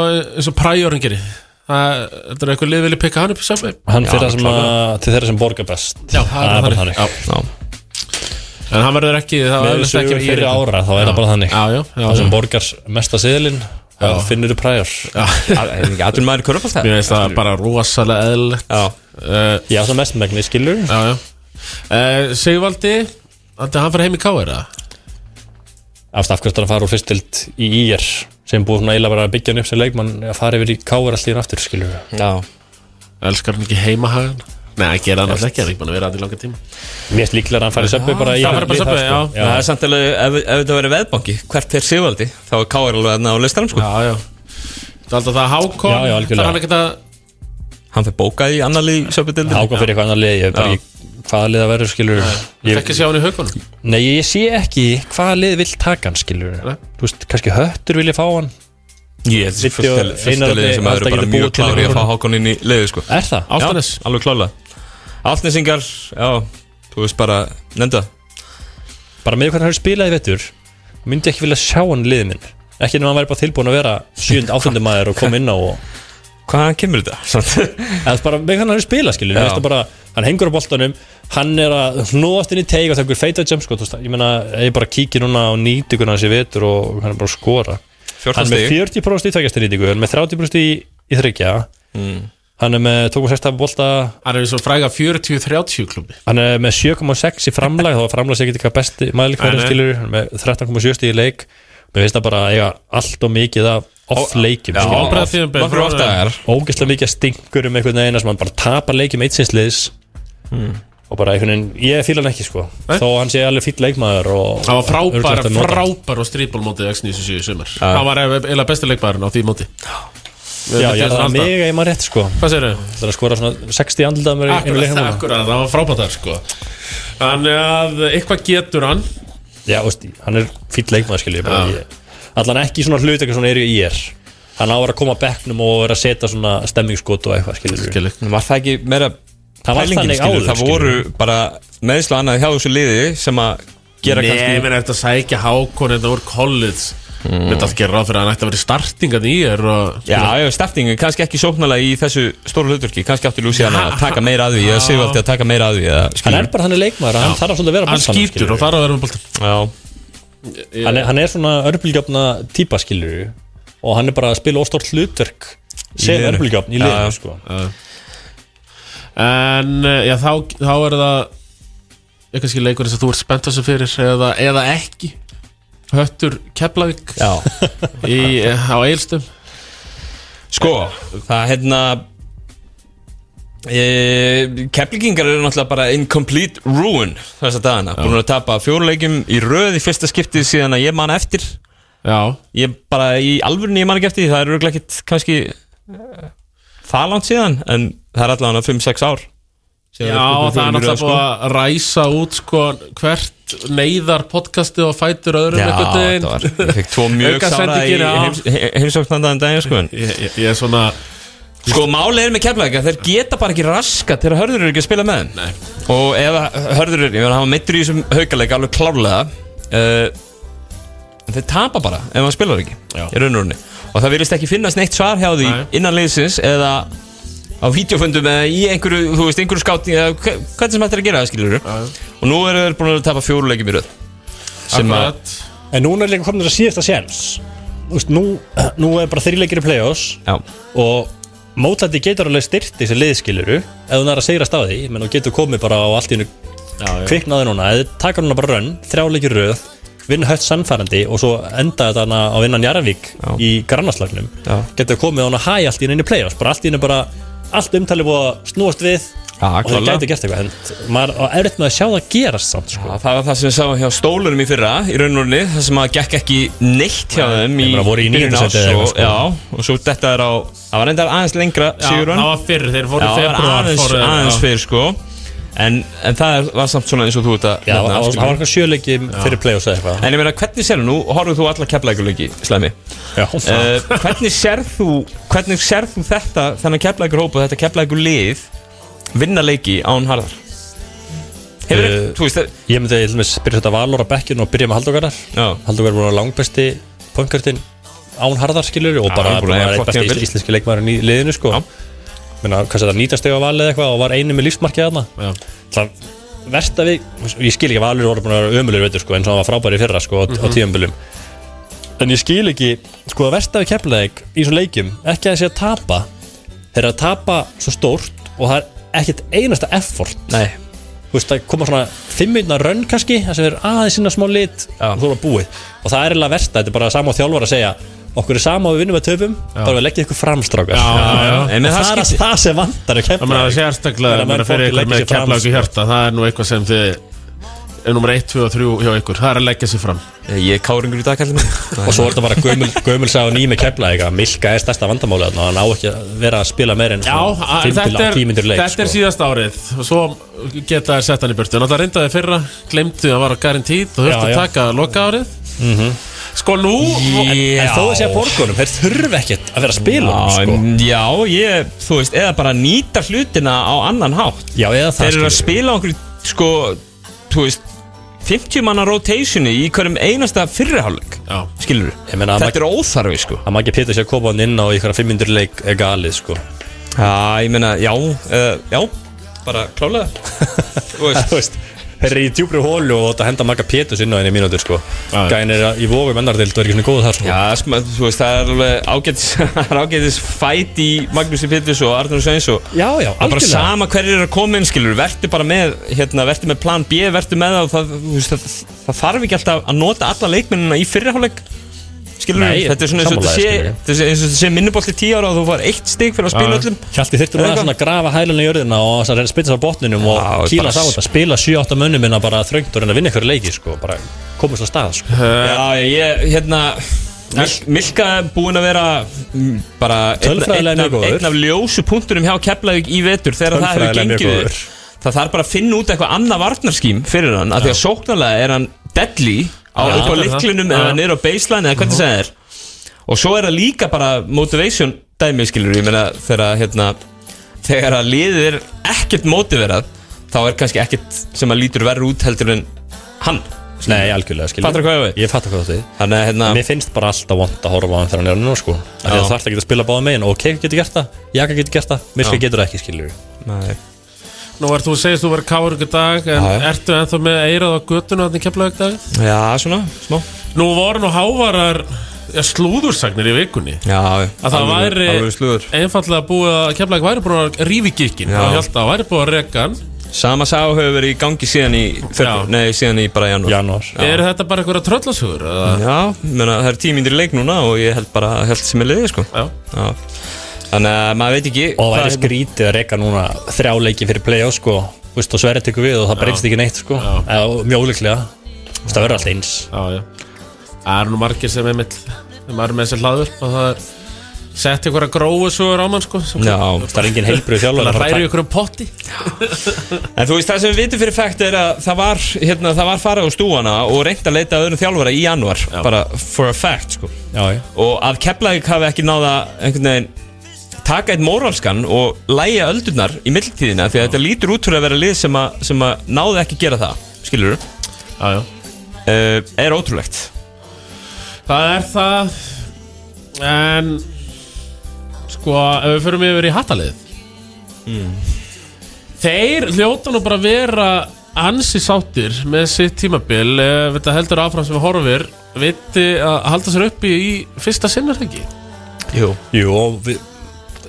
Speaker 1: svo præjóringir Það þetta er eitthvað lið vilja pikka hann upp í samvei
Speaker 4: hann fyrir það sem að, til þeirra sem borgar best
Speaker 1: Já, það er
Speaker 4: Það er bara
Speaker 1: bara þannig
Speaker 4: þannig.
Speaker 1: Já.
Speaker 2: já.
Speaker 1: En hann verður ekki, það
Speaker 4: með
Speaker 1: er
Speaker 4: þessu
Speaker 1: ekki
Speaker 4: yfir
Speaker 1: verið
Speaker 4: fyrir
Speaker 1: íringandi.
Speaker 4: ára þá er það bara þannig
Speaker 1: Já, já, já,
Speaker 4: það
Speaker 1: já.
Speaker 4: sem borgar mesta siðilinn það finnur þú præjar
Speaker 2: Atur maður í körfbólta
Speaker 1: Mér finnst það bara rosalega eðlilegt
Speaker 2: Já,
Speaker 1: Uh,
Speaker 4: já, það mest megni skilur
Speaker 1: Já, já uh, Sigvaldi, ætli hann fyrir heim í káir það?
Speaker 4: afstafkvæmst að fara úr fyrstild í ír sem búið svona eiginlega bara að byggja hann upp sem leikmann að fara yfir í káar allir aftur skilur
Speaker 2: já
Speaker 1: Elskar hann ekki heimahagan? Nei, hann gera hann alltaf ekki, hann er ekki búin að vera aðeins í langa tíma
Speaker 4: mér er líklega að hann fara í söpbu bara í
Speaker 1: það fari bara í
Speaker 4: við
Speaker 1: Subway,
Speaker 4: sko.
Speaker 1: já.
Speaker 2: Það er samt alveg, ef, ef þetta verið veðbanki hvert fer Sigvaldi, þá er K.R. alveg aðna á listanum sko.
Speaker 1: Já, já Það er alltaf það Hákon
Speaker 4: Já, já, algjörlega.
Speaker 1: Það er ekkert að
Speaker 2: hann fer bókað í annar lið í söpudildin
Speaker 4: ákvað fyrir eitthvað annar lið ég er bara ekki hvaða lið að verður skilur
Speaker 1: Ég ekki að sjá hann í haugunum
Speaker 4: nei, ég sé ekki hvaða lið vill taka hann skilur
Speaker 1: Nei.
Speaker 4: þú veist, kannski höttur vilja fá hann
Speaker 2: Ég held þessi
Speaker 4: Viddi og
Speaker 2: fyrsta
Speaker 4: Einar
Speaker 2: fyrsta
Speaker 4: Árni
Speaker 2: liði sem eru
Speaker 4: alltaf
Speaker 2: bara
Speaker 4: getur
Speaker 2: mjög
Speaker 4: búið til
Speaker 2: klári að
Speaker 4: einhverjum.
Speaker 2: fá Hákon inn í liðið sko.
Speaker 4: er það?
Speaker 1: Álftanes
Speaker 2: Já, alveg klálega Álfnesingar, já, þú veist bara nefnda
Speaker 4: bara með hvernig hann hefur spilað í vettur myndi ég ekki vilja sjá hann í liðið minn ekki nema hann væri bara tilbúin að vera 7. 8. maður og koma inn á og
Speaker 2: Hvaðan kemur þetta? Samt.
Speaker 4: eða bara með hvernig hann hefur spilað skilur
Speaker 2: Já.
Speaker 4: Veistu bara, hann hengur á boltanum hann er að hnóðast inn í teig og tekur feita jump sko, þú veist, ég meina ég bara kíkir núna á nýtinguna hans í vettur og hann er bara að skora
Speaker 2: 14
Speaker 4: hann er með
Speaker 2: stegi
Speaker 4: 40% í tveikjastir nýtingu hann er með 30% í, í þryggja hann er með 2.6 bolta
Speaker 1: Hann er eins og fræga 40-30 klubbi
Speaker 4: hann er með 7.6 í framlag þá var framlag sér ekki eitthvað besti
Speaker 1: Nei,
Speaker 4: mælikvæðin
Speaker 1: nei.
Speaker 4: skilur hann er með 13.7 stíð í leik mér finnst það bara að eiga allt og mikið af off leikjum
Speaker 1: Sko,
Speaker 2: Já,
Speaker 4: skilur.
Speaker 1: ábreiða tímabil.
Speaker 2: Nokkru oft dagar
Speaker 4: ógeðslega mikið að stingur um einhvern veginn sem hann bara tapar leikjum eitsinsliðs mm.
Speaker 1: Hmm.
Speaker 4: og bara einhvern veginn, ég fíla hann ekki sko þó hann sé alveg fýll leikmaður og
Speaker 1: Það var frábær,
Speaker 4: Örugglega að nota hann.
Speaker 1: frábær og stríból mótið X97 í sumar Það var eiginlega besti leikbærin á því móti
Speaker 4: já,
Speaker 1: Þetta
Speaker 4: já,
Speaker 1: er
Speaker 4: það
Speaker 1: svona
Speaker 4: er
Speaker 1: alltaf-
Speaker 4: mega ég maður rétt sko
Speaker 1: Hvað segir þau?
Speaker 4: það er að skora svona 60 andlitað mér einu
Speaker 1: Akkurat,
Speaker 4: leiknum
Speaker 1: akkurat, það var frábært þar sko Þannig að eitthvað getur hann
Speaker 4: já, veist, hann er fýll leikmaður skilur ég bara ég, allan ekki svona hlut eitthvað svona eru í er hann á að vera að koma að bekknum og vera að setja svona stemmingsskot og eitthvað skilur við.
Speaker 1: Skilur.
Speaker 2: Var það ekki meira
Speaker 4: það var
Speaker 2: pælingin
Speaker 4: þannig
Speaker 2: skilur
Speaker 4: áður
Speaker 2: Það
Speaker 4: skilur við.
Speaker 2: voru bara meðslu annað hjá þessu liði sem að
Speaker 4: gera
Speaker 1: Nei, ég
Speaker 4: kannski
Speaker 1: meina eftir að sækja hákon Þetta voru college Þetta mm. alltaf gerir ráð fyrir að hann ætti að vera í startingað í er og
Speaker 2: Já, já, startingu, kannski ekki sóknarlega í þessu stóru hluturki, kannski átti Luciana að taka meira að því, eða Sigvaldi að taka meira að því, eða
Speaker 4: Hann
Speaker 2: skilur.
Speaker 4: er bara þannig leikmaður að hann þarf svolítið að vera á
Speaker 1: hann
Speaker 4: boltanum, skilurðu.
Speaker 1: skýtur og þar á að vera með boltan
Speaker 2: Já,
Speaker 4: hann er, hann er svona örbulgjöfna típa skilur og hann er bara að spila óstort hlutverk sem
Speaker 2: liðinu.
Speaker 4: örbulgjöfn í
Speaker 2: Já,
Speaker 4: liðinu
Speaker 2: já.
Speaker 4: sko.
Speaker 1: En eh, já, þá, þá er það Ég kannski leikur eins að þú ert spennt þessu fyrir eða, eða ekki Höttur Keflavík
Speaker 4: já.
Speaker 1: í, eh, á Eilstum
Speaker 2: Sko, það hérna e, Keflingingar eru náttúrulega bara in complete ruin þessa dagana, búin að tapa fjóruleikjum í röð í fyrsta skipti síðan að ég man eftir
Speaker 1: Já,
Speaker 2: ég bara í alvörunni ég man ekki eftir því, það eru örugglega ekkit kannski eh, það langt síðan en það er allavega 5-6 ár síðan
Speaker 1: já
Speaker 2: við spilum
Speaker 1: það er
Speaker 2: fjórum í röð,
Speaker 1: náttúrulega
Speaker 2: sko.
Speaker 1: búið að ræsa út sko, hvert neyðar podcastið og fætur öðrum
Speaker 2: Já,
Speaker 1: einhvern veginn.
Speaker 2: þetta var, ég fekk tvo mjög sára í
Speaker 1: Aukasendingin, já.
Speaker 2: heimsóknandaðan daginn sko en
Speaker 1: Ég, ég, ég er svona
Speaker 2: Sko málið er með Keflavík að þeir geta bara ekki raskat þegar hörður eru ekki að spila með þeim Nei. og ef að hörður eru, ég verður að hafa meittur í þessum haukaleika alveg klárlega uh, þeir tapa bara ef hann spilar ekki
Speaker 1: Já.
Speaker 2: í raun og runni og það virðist ekki finnast neitt svar hjá því
Speaker 1: Nei.
Speaker 2: innan liðsins eða á vídeoföndum eða í einhverju, þú veist, einhverju skáting eða hva- hvað sem hægt er að gera það skilur og nú eru þeir búin að tapa fjóruleikjum í röð sem að,
Speaker 1: Akkurat.
Speaker 4: en núna er líka komin þess að síðasta séns Þú veist, nú, nú er bara þrýleikir í play-offs
Speaker 2: já,
Speaker 4: og mótlæti getur alveg styrt þessi liðskiluru ef hún er að segra staði menn þú getur komið bara á allt í hennu kviknaði núna, eða taka núna bara rönn þrjáleikir röð, vinna hött sannfærandi og svo enda þetta hana á vinnan Jarvík
Speaker 2: Já.
Speaker 4: í grannaslagnum
Speaker 2: Já.
Speaker 4: getur komið á hana hæ allt í hennu play-offs bara allt í hennu bara, allt umtalið búið að snúast við
Speaker 2: Já,
Speaker 4: og það
Speaker 2: klárlega.
Speaker 4: gæti gert eitthvað en maður á erfitt með að sjá það gerast samt sko.
Speaker 2: Já, það var það sem við sáum hjá stólunum í fyrra í raunurni, það sem að gekk ekki neitt hjá þeim í
Speaker 4: Þeir bara voru í
Speaker 2: byrjun
Speaker 4: níunda
Speaker 2: árs
Speaker 4: sæti eða
Speaker 2: og,
Speaker 4: eitthvað, sko.
Speaker 2: já, og svo þetta er á það var reyndar aðeins lengra
Speaker 1: Já,
Speaker 2: sigur hann
Speaker 1: það var fyrr, þeir
Speaker 2: Já,
Speaker 1: fóru í
Speaker 2: það var
Speaker 1: februar
Speaker 2: aðeins,
Speaker 1: fóru þeir, já.
Speaker 2: aðeins fyrir sko en, en það er, var samt svona eins og þú ert að
Speaker 4: Já, það
Speaker 2: nefna,
Speaker 4: var-
Speaker 2: skilur.
Speaker 4: það var eitthvað sjöleiki fyrir play-offs eða eitthvað
Speaker 2: En ég meina, hvernig sér nú, horfðu þú alla keflækuleiki, Slæmi
Speaker 4: Já,
Speaker 2: uh, Hvernig sér þú hvernig sér þú þetta, þennan keflækurhóp og þetta keflækulið vinna leiki án harðar? Hefur,
Speaker 4: Eh,
Speaker 2: þú veist, það-
Speaker 4: Ég myndi að byrja þetta valor á bekkinu og byrja með haldókarar
Speaker 2: já
Speaker 4: Haldókar voru langbesti punkartinn án harðarskilur og
Speaker 2: Já,
Speaker 4: bara
Speaker 2: hann er búinn að eiga
Speaker 4: bara einn
Speaker 2: flott
Speaker 4: besti
Speaker 2: tímabil.
Speaker 4: ísl- íslenski leikmaðurinn í liðinu sko
Speaker 2: Já.
Speaker 4: Menna, hvað sé það, nýtastega valið eitthvað og var einu með lífsmarkið þarna Það versta við, ég skil ekki að valur voru búin að vera ömulegur veitur sko eins og hann var frábæri í fyrra sko á, á tíumbulum En ég skil ekki, sko að versta við keflaðið í svona leikjum, ekki að þessi að tapa Þeir eru að tapa svo stórt og það er ekkert einasta effort
Speaker 2: Nei,
Speaker 4: þú veist, það koma svona fimmutna rönn kannski, það sem er aðeins sinna smá lit
Speaker 2: Já.
Speaker 4: og þú er að búið, og það er eiginlega versta þetta er bara sama á þjálfar að segja okkur er sama og við vinnum að töfum, bara við leggjum ykkur framstrákar
Speaker 1: já, já.
Speaker 2: En
Speaker 4: og
Speaker 2: það
Speaker 4: það er að
Speaker 2: skiptir.
Speaker 4: það sem vantar að
Speaker 1: Það meina
Speaker 4: kemla
Speaker 1: það sérstaklega
Speaker 4: Þegar
Speaker 1: Það meina
Speaker 4: menn
Speaker 1: fyrir
Speaker 4: fólki
Speaker 1: ykkur
Speaker 4: leggja
Speaker 1: með
Speaker 4: sig fram,
Speaker 1: keflaug í hjarta Það er nú eitthvað sem þið er nummer 1, 2 og 3 hjá ykkur Það er að leggja sig fram
Speaker 2: Eh, ég er káringur í dag, kallum
Speaker 4: og svo er þetta bara gömul, gömul sá nými kemla eitthvað, Milka er stærsta vandamáli þarna, og hann á ekki að vera að spila meir en
Speaker 1: Já,
Speaker 4: svona
Speaker 1: að-
Speaker 4: fimm til
Speaker 1: þetta er,
Speaker 4: tímyndur leik sko.
Speaker 1: þetta er síðast árið sko. og Svo geta þær sett hann í burtu Náttúrulega reyndaði fyrra, glemdu að vara garantít og þurfti
Speaker 4: Já,
Speaker 1: að
Speaker 4: já.
Speaker 1: taka loka árið Sko nú
Speaker 4: en þó þessi að borgunum, þeir þurfa ekkert að vera að spila honum,
Speaker 2: Já,
Speaker 4: sko.
Speaker 2: en- já, ég, þú veist, eða bara nýta hlutina á annan hátt
Speaker 4: já, eða það
Speaker 2: Þeir eru að
Speaker 4: skilur.
Speaker 2: spila á einhverju, sko, þú veist, 50 manna rotationi í hverjum einasta fyrriháleik
Speaker 1: Já,
Speaker 2: Skilur við?
Speaker 4: Ég meina, að
Speaker 2: Þetta er óþarfi, sko
Speaker 4: að maður ekki pétur sér að koma hann inn á ykkur að fimmundur leik er galið sko
Speaker 2: Já, ég meina, já, uh, já, bara klálega Þú veist,
Speaker 4: þú veist Þeir eru í djúbri hólu og þetta henda Magga Pétus inn á henni mínútur sko
Speaker 1: Já.
Speaker 4: Gæn er að- í vógum ennardild og er ekki svona góð þar sko
Speaker 2: já, sma- þú veist, það er alveg ágætis, það er ágætis fæt í Magnúsi Pittus og Arnur Sveins og
Speaker 4: já, já
Speaker 2: Það er bara sama hverjir eru að koma inn, skilur, verður bara með, hérna, verður með plan B, verður með það, og það, þú veist, það, það þarf ekki alltaf að nota alla leikmennina í fyrriháleik, skilur,
Speaker 4: Nei,
Speaker 2: þetta er svona eins og þetta
Speaker 4: sammála
Speaker 2: sé,
Speaker 4: þér, skilur.
Speaker 2: þetta er eins og þetta sé minnubolt í tíu ára og þú fær eitt stig fyrir að spila
Speaker 1: Já.
Speaker 2: öllum.
Speaker 4: Hjalti þurftur
Speaker 2: Eða
Speaker 4: bara
Speaker 2: hvað?
Speaker 4: svona að grafa hælunni í jörðina og svona reyna að spytta sér á
Speaker 2: Já,
Speaker 4: botninum um og kýla
Speaker 2: bara
Speaker 4: sá þetta Spila 7-8 mönnum minna bara þröngt og reyna að vinna ykkur leiki sko Bara komast á stað sko
Speaker 2: Já, ég, hérna, Mil, Milka er búin að vera mm, bara einn
Speaker 4: Tölfræðilega
Speaker 2: einn af,
Speaker 4: mjög góður.
Speaker 2: einn af ljósu punktunum hjá Keflavík í vetur þegar það hefur
Speaker 4: Tölfræðilega mjög
Speaker 2: gengið
Speaker 4: góður.
Speaker 2: þér. Það þarf bara að finna út eitthvað annað varnarskím fyrir hann, af því að sóknarlega er hann deadly á,
Speaker 1: Já,
Speaker 2: upp á
Speaker 1: það er það.
Speaker 2: liklinum
Speaker 1: Já.
Speaker 2: eða niður á baseline eða hvernig það er og svo er það líka bara motivation dæmi skilur, ég meina þegar að hérna, þegar að liðið er ekkert motiverað þá er kannski ekkert sem að lítur verður út heldur en hann
Speaker 4: Nei, algjörlega, skilur
Speaker 2: Fattar hvað ég á við?
Speaker 4: Ég fattar hvað þú þið
Speaker 2: Þannig að hérna
Speaker 4: Mér finnst bara alltaf vond að horfa á hann þegar hann er alveg sko Af því
Speaker 2: Já.
Speaker 4: að Það þarf ekki að spila báða megin og Keik getur gert það, Jaka getur gert það, Mirka getur það ekki, skilur
Speaker 2: Nei.
Speaker 1: Nú var þú segist þú var káur ykkur dag En
Speaker 2: Já, já.
Speaker 1: ertu ennþá með eirað á göttuna Þannig kemlaug dag
Speaker 2: Já, svona, smá
Speaker 1: Nú voru nú hávarar ja, slúðursagnir í vikunni
Speaker 2: Já,
Speaker 1: Að það væri
Speaker 2: Alveg slúður
Speaker 1: einfallega búið að kemlaug væri búin að rífi gikkin
Speaker 2: Já.
Speaker 1: Það hjálta, væri búið að reka hann
Speaker 2: Sama sá hefur verið í gangi síðan í fyrr,
Speaker 1: Já.
Speaker 2: Nei, síðan í bara janúar
Speaker 4: Janúar
Speaker 1: Er þetta bara einhverja tröllasögur? eða-
Speaker 2: Já, menna, það er tímindir í leik núna og ég held bara held sem er liðið sko
Speaker 1: Já.
Speaker 2: Já. Þannig að maður veit ekki
Speaker 4: Og það
Speaker 2: hvað-
Speaker 4: væri skrítið að reyka núna þrjá leiki fyrir play-off sko Þú veist, og sverja tekur við og það breytist ekki neitt sko
Speaker 1: Já.
Speaker 4: Eða mjög óleiklega Það verður alltaf eins
Speaker 1: Já, já Það eru nú margir sem einmitt þegar maður er með þessi hlaður og það er sett einhverja gróu sögur á mann sko sem
Speaker 2: Já,
Speaker 4: Það er engin heilbrið þjálfur
Speaker 1: Það
Speaker 4: að fara að
Speaker 1: hræri ykkur um potti
Speaker 2: en þú veist það sem við vitum fyrir fakt er að það var, hérna, það var farið á stúana og reynt að leita að öðrum þjálfara í janúar bara for a fact sko
Speaker 4: taka- Já, já.
Speaker 2: og að Keflavík hafi ekki náða einhvern veginn taka eitt moralskan og læja öldurnar í milltíðina því að þetta lítur út fyrir að vera lið sem að, sem að náði ekki gera það skilur þú?
Speaker 1: Já, já
Speaker 2: er ótrúlegt
Speaker 1: Það er það En Sko, ef við förum yfir í hattalið
Speaker 4: Hmm.
Speaker 1: Þeir hljóta nú bara að vera ansi sáttir með sitt tímabil ef þetta heldur áfram sem við horfir viti að halda sér uppi í fyrsta sinnarhengi
Speaker 2: Jú.
Speaker 4: Jú, og við,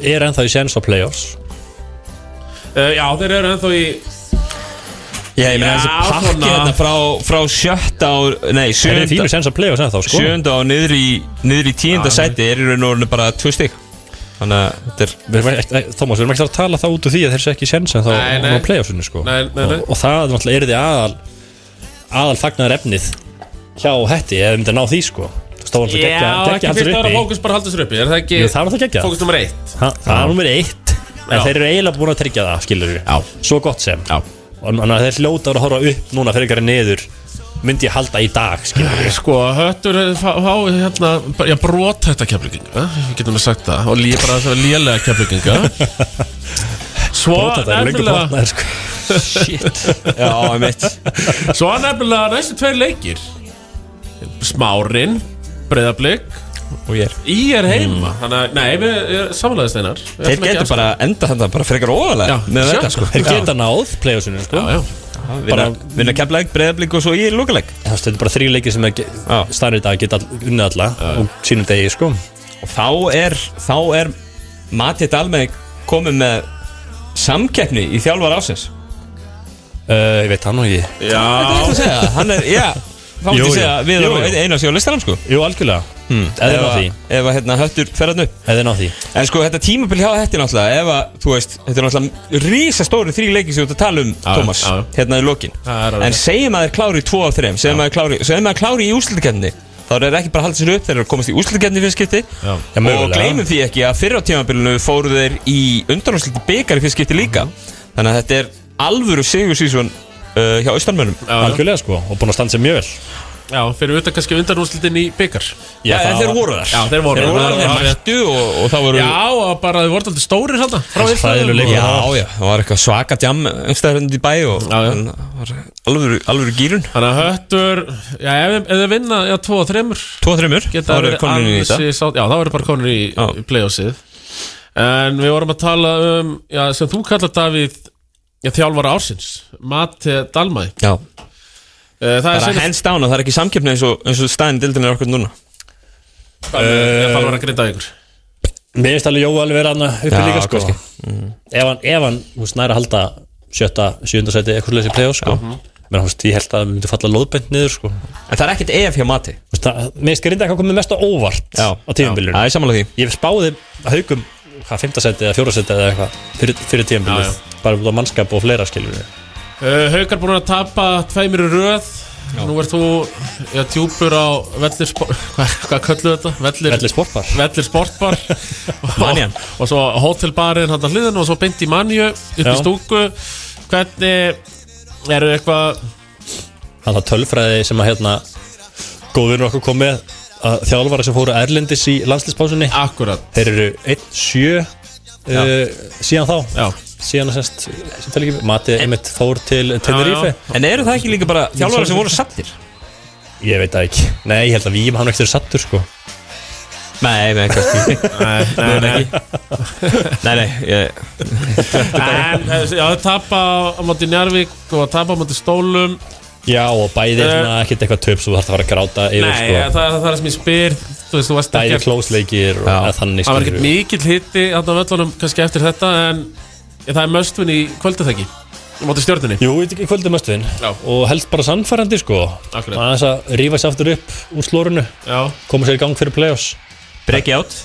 Speaker 4: er ennþá í séns á play-offs
Speaker 1: uh, Já, þeir eru ennþá í
Speaker 2: Já, ég meina
Speaker 1: Já,
Speaker 2: þessi pakki
Speaker 1: svona.
Speaker 2: hérna frá, frá sjötta á, nei,
Speaker 4: Er þið
Speaker 2: sjönda,
Speaker 4: fínu séns á play-offs ennþá sko
Speaker 2: sjönda á niður í, niður í tíunda sæti er í raun og orðinu bara tvö stygg Þannig að þetta er
Speaker 4: Við erum ekki- nei, Thomas, við erum ekki að tala það út úr því að þeir sé ekki séns en þá
Speaker 1: Nei, nei.
Speaker 4: á playoffsinu sko
Speaker 1: Nei, nei, nei.
Speaker 4: Og, og það er náttúrulega er því aðal aðal fagnar efnið hjá hætti ef við myndum að ná því sko Þú veist, þá var
Speaker 1: Já,
Speaker 4: alltaf
Speaker 1: ekki
Speaker 4: geggja
Speaker 1: fyrst að
Speaker 4: allir
Speaker 1: vera
Speaker 4: uppi
Speaker 1: fókus bara að halda sér uppi Er það ekki
Speaker 4: Jú, það var alltaf geggja
Speaker 1: fókus nummer eitt?
Speaker 4: Ha, Það er nummer eitt En
Speaker 1: Já.
Speaker 4: þeir eru eiginlega búin að tryggja það, skilur við
Speaker 1: Já.
Speaker 4: Svo gott sem
Speaker 1: Já.
Speaker 4: Og Þannig að þeir hljóta að horfa upp núna fyrir ykkur neður Myndi ég halda í dag, skilur við
Speaker 1: Sko, höttur fá, fá hérna, bara- já, brot þetta kefluginga Við getum að sagt það Og líka bara þess að lélega kefluginga Svo
Speaker 4: Þetta er lengur
Speaker 1: nefnilega
Speaker 4: botnaðir, sko
Speaker 2: Shit Já, ég mitt
Speaker 1: Svo nefnilega næstu tveir leikir Smárin Breiðablík
Speaker 2: Og ég er
Speaker 1: Í er heima Þannig að, nei, við samanlegaðist einar Við
Speaker 2: Þeir
Speaker 1: ætlum ekki
Speaker 2: getur
Speaker 1: að-
Speaker 2: bara enda þetta bara frekar óðalega
Speaker 1: Já,
Speaker 2: með
Speaker 1: sjá.
Speaker 2: þetta sko
Speaker 4: Þeir geta náð playoffsinu, sko
Speaker 1: Já, já
Speaker 2: Vinna,
Speaker 4: bara-
Speaker 2: vinna keflaðið, breyðablík og svo ég er lókaleg
Speaker 4: Það stöður bara þrjú leiki sem er
Speaker 2: Já.
Speaker 4: stærri dag geta all- unnið alla og sínum degi sko
Speaker 2: Og þá er, þá er Matið Dalmeig komið með samkeppni í þjálfar ásins
Speaker 4: uh, Ég veit það nú ekki
Speaker 2: Hvað er það að segja? Hann er, já Þá mútti
Speaker 4: Jú, jú.
Speaker 2: segja að við
Speaker 4: Jú,
Speaker 2: erum
Speaker 4: jú.
Speaker 2: einu að sjá listanum sko
Speaker 4: Jú, algjörlega hmm. Eða ná
Speaker 2: að-
Speaker 4: því
Speaker 2: Ef að hérna höttur ferðan upp
Speaker 4: Eða ná því
Speaker 2: En sko þetta tímabil hjá þetta náttúrulega Ef að, þú veist, þetta er náttúrulega Rísastóri þrý leiki sem þú ert að tala um, Thomas
Speaker 1: já.
Speaker 2: Hérna í lokin
Speaker 1: Það er alveg
Speaker 2: En
Speaker 1: rétt.
Speaker 2: segjum að þeir klári í tvo af þreim Segjum að þeir klári, segjum að þeir klári í úrslitakeppni Þá er þeir ekki bara að halda sér upp Þeir eru að komast í úrslitakeppni fyrir skipti
Speaker 1: Já.
Speaker 4: Já,
Speaker 2: Og
Speaker 4: mögulega.
Speaker 2: gleymum því ekki að fyrra á tímabilinu Fóru þeir í undanúrsliti byggar fyrir skipti líka Þannig að þetta er alvöru sigursísvon uh, hjá austanmönnum
Speaker 1: Já, já.
Speaker 4: Algjörlega sko og búin að standa sér mjög vel
Speaker 1: Já, fyrir utan kannski undanúrslitin í byggar
Speaker 2: Já,
Speaker 4: það
Speaker 2: þeir
Speaker 4: var-
Speaker 2: voru þar
Speaker 1: Já, þeir voru
Speaker 2: Þeir
Speaker 1: þar.
Speaker 2: voru þar,
Speaker 1: Já,
Speaker 2: þeir
Speaker 1: já.
Speaker 2: mættu og, og það voru
Speaker 1: Já, og bara þið voru aldrei stórir hérna frá
Speaker 4: Það er
Speaker 1: upphafinu.
Speaker 4: hræðilegur leikur.
Speaker 1: Já.
Speaker 2: Já, já, það var eitthvað svaka djam einstæður hundi í bæ og
Speaker 1: Já, já.
Speaker 2: en það var alvöru, alvöru gýrun
Speaker 1: Þannig að höttur Já, ef ef þið vinna, já, tvo og þreymur
Speaker 2: Tvo og þreymur,
Speaker 1: geta
Speaker 2: það voru
Speaker 1: verið
Speaker 2: komin í
Speaker 1: ansi
Speaker 2: þetta
Speaker 1: sátt- Já, það verður bara konur í,
Speaker 2: Já.
Speaker 1: í playoffsið En við vorum að tala um já, sem þú kallar Davíð já, þjálfara ársins, Mati Dalmæ
Speaker 2: Já,
Speaker 1: Eh, Það er
Speaker 2: bara
Speaker 1: sem
Speaker 2: hands down að það er ekki samkeppni eins og, eins og staðin dildin er okkur núna Eh.
Speaker 1: ég fara eh, að grinda ykkur
Speaker 4: Mér finnst alveg Jóa alveg vera hann uppi líka sko
Speaker 2: kannski.
Speaker 4: Ef hann, ef hann þú veist, næra að halda sjötta, sjöunda seti eitthvað leysið play-off sko
Speaker 2: Mhm.
Speaker 4: Menn þú veist, ég held að það myndi falla loðbent niður sko Þú
Speaker 2: En það er ekkert EF hjá mati
Speaker 4: veist, það- Mér finnst grinda eitthvað komið mest á óvart
Speaker 2: Já.
Speaker 4: á tíðanbílunum
Speaker 2: Það er samanlega því
Speaker 4: Ég spáði haugum hvað, fymta seti eða fjóra seti eða eitthvað fyrir, fyrir
Speaker 1: Já,
Speaker 4: tíðanbílun bara út á mannskap og fleira skiljum
Speaker 1: Eh, Haukar búin að tapa tveimur í röð Nú ert þú já, djúpur á vellir hvað, hvað kölluðu þetta? Vellir,
Speaker 4: Velli sportbar
Speaker 1: vellir sportbar og-
Speaker 2: Manjan.
Speaker 1: og svo hótelbarinn hann að hliðinu og svo beint í manju upp í
Speaker 4: Já.
Speaker 1: stúku hvernig eru eitthvað
Speaker 4: hann það tölfræði sem að hérna góðvinur okkur kom með að þjálfara sem fóru erlendis í landslýspásunni
Speaker 1: akkurat
Speaker 4: þeir eru 1-7 uh, síðan þá
Speaker 1: Já.
Speaker 4: síðan að semst sem tel ekki matið einmitt fór til Tenerife
Speaker 1: já.
Speaker 2: En eru það ekki líka bara þjálfara sem voru sattir?
Speaker 4: Ég veit það ekki Nei, ég held að Vím hann er ekkert sattur sko
Speaker 2: Nei, nei, kannski Nei, nei, nei, nei ég,
Speaker 1: En, eh, já, að tapa á móti Njarvík og að tapa á móti Stólum
Speaker 4: Já, og bæði
Speaker 1: Eh.
Speaker 4: er svona ekkert eitthvað töp sem þú þarf að fara að gráta yfir
Speaker 1: Nei,
Speaker 4: sko
Speaker 1: eh, það, það er sem ég spyr Þú veist, þú varst
Speaker 4: Bæði
Speaker 1: ekki
Speaker 4: klósleikir og eða þannig
Speaker 1: Það var ekkert
Speaker 4: skilurðu.
Speaker 1: mikill hitti Þannig að völlunum kannski eftir þetta En eh, það er möstvin í kvölduþekki Móti stjórnunni
Speaker 4: Jú, í í kvöldi mestuðin
Speaker 1: Já.
Speaker 4: og helst bara sannfærandi sko
Speaker 1: Akkurat.
Speaker 4: aðeins að rífa sér aftur upp úr slórunu
Speaker 1: Já,
Speaker 4: koma sér í gang fyrir play-offs
Speaker 2: Break it out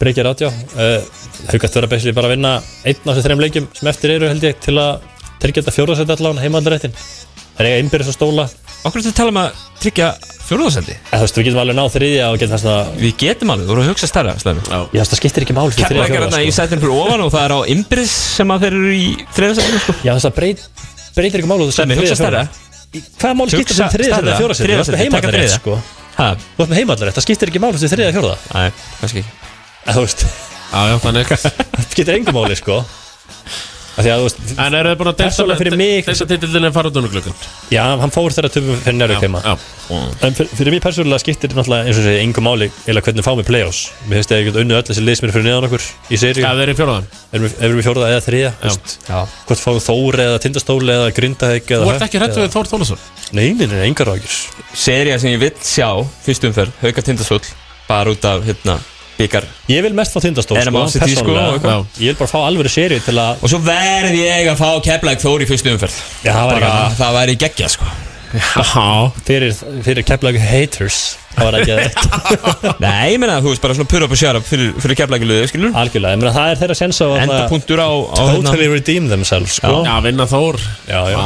Speaker 4: breykja rátjá uh, haugast vera basically bara að vinna einn af þessum þreim leikjum sem eftir eru held ég til að tryggja þetta fjórðarsætt allan heimaldarættin það er eiga innbyrðis og stóla eða,
Speaker 2: Okkur er þetta að tala um að tryggja fjóruðarsendi
Speaker 4: þú veist við getum alveg náð þriðja og getum þess að
Speaker 2: Við getum alveg, þú voru að hugsa stærra slæmi
Speaker 4: ég veist það skiptir ekki mál fyrir þriðja
Speaker 2: Keflækjar
Speaker 4: fjórða
Speaker 2: þarna í
Speaker 4: sko.
Speaker 2: sætinu fyrir ofan og það er á Imbris sem að þeir eru í þriðarsætinu sko.
Speaker 4: já þess að breyt, breytir ekki mál og þú
Speaker 2: Slæmi, hugsa
Speaker 4: fjórða.
Speaker 2: stærra
Speaker 4: hvaða mál skiptir
Speaker 2: Hugsa
Speaker 4: sem þriðja
Speaker 2: stærra.
Speaker 4: eða fjórðarsætt þú
Speaker 2: Þriðja
Speaker 4: ert
Speaker 2: sæti,
Speaker 4: með
Speaker 2: taka
Speaker 4: heimaldarætt
Speaker 2: þriðja.
Speaker 4: sko
Speaker 2: Ha,
Speaker 4: þú ert með heimaldarætt það skiptir ekki mál sem þriðja og fjórða
Speaker 2: Nei, kannski ekki
Speaker 4: eða þú veist
Speaker 1: já, já, þannig
Speaker 4: það skiptir engum máli sko Af því að þú veist
Speaker 1: En eru þið búin að
Speaker 4: Persónulega fyrir mig-
Speaker 1: Delta titillin er faradunarglökun
Speaker 4: já hann fór þeirra töfum fyrir njárvík heima
Speaker 1: Já,
Speaker 4: En fyr, fyrir mig persónulega skiptir náttúrulega eins og segja engum máli eða hvernig fáum við play-offs Mér finnst að ég get unnu öll þessi lið sem eru fyrir neðan okkur í serju
Speaker 1: Já,
Speaker 4: ja.
Speaker 1: þeir eru í fjóraðan
Speaker 4: Erum við- erum við fjórða eða þriðja þú veist,
Speaker 2: Já.
Speaker 4: Hvort fáum við Þór eða Tindastól eða Grindahegg eða
Speaker 1: Þú ert ekki hrættu við Þór Þólasson
Speaker 4: Nei, nei, nei, engar ágjur
Speaker 2: Serja sem ég vill sjá fyrst umferð Hauka Tindasvöll Bara út af hérna byggar
Speaker 4: Ég vil mest fá Tindastól
Speaker 2: Erum
Speaker 4: sko,
Speaker 2: á City, sko,
Speaker 4: persónulega.
Speaker 2: og
Speaker 1: eitthvað.
Speaker 4: Ég vil bara fá alvöru serju til að
Speaker 2: Og svo verð ég að fá Keflæk Þór í fyrst umferð
Speaker 4: Já, það væri
Speaker 2: Bara,
Speaker 4: gaman.
Speaker 2: Það væri geggja sko
Speaker 1: Já,
Speaker 4: fyrir, fyrir keplag haters Það var ekki þetta
Speaker 2: Nei, ég meina þú veist bara svona pura upp og sjára fyrir, fyrir Keflækiluðu skilur
Speaker 4: Algjörlega, ég meina, það er þeirra sens á að
Speaker 2: Enda
Speaker 4: það-
Speaker 2: punktur á, á hérna.
Speaker 4: Totally redeem themselves sko.
Speaker 1: já vinna Þór
Speaker 4: já, já.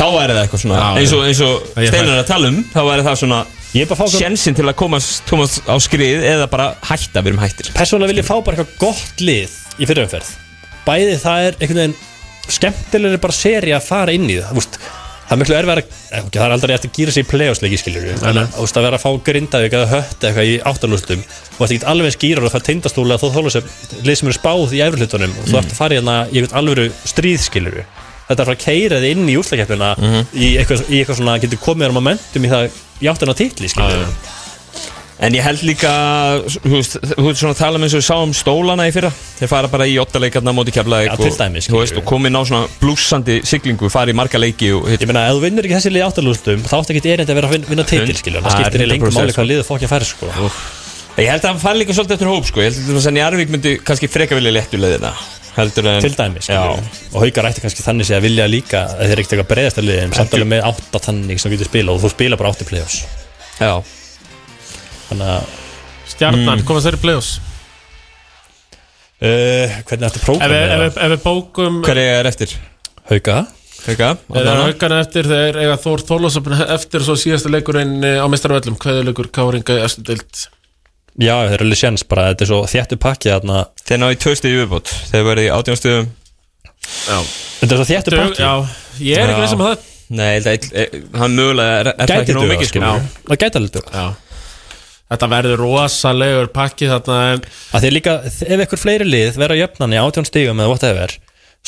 Speaker 2: Þá væri það eitthvað svona
Speaker 1: Já,
Speaker 2: Eins og, eins og
Speaker 1: ég
Speaker 2: Steinar er að tala um Þá væri það svona
Speaker 4: Ég er bara að fá
Speaker 2: Sjensin til að komast, komast á skrið Eða bara hætta við erum hættir
Speaker 4: persónulega vil ég fá bara eitthvað gott lið í fyrirumferð bæði það er einhvern veginn skemmtilegri bara seri að fara inn í það úst, það er miklu erfið að það er aldrei eftir að gýra sig í play-offs-leiki skiljur
Speaker 1: nei.
Speaker 4: að vera að fá grindavík eða hött eitthvað í áttanústum og þetta get alveg skýrar að það tindastúlega þó þóla sem lið sem eru spáð í efrihlutunum og þú ert að fara í hérna í einhvern alvöru stríð skiljur þetta er að fara að keira þið inn í úrslagkeppnina
Speaker 1: Mhm.
Speaker 4: í, eitthvað, í eitthvað svona getur komið þér momentum í það í áttan á titli skiljur
Speaker 2: En ég held líka, þú veist, þú veist svona að tala um eins og við sáum stólana í fyrra Þeir fara bara í ottaleikarna móti keflaðik
Speaker 4: Já, til dæmis,
Speaker 2: Þú veist,
Speaker 4: skilur
Speaker 2: og komið ná svona blúsandi siglingu, fara í marga leiki og hitt
Speaker 4: Ég meina, ef þú vinnur ekki þessi lið áttalústum þá átti ekki erindi að vera að vinna, vinna titil,
Speaker 2: Hund-
Speaker 4: skilja það
Speaker 2: Ah,
Speaker 4: skiptir í lengum
Speaker 2: 100%
Speaker 4: máli hvað liðið fókja fær, sko
Speaker 2: Ég held að hann fari líka svolítið eftir hóp, sko Ég held að þannig að Arvík myndi kannski freka vilja léttu leiðina Heldur en
Speaker 4: til dæmi, skilja,
Speaker 2: Já,
Speaker 4: og haukar ætti kannski þannig sé að vilja líka, að þeir eru ekkert eitthvað breiðasta liðið en samt alveg með átta þannig sem þú getur spila og þú spila bara átti play-offs
Speaker 2: já
Speaker 4: þannig að, Mm.
Speaker 1: Stjarnan, koma þeir í play-offs
Speaker 4: uh, hvernig ætti
Speaker 1: Ef við-
Speaker 4: prógram
Speaker 1: ef við- ef við bókum
Speaker 2: Hver er eftir?
Speaker 4: hauka,
Speaker 2: Hauka?
Speaker 1: Þeir eru
Speaker 2: Adana?
Speaker 1: haugana eftir, þeir eiga Þór Þólasöfn eftir og svo síðasta leikurinn eh, á mestarvöllum, kveðuleikur Káringa í Östudelt
Speaker 4: já, þeir eru alveg séns bara, þetta er svo þjættu pakki þarna,
Speaker 2: Þeir ná í tvö stig í viðbót Þeir verði í átjónstöðum
Speaker 1: Já,
Speaker 4: þetta er svo þjættu
Speaker 1: Dug,
Speaker 4: pakki
Speaker 1: já ég er
Speaker 2: Já.
Speaker 1: ekki veist um það
Speaker 2: Nei, ég held að e, hann mögulega er, er það
Speaker 4: gæti
Speaker 2: ekki nóg
Speaker 4: duga,
Speaker 2: mikið, sko
Speaker 4: skilja, það gæti alveg duga
Speaker 1: já. Þetta verður rosalegur pakki þarna en
Speaker 4: að því að líka, ef einhver fleiri lið vera jöfnan í átjón stígum eða whatever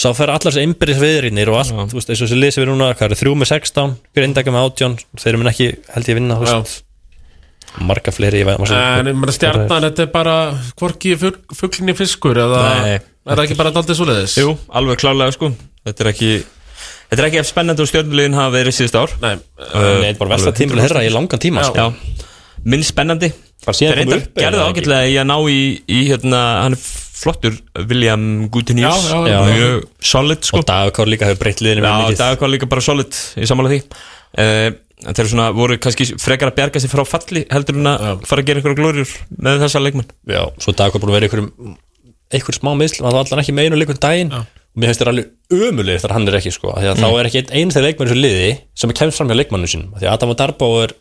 Speaker 4: svo fer allar þessi einbyrðis viðrinnir og allt, þú veist, eins og þessi lið sem við núna hvað er þrjú með 16, grindakja með átjón þeir eru mun ekki, held ég, vinna þú veist, marga fleiri, ég veit maður svo-
Speaker 1: En ég meina, stjarnan, þetta er bara hvorki fugglinni fiskur eða
Speaker 2: Nei.
Speaker 1: er það ekki bara daldið svoleiðis?
Speaker 2: Jú, alveg klálega sko Þetta er ekki Þetta er ekki eftir spennandi og stjórnulegin hafa verið síðust ár
Speaker 1: Nei,
Speaker 4: Nei, þetta er bara versta tímul herra í langan
Speaker 1: Já.
Speaker 4: tíma sko.
Speaker 2: Já, minn spennandi
Speaker 4: Bara síðan
Speaker 2: Þeir
Speaker 4: komu
Speaker 2: reyndar
Speaker 4: upp, eða
Speaker 2: gerðu það
Speaker 4: ekki?
Speaker 2: ágætlega í að ná í, í hérna, hann er flottur William Gutineers
Speaker 1: Já, já, já.
Speaker 2: Mjög solid sko
Speaker 4: og dagakár líka hefur breytt liðinu mjög
Speaker 2: Já,
Speaker 4: mikið
Speaker 2: Dagakvar líka bara solid í sammála því uh, Þeir eru svona, voru kannski frekar að bjarga sér frá falli heldur en að fara að gera einhverja glóriur með þessa leikmann
Speaker 4: Já, svo dagakár búin að vera einhverjum einhver smá misl, maður var allan ekki með einu leikun daginn og mér finnst þér alveg ömulegir þar hann er ekki sko, af því að þá er ekki einn einn þegar leikmann í þessu liði sem kemst fram hjá leikmannu sín því að Adam og Darbo er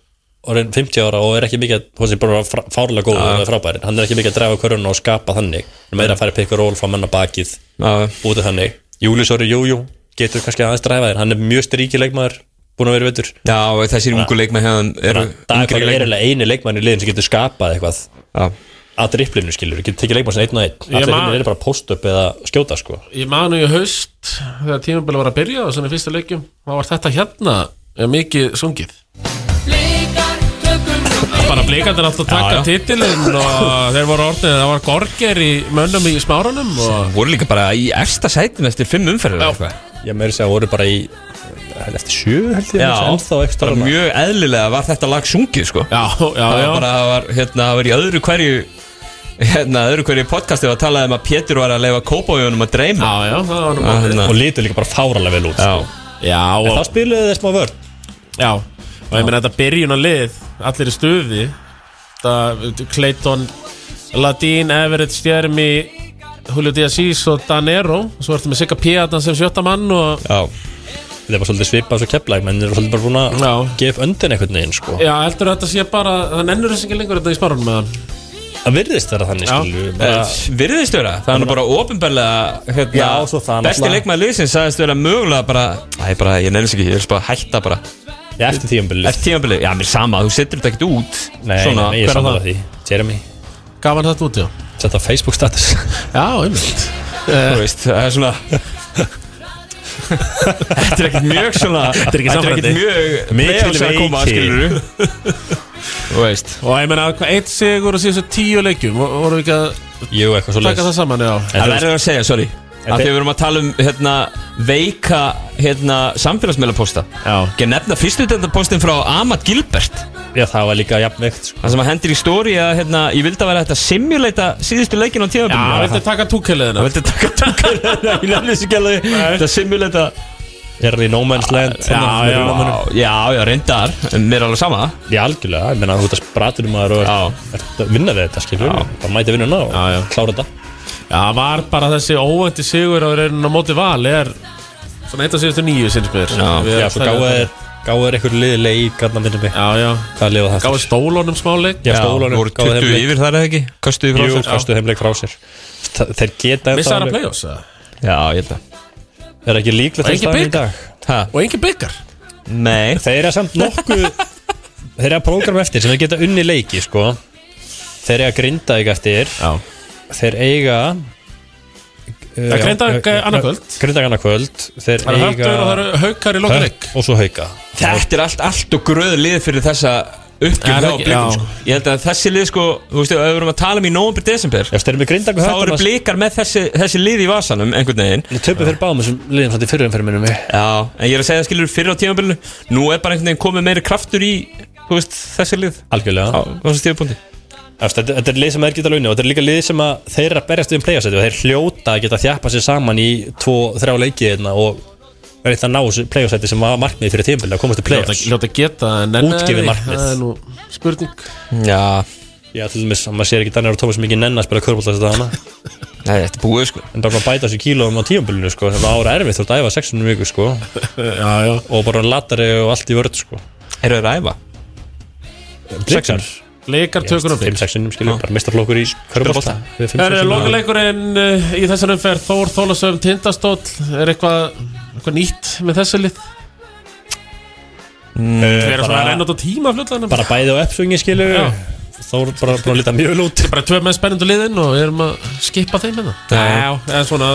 Speaker 4: orðin 50 ára og er ekki mikið, að- hún sem bara frá- fárlega góð og frábærin, hann er ekki mikið að draga körun og skapa þannig, hann er að fara að pikka ról frá manna bakið,
Speaker 2: Já,
Speaker 4: út af þannig Július Orri Jújú, getur kannski aðeins dræfa þér, hann er mjög ríki leikmaður búin að vera vettur
Speaker 2: já og þessir ungu leikmann hefðan eru
Speaker 4: Dagakvar er eiginlega eini leikmann í liðin sem getur skapað eitthvað
Speaker 2: Já.
Speaker 4: að dripplinu skilur, getur tekið leikmann sem einn og einn allir
Speaker 1: man-
Speaker 4: hinn eru bara post-up eða skjóta sko
Speaker 1: Ég manu í haust þegar tímabili var að byrja og svona í fyrsta leikjum þá var þetta hérna eh, mikið sungið
Speaker 7: Blikar
Speaker 1: bara blikandir átt að taka
Speaker 2: já.
Speaker 1: titilinn og þeir voru orðnið, það var gorger í mönnum í smáranum og
Speaker 2: voru líka bara í efsta sætum eftir fimm umferðir eða eitthvað.
Speaker 4: Ég meiri segja að voru bara í eh, Eftir sjö held ég
Speaker 2: Já,
Speaker 4: ennþá ekki
Speaker 2: bara
Speaker 4: starfna
Speaker 2: mjög eðlilega var þetta lag sungið sko
Speaker 1: já, já,
Speaker 2: það
Speaker 1: já,
Speaker 2: var bara, það var, hérna, það var í öðru hverju hérna, öðru hverju podcasti var talað um að Pétur var að leifa kópájónum að dreyma
Speaker 1: já, já, það var nú
Speaker 2: Já,
Speaker 1: bara
Speaker 2: hérna.
Speaker 4: Og lítur líka bara fáralega vel út sko.
Speaker 2: Já,
Speaker 1: já,
Speaker 4: En
Speaker 1: og,
Speaker 4: það spiluðu þeir smá vörn
Speaker 1: já, og ég meina þetta byrjun að lið, allir í stuði þetta Clayton Ladín, Everett, Stjermi Julio Díazís og Danero svo ertu með Sigga Píatan sem sjötta mann og
Speaker 2: já,
Speaker 4: Þetta er bara svolítið svipað svo keplæk Menn eru svolítið bara búin
Speaker 1: Já.
Speaker 4: að gefa upp öndin einhvern veginn sko
Speaker 1: já, heldur þetta sé bara, það nennur þess ekki lengur þetta í smáranum með hann
Speaker 4: Það virðist vera þannig
Speaker 1: Já.
Speaker 4: skilju
Speaker 2: Eh, virðist vera það er nú bara ofinbarlega hérna,
Speaker 4: Já, svo það
Speaker 2: besti
Speaker 4: náttúrulega.
Speaker 2: leikmaður liðsins sagðist vera mögulega bara Æ, bara, ég nefnist ekki, ég vil bara hætta bara
Speaker 4: Já, eftir tíumbili
Speaker 2: eftir tímabilið, já, mér er sama, þú setur þetta ekkert út
Speaker 4: Nei,
Speaker 2: svona,
Speaker 4: nei, ég
Speaker 1: hver var
Speaker 4: sammála
Speaker 1: það?
Speaker 4: því Jeremy,
Speaker 1: gaf hann þetta út, já
Speaker 4: sett á Facebook status
Speaker 1: já, einmitt
Speaker 2: þú veist, það er svona Þetta er ekkert mjög svona Þetta
Speaker 1: er ekki samfærandi.
Speaker 2: mjög
Speaker 4: Mikil
Speaker 2: Playoffs að koma,
Speaker 4: veiki.
Speaker 2: skilurðu. Þú veist
Speaker 1: Og ég meina, hvað eitt sigur og síðan tíu leikjum Vo- Vorum við ekki að
Speaker 4: Jú, eitthvað svo
Speaker 1: taka það saman, já
Speaker 4: En
Speaker 2: Það
Speaker 4: þú
Speaker 2: verður að segja, sorry
Speaker 4: En
Speaker 2: Af því
Speaker 4: þeir-
Speaker 2: við erum að tala um hérna, veika hérna, samfélagsmiðlapósta
Speaker 1: Já.
Speaker 2: Ekki að nefna fyrstu postin frá Amat Gilbert
Speaker 4: Já, það var líka jafnveikt sko.
Speaker 2: Það sem að hendir í stóri að hérna, ég vildi að vera þetta simulata síðustu leikin á
Speaker 1: Já,
Speaker 2: tíðabili
Speaker 1: það vildi taka túkeliðina
Speaker 2: vildi taka hérna takkar Ég nefnir þessu gæla Þetta simulata
Speaker 4: Er það í No Man's Land
Speaker 1: Já,
Speaker 4: þarna,
Speaker 1: já.
Speaker 4: með rúnamönnum?
Speaker 2: Já, já, reyndar En Mér er alveg sama
Speaker 4: Já, algjörlega, ég meina þú ert að spratur um aður og ert- ert að vinna við þetta, skilur við, bara mæti vinnuna og
Speaker 1: Já, já.
Speaker 4: klára þetta
Speaker 1: Já, það var bara þessi óvænti sigur á reyninu á móti val er svona eitt af síðustu nýju sinns mér
Speaker 2: Já,
Speaker 1: Við
Speaker 4: Já, sko,
Speaker 1: erum
Speaker 4: svo
Speaker 1: að
Speaker 4: gáðu
Speaker 1: telja
Speaker 4: þér, gáðu þér einhver liði leik, hann að minna mig,
Speaker 1: þetta. Já, já
Speaker 4: hvað liða það
Speaker 1: Gáði
Speaker 4: eftir?
Speaker 1: stólunum smáleik
Speaker 4: Já, stólunum,
Speaker 2: Voru
Speaker 4: gáðu
Speaker 2: 20
Speaker 4: þeim leik,
Speaker 2: yfir þar eða ekki? Kastuði frá
Speaker 4: jú,
Speaker 2: sér
Speaker 4: kastu þeim leik frá sér Þa- Þeir
Speaker 1: Missa
Speaker 4: geta ennþá
Speaker 1: þar að
Speaker 4: alveg-
Speaker 1: play-offs eða?
Speaker 2: Já, ég held að
Speaker 4: Er ekki líklegt
Speaker 1: Og
Speaker 4: til
Speaker 1: engin
Speaker 4: staðan í
Speaker 1: bikar?
Speaker 4: dag
Speaker 2: Ha?
Speaker 1: Og engin byggar
Speaker 2: sko. Nei
Speaker 4: Þeir eru samt nokkuð Þeir eru að prógram eftir sem þeir geta unni leiki, sko Þeir eru að grinda ekki eftir
Speaker 1: Já
Speaker 4: Þeir eiga Það
Speaker 1: er Grindavík, eh, annað kvöld.
Speaker 4: Grindag annarkvöld Þeir
Speaker 1: Það eru höftur og það
Speaker 4: eiga
Speaker 1: eru haukar í lókuleik
Speaker 4: Hött og svo hauka
Speaker 2: Þetta er allt, allt og gröð lið fyrir þessa
Speaker 1: Já,
Speaker 2: uppgjörð á
Speaker 1: ekki-
Speaker 2: blikum
Speaker 1: já.
Speaker 2: sko. Ég held að þessi lið sko, þú veist, ef við erum að tala um í november, desember
Speaker 4: Ef þeir eru með grindag og
Speaker 2: Þá
Speaker 4: hött
Speaker 2: eru blikar með þessi, þessi lið í vasanum einhvern veginn
Speaker 4: Ég töpu fyrir báðum þessum liðum samt í fyrir umferð minnum mig
Speaker 2: Já, en ég er að segja skilur fyrir á tímabilinu Nú er bara einhvern veginn komið meiri kraftur í, þú veist, þessi lið Á
Speaker 4: Algjörlega
Speaker 2: þessu tíðapunkti
Speaker 4: Eftir, Þetta þetta er lið sem þeir geta launni og þetta er líka lið sem að þeir eru að berjast um playoffsæti og þeir hljóta að geta þjappa sér saman í tvo, þrjá leiki hérna og verið þetta að ná þessu playoffsæti sem var markmið fyrir tímbil að komast í
Speaker 1: Ljóta,
Speaker 4: playoffs
Speaker 1: ljóta geta en nenna þeir
Speaker 4: Útgefið
Speaker 1: því?
Speaker 4: markmið.
Speaker 1: Það er nú spurning
Speaker 2: Já,
Speaker 4: Já, til dæmis, að maður sér ekki Daniel og Thomas mikið nenn að spila körbólta þetta hana
Speaker 2: nei, þetta er búið sko
Speaker 4: en bara að bæta þessu kílóum á tímbilinu sko sem ára erfið þú ert að æfa 600 viku sko
Speaker 1: Já, já
Speaker 4: og bara latari og allt í vörð sko
Speaker 2: Eru þeir að æfa?
Speaker 4: Blikar,
Speaker 1: Leikar tökunum bygg
Speaker 4: 5-6 innum skilur, bara mista flokkur í körbólta
Speaker 1: Það er lokaleikurinn uh, í þessar umferð Þór Þólasöfn Tindastóll Er eitthvað, eitthvað nýtt með þessu lið?
Speaker 2: Eh,
Speaker 1: Við erum svona að renna út á tíma flutlanum
Speaker 4: bara bæði á uppsvingi skilur
Speaker 1: Já.
Speaker 4: þá er bara búin að lita mjög vel út
Speaker 1: Bara tvö menn spennendu liðin og við erum að skipa þeim hérna. með það Já, eða svona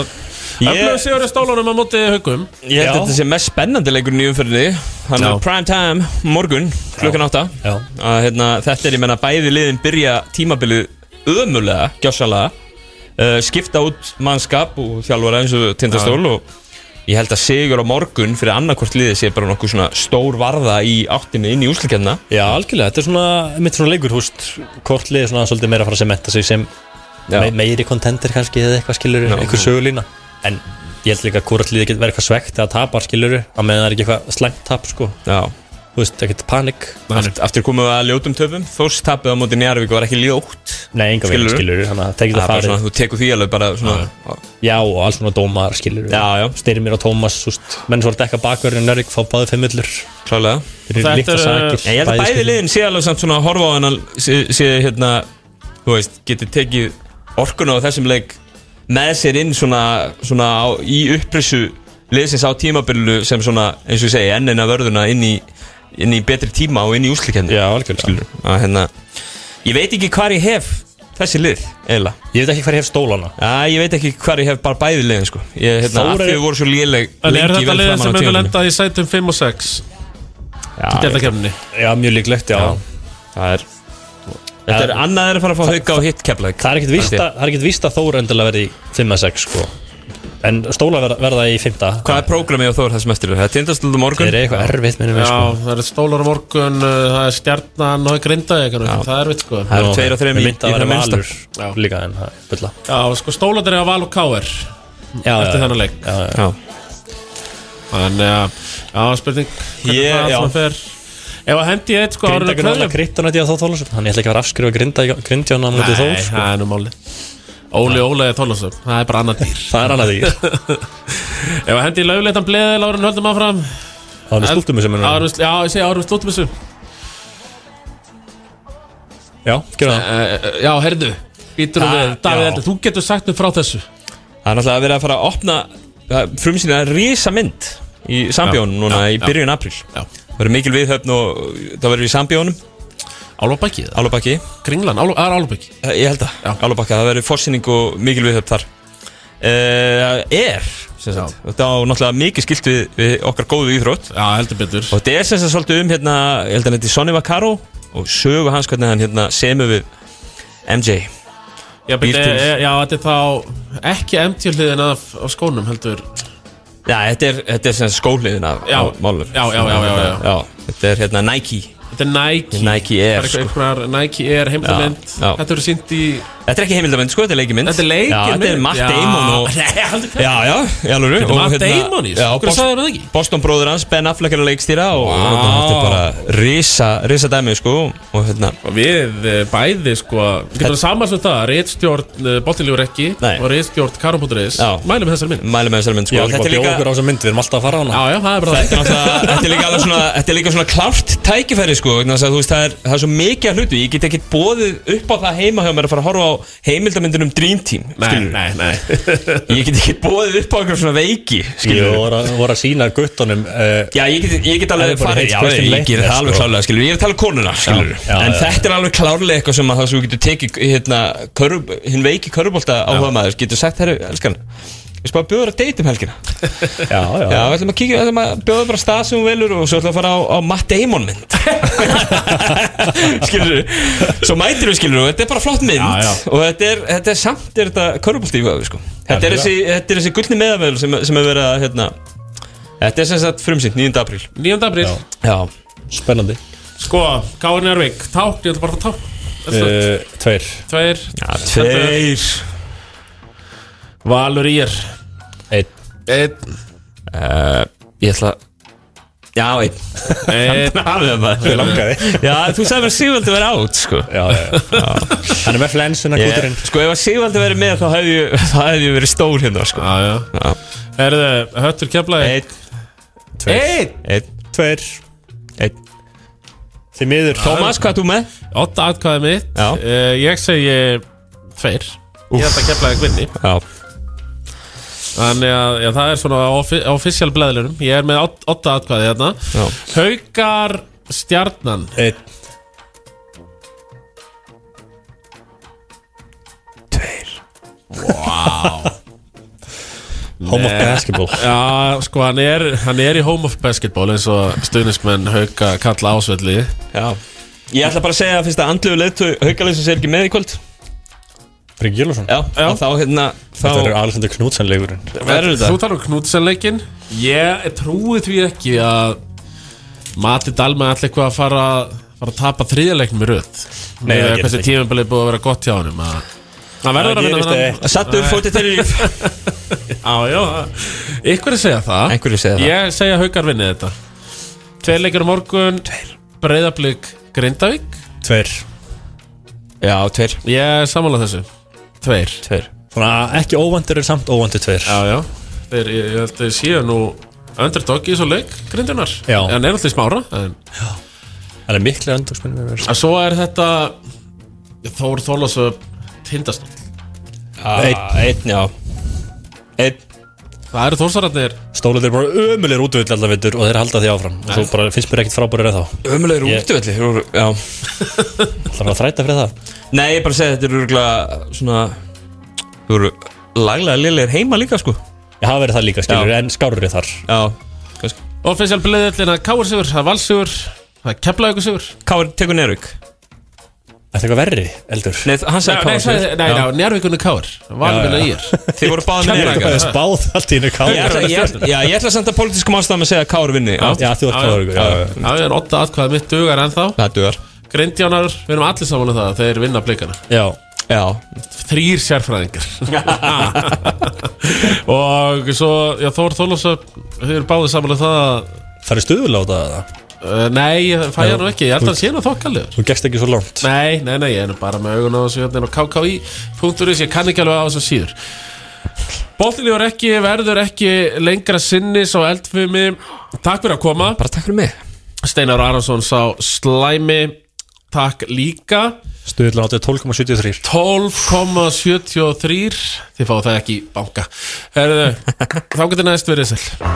Speaker 1: Öflöðu sigur í stólunum að móti haugum
Speaker 2: Ég held
Speaker 4: Já.
Speaker 2: að þetta sé mest spennandi leikurinn í umferðinni Hann
Speaker 1: Já.
Speaker 2: er prime time, morgun, klukkan átta
Speaker 4: já,
Speaker 2: að hérna, þetta er, ég menna, bæði liðin byrja tímabilið ömulega, gjássalega uh, skipta út mannskap og þjálfara eins og tindastól og ég held að sigur á morgun fyrir annarkvort liðið sé bara nokkuð svona stór varða í áttinni inn í úslikjarna
Speaker 4: já, algjörlega, þetta er svona mitt svona leikur, húst, hvort liði svona svolítið meira að fara að sementa sig sem me meiri kontender kannski eða eitthvað skilur
Speaker 2: Já.
Speaker 4: einhver sögulína, en ég held líka að hvort liði getur verið eitthvað svegt eða tapar skilur að meðan það er ekki eitthvað slæmt tap sko
Speaker 2: Já.
Speaker 4: þú veist, ekkert panik
Speaker 2: Aft, aftur komum við að ljótum töfum Þórs tapið á móti Njarvík var ekki ljótt
Speaker 4: nei, enga veginn
Speaker 2: Skilurðu?
Speaker 4: skilur, þannig að það
Speaker 2: Það er
Speaker 4: geta
Speaker 2: bara
Speaker 4: farið
Speaker 2: svona, þú tekur því alveg bara svona
Speaker 4: já, og alls svona dómar skilur
Speaker 2: Já, já,
Speaker 4: styrmir og Tómas, þú veist, menn svo er dekka bakverðin Nörg, fá báði fimmillur
Speaker 2: klálega
Speaker 4: þeir eru
Speaker 1: Þetta
Speaker 4: líkta
Speaker 1: er,
Speaker 4: sakir
Speaker 2: En ég held að bæði liðin sé alveg samt svona að horfa á hennan sé, sé hérna, þú veist, geti tekið orkuna á þessum leik með sér inn svona, svona á, í upprissu liðsins á tímabilinu sem svona, eins og ég segi, ennina vörðuna inn í, inn í betri tíma og inn í úslikenni
Speaker 4: já, algjörlega
Speaker 2: að hérna ég veit ekki hvar ég hef þessi lið, eiginlega
Speaker 4: Ég veit ekki hver hef stólana
Speaker 2: Já, ég veit ekki hvar ég hef bara bæði liðin sko ég, hérna,
Speaker 4: Þórar-
Speaker 2: af því við voru svo léleg
Speaker 1: En er
Speaker 2: lengi
Speaker 1: þetta
Speaker 2: vel
Speaker 1: liðin
Speaker 2: framan á
Speaker 1: sem hefur
Speaker 2: tímabilinu.
Speaker 1: lendað í sætum 5 og 6
Speaker 2: Já,
Speaker 1: Deltakefninni
Speaker 4: Já, mjög líklegt, já,
Speaker 2: það er Þetta er annað er að fara að fá hauka og hitt keflæk
Speaker 4: Það er ekkert víst að- það er ekkert víst að Þór endilega verði í 5-6 sko En stóla verða, verða í 5
Speaker 2: Hvað er prógramið á Þór það sem eftir er? Það er tindastöld morgun
Speaker 4: Þeir eru eitthvað erfitt minnum við
Speaker 1: Já,
Speaker 4: sko
Speaker 1: það er stólar á morgun, uh, það er stjarnan og grindaði, það er vitt sko
Speaker 2: Það eru
Speaker 4: Nú,
Speaker 2: tveir og þreim í,
Speaker 4: mig
Speaker 2: í
Speaker 4: minnti að
Speaker 2: það
Speaker 4: vera
Speaker 2: minnsta
Speaker 4: valur líka en það er bulla
Speaker 1: Já, sko stólandir er á val og káir
Speaker 4: Já,
Speaker 1: eftir þennan leik
Speaker 2: Já.
Speaker 1: Þannig að, já, spurning hvernig
Speaker 2: Ég-
Speaker 1: það
Speaker 2: já.
Speaker 1: svona fer Ef að hendi ég eitt sko árið
Speaker 4: Grinda
Speaker 1: að
Speaker 4: grunna
Speaker 1: kveðjum
Speaker 4: krypton eftir að þá þóla Þannig ég ætla ekki að vera að afskrifa grinda, grindjón á mútið þó
Speaker 1: Nei, það er sko. nú máli Óli Óli er Þólasöf, það er bara annað dýr
Speaker 4: Það er annað því
Speaker 1: Ef að hendi í löguleitan bleðið, Lárun, höldum áfram
Speaker 4: Það er með stúltum sem er
Speaker 1: Árum, Já, ég segi árum slúttum þessu
Speaker 4: Já, gera það
Speaker 1: Eh, Já, herðu, býtur
Speaker 2: Ah,
Speaker 1: við Davíð
Speaker 2: já.
Speaker 1: Eldur, þú getur sagt mér frá þessu
Speaker 2: Það er náttúrulega að vera að fara að opna frumsýna rísa mynd í sambjónum núna
Speaker 1: Já,
Speaker 2: í
Speaker 1: já.
Speaker 2: byrjun april
Speaker 1: Já.
Speaker 2: Það verður mikil viðhöfn og það verður í sambjónum
Speaker 1: Álfabæki, það
Speaker 2: Álubakki
Speaker 1: Kringlan, Ál- það er Álfabæki
Speaker 2: Eh, Ég held
Speaker 1: Já.
Speaker 2: að Álubakki, það verður fórsýning og mikil viðhöfn þar Eh, Það er sem sagt, Þetta á náttúrulega mikið skilt við, við okkar góðu íþrótt
Speaker 1: Já, heldur betur
Speaker 2: Og þetta er sem sagt svolítið um hérna, ég held að hann heiti Sonny Vaccaro og sögu hans hvernig hann hérna semur við MJ
Speaker 1: Já, byrja,
Speaker 2: Bíltúr.
Speaker 1: e, já, þetta er þá ekki MT hliðin af, af skónum heldur
Speaker 2: Já, þetta er, þetta er sem sagt skóliðin af
Speaker 1: Já.
Speaker 2: af málum
Speaker 1: Já, já, já, já, já.
Speaker 2: Þetta er hérna Nike
Speaker 1: Þetta er Nike
Speaker 2: Nike Air, sko.
Speaker 1: Það er eitthvað einhverjar Nike Air heimdamind
Speaker 2: Já, já.
Speaker 1: Þetta verður sýnt í
Speaker 2: Þetta er ekki heimildamind, sko, þetta er leikimynd
Speaker 1: Þetta er leikimynd.
Speaker 2: Já, þetta er Matt
Speaker 1: Já.
Speaker 2: Damon og
Speaker 1: Nei, heldur hvað?
Speaker 2: Já, já, í alvöru
Speaker 1: Þetta er
Speaker 2: Og hérna-
Speaker 1: Matt Damon í þessu.
Speaker 2: Já,
Speaker 1: Af hverju
Speaker 2: Bos-
Speaker 1: sagðirðu það ekki?
Speaker 2: Boston bróður hans, Ben Affleck er að leikstýra og
Speaker 1: Vá.
Speaker 2: hérna, þetta er bara risa, risa dæmi, sko og hérna,
Speaker 1: Við eh, bæði sko Við getum samans um það Ritstjórn Bottilíur ekki
Speaker 2: Nei.
Speaker 1: Og ritstjórn Karum.is
Speaker 2: Já.
Speaker 1: Mælum við þessar minn
Speaker 2: mælum með þessari mynd,
Speaker 4: Ég
Speaker 2: sko
Speaker 4: er ekki bara að bjóða okkur á þessa mynd Við erum alltaf að fara á hana
Speaker 1: Já, já, það er bara
Speaker 2: Þetta er náttúrulega- þetta er líka alveg svona Þetta er líka svona klárt tækifæri sko vegna þess að, þú veist, það, er, það er svo mikið að hlutu Ég get ekki bóðið upp á það heima hjá mér að fara að horfa á heimildamyndunum Dream Team
Speaker 1: Nei,
Speaker 2: skilurðu.
Speaker 1: nei, nei
Speaker 2: Ég get ekki bóðið upp á einhver svona veiki
Speaker 4: Ég
Speaker 2: skilur.
Speaker 4: voru að, voru að sína guttunum uh,
Speaker 2: Já, ég get, ég get
Speaker 4: Það
Speaker 2: alveg
Speaker 4: er bara
Speaker 2: farið
Speaker 4: eitt
Speaker 2: Já, ég
Speaker 4: question later,
Speaker 2: ger það
Speaker 4: sko.
Speaker 2: alveg klálega skilur. Ég er að tala um konuna skilur.
Speaker 4: Já,
Speaker 2: En
Speaker 4: já,
Speaker 2: þetta er alveg klárlega eitthvað sem að það sem þú getur tekið hérna, körf, hinn veiki körubólta áhuga maður getur sagt, herru, elskan Við spáum bjóður að deytum helgina
Speaker 4: Já, já,
Speaker 2: Já, við ætlum að kíkja, við ætlum að bjóða bara stað sem hún velur og svo ætlum við að fara á, á Matt Damon mynd Skilur Svo mætir við skilur og þetta er bara flott mynd
Speaker 1: Já, já.
Speaker 2: og þetta er, þetta er samt er þetta körfubolti í vöðu sko Þetta er
Speaker 4: Algjörlega.
Speaker 2: þessi, þetta er þessi gullni meðavel sem, sem er verið að hérna Þetta er sem sagt frumsýnt 9. apríl
Speaker 1: 9. apríl
Speaker 4: Já.
Speaker 2: Já,
Speaker 4: Spennandi
Speaker 1: Sko, Kárin Járvík Tákn, ég ætla bara að tákn Þetta
Speaker 2: Eh,
Speaker 1: er
Speaker 4: uh, Tveir
Speaker 1: Tveir
Speaker 2: tveir
Speaker 1: Valur í er
Speaker 4: Einn
Speaker 1: Einn
Speaker 2: uh, Ég ætla að Já, einn Hérna.
Speaker 1: Einn
Speaker 2: Við
Speaker 4: langaði.
Speaker 2: Já, þú sagði mér Sigvaldi verið átt sko
Speaker 4: Já, já, já Hann er með flensuna
Speaker 2: Ég-
Speaker 4: gutturinn
Speaker 2: Sko ef að Sigvaldi verið með þá hefði ég, þá hefði ég verið stór hérna sko.
Speaker 1: Já, já
Speaker 2: Já.
Speaker 1: Herðu, höttur keflaði
Speaker 2: Einn,
Speaker 1: Einn
Speaker 2: einn,
Speaker 4: Tveir
Speaker 2: einn
Speaker 4: Þið miður
Speaker 2: Tómas, hvað er þú með?
Speaker 1: Ótta atkvæði mitt
Speaker 2: Já.
Speaker 1: Eh, Ég segi Tveir Ég ætla að keflaði kvinni
Speaker 2: Já,
Speaker 1: Þannig að já, það er svona á offi- á official bleðlunum Ég er með átt- átta atkvæði hérna
Speaker 2: Já.
Speaker 1: Haukar stjarnan
Speaker 4: Einn Tveir Wow Home of basketball
Speaker 1: Já, sko, hann er, hann er í home of basketball eins og stuðnismenn hauka kalla ásvelli
Speaker 2: já Ég ætla bara að segja að fyrst að andluðu leitu haukalið sem sé ekki með í kvöld
Speaker 4: Brygg Júlusson
Speaker 2: Já, já. þá hérna þá
Speaker 4: Þetta er Alexander Knudsen leikurinn
Speaker 2: verður
Speaker 1: Þú
Speaker 2: þetta
Speaker 1: talar um Knudsenleikin Ég trúi því ekki að Mati Dalma ætla eitthvað að fara fara að tapa þriðaleiknum í röð
Speaker 4: Nei, það
Speaker 1: það
Speaker 4: gerir
Speaker 1: Hversu
Speaker 4: það ekki.
Speaker 1: tímabilið búið að vera gott hjá honum að- Það verður að
Speaker 4: Það
Speaker 1: vinna
Speaker 4: gerist
Speaker 1: þennan-
Speaker 4: ekki.
Speaker 2: Sattur fótið til líf
Speaker 1: Á, já, ykkur er að segja það
Speaker 2: Einhverju segja það
Speaker 1: Ég segja haukar vinni þetta Tveir leikir á morgun Tveir Breiðablík Grindavík
Speaker 4: Tveir
Speaker 2: Já, tveir
Speaker 1: Ég samála þessu Tveir
Speaker 2: Tveir
Speaker 4: Svona ekki óvandur er samt óvandur tveir
Speaker 1: Já, já Þeir, ég, ég held að þeir séu nú Underdog í svo leik Grindunar
Speaker 4: Já.
Speaker 1: En er alltaf í smára en,
Speaker 4: Hann er miklu öndagsmennir
Speaker 1: en svo er þetta Þór Þólasöf Tindastól
Speaker 2: Einn, Ah, einn, já Einn
Speaker 1: Það eru Þórsararnir
Speaker 4: Stólaðir eru bara ömulir útvill alltaf vittur og þeir halda því áfram og svo bara finnst mér ekkert frábærir eða þá
Speaker 2: Ömulegur
Speaker 4: Ég-
Speaker 2: útvelli þeir voru- Já
Speaker 4: Það var að þræta fyrir það
Speaker 2: Nei, ég er bara að segja þetta eru örgulega svona Þú eru laglega liðlegir heima líka sko
Speaker 4: Ég hafa verið það líka skilur
Speaker 2: Já.
Speaker 4: en skárri þar
Speaker 2: Já, kannski
Speaker 1: Offensjál bleðillina Káur Sigur Það er Valsigur Það er Keflavíkur Sigur
Speaker 2: Káur tekur Nervík
Speaker 4: þetta eitthvað verri, eldur
Speaker 2: Nei, hann
Speaker 1: Nei,
Speaker 2: sagði
Speaker 1: nei,
Speaker 2: hvað
Speaker 1: sagði- nei, nei, njárvíkunni káir Valvinna ír
Speaker 2: Þið voru báðið með
Speaker 4: Ég
Speaker 2: neyra
Speaker 4: er spáð allt í hennu
Speaker 2: Ég ætla,
Speaker 4: káður
Speaker 2: ég, ætla- já, ég ætla að senda pólitískum ástæðum að segja að Kár vinni Já,
Speaker 4: Já, þú ert káður ykkur
Speaker 1: Já, það er åtta atkvæða mitt dugar ennþá
Speaker 2: það dugar
Speaker 1: Grindjánar, við erum allir saman um það Þeir vinna blikana
Speaker 4: Já,
Speaker 2: Já,
Speaker 1: Þrýr sérfræðingar Og svo, já, Þór Þólafsöp Þeir eru báðið saman um það að,
Speaker 4: það er stuðulega á það
Speaker 1: uh, Nei, ég fæ hann nú ekki Ég held að hann sé nú þokkalegur
Speaker 4: Þú gegst ekki svo langt
Speaker 1: Nei, nei, nei, ég er nú bara með augun á þessu hérna á kki.is, ég kann ekki alveg á þessu síður Bóttilífur ekki, verður ekki lengra sinnis á eldfumi Takk fyrir að koma
Speaker 2: bara takk fyrir mig
Speaker 1: Steinar Aronsson sá slæmi Takk líka
Speaker 4: Stuðulega á þetta 12,73
Speaker 1: 12,73 Þið fáið það ekki í banka Herðu, þá getur næst verið sæl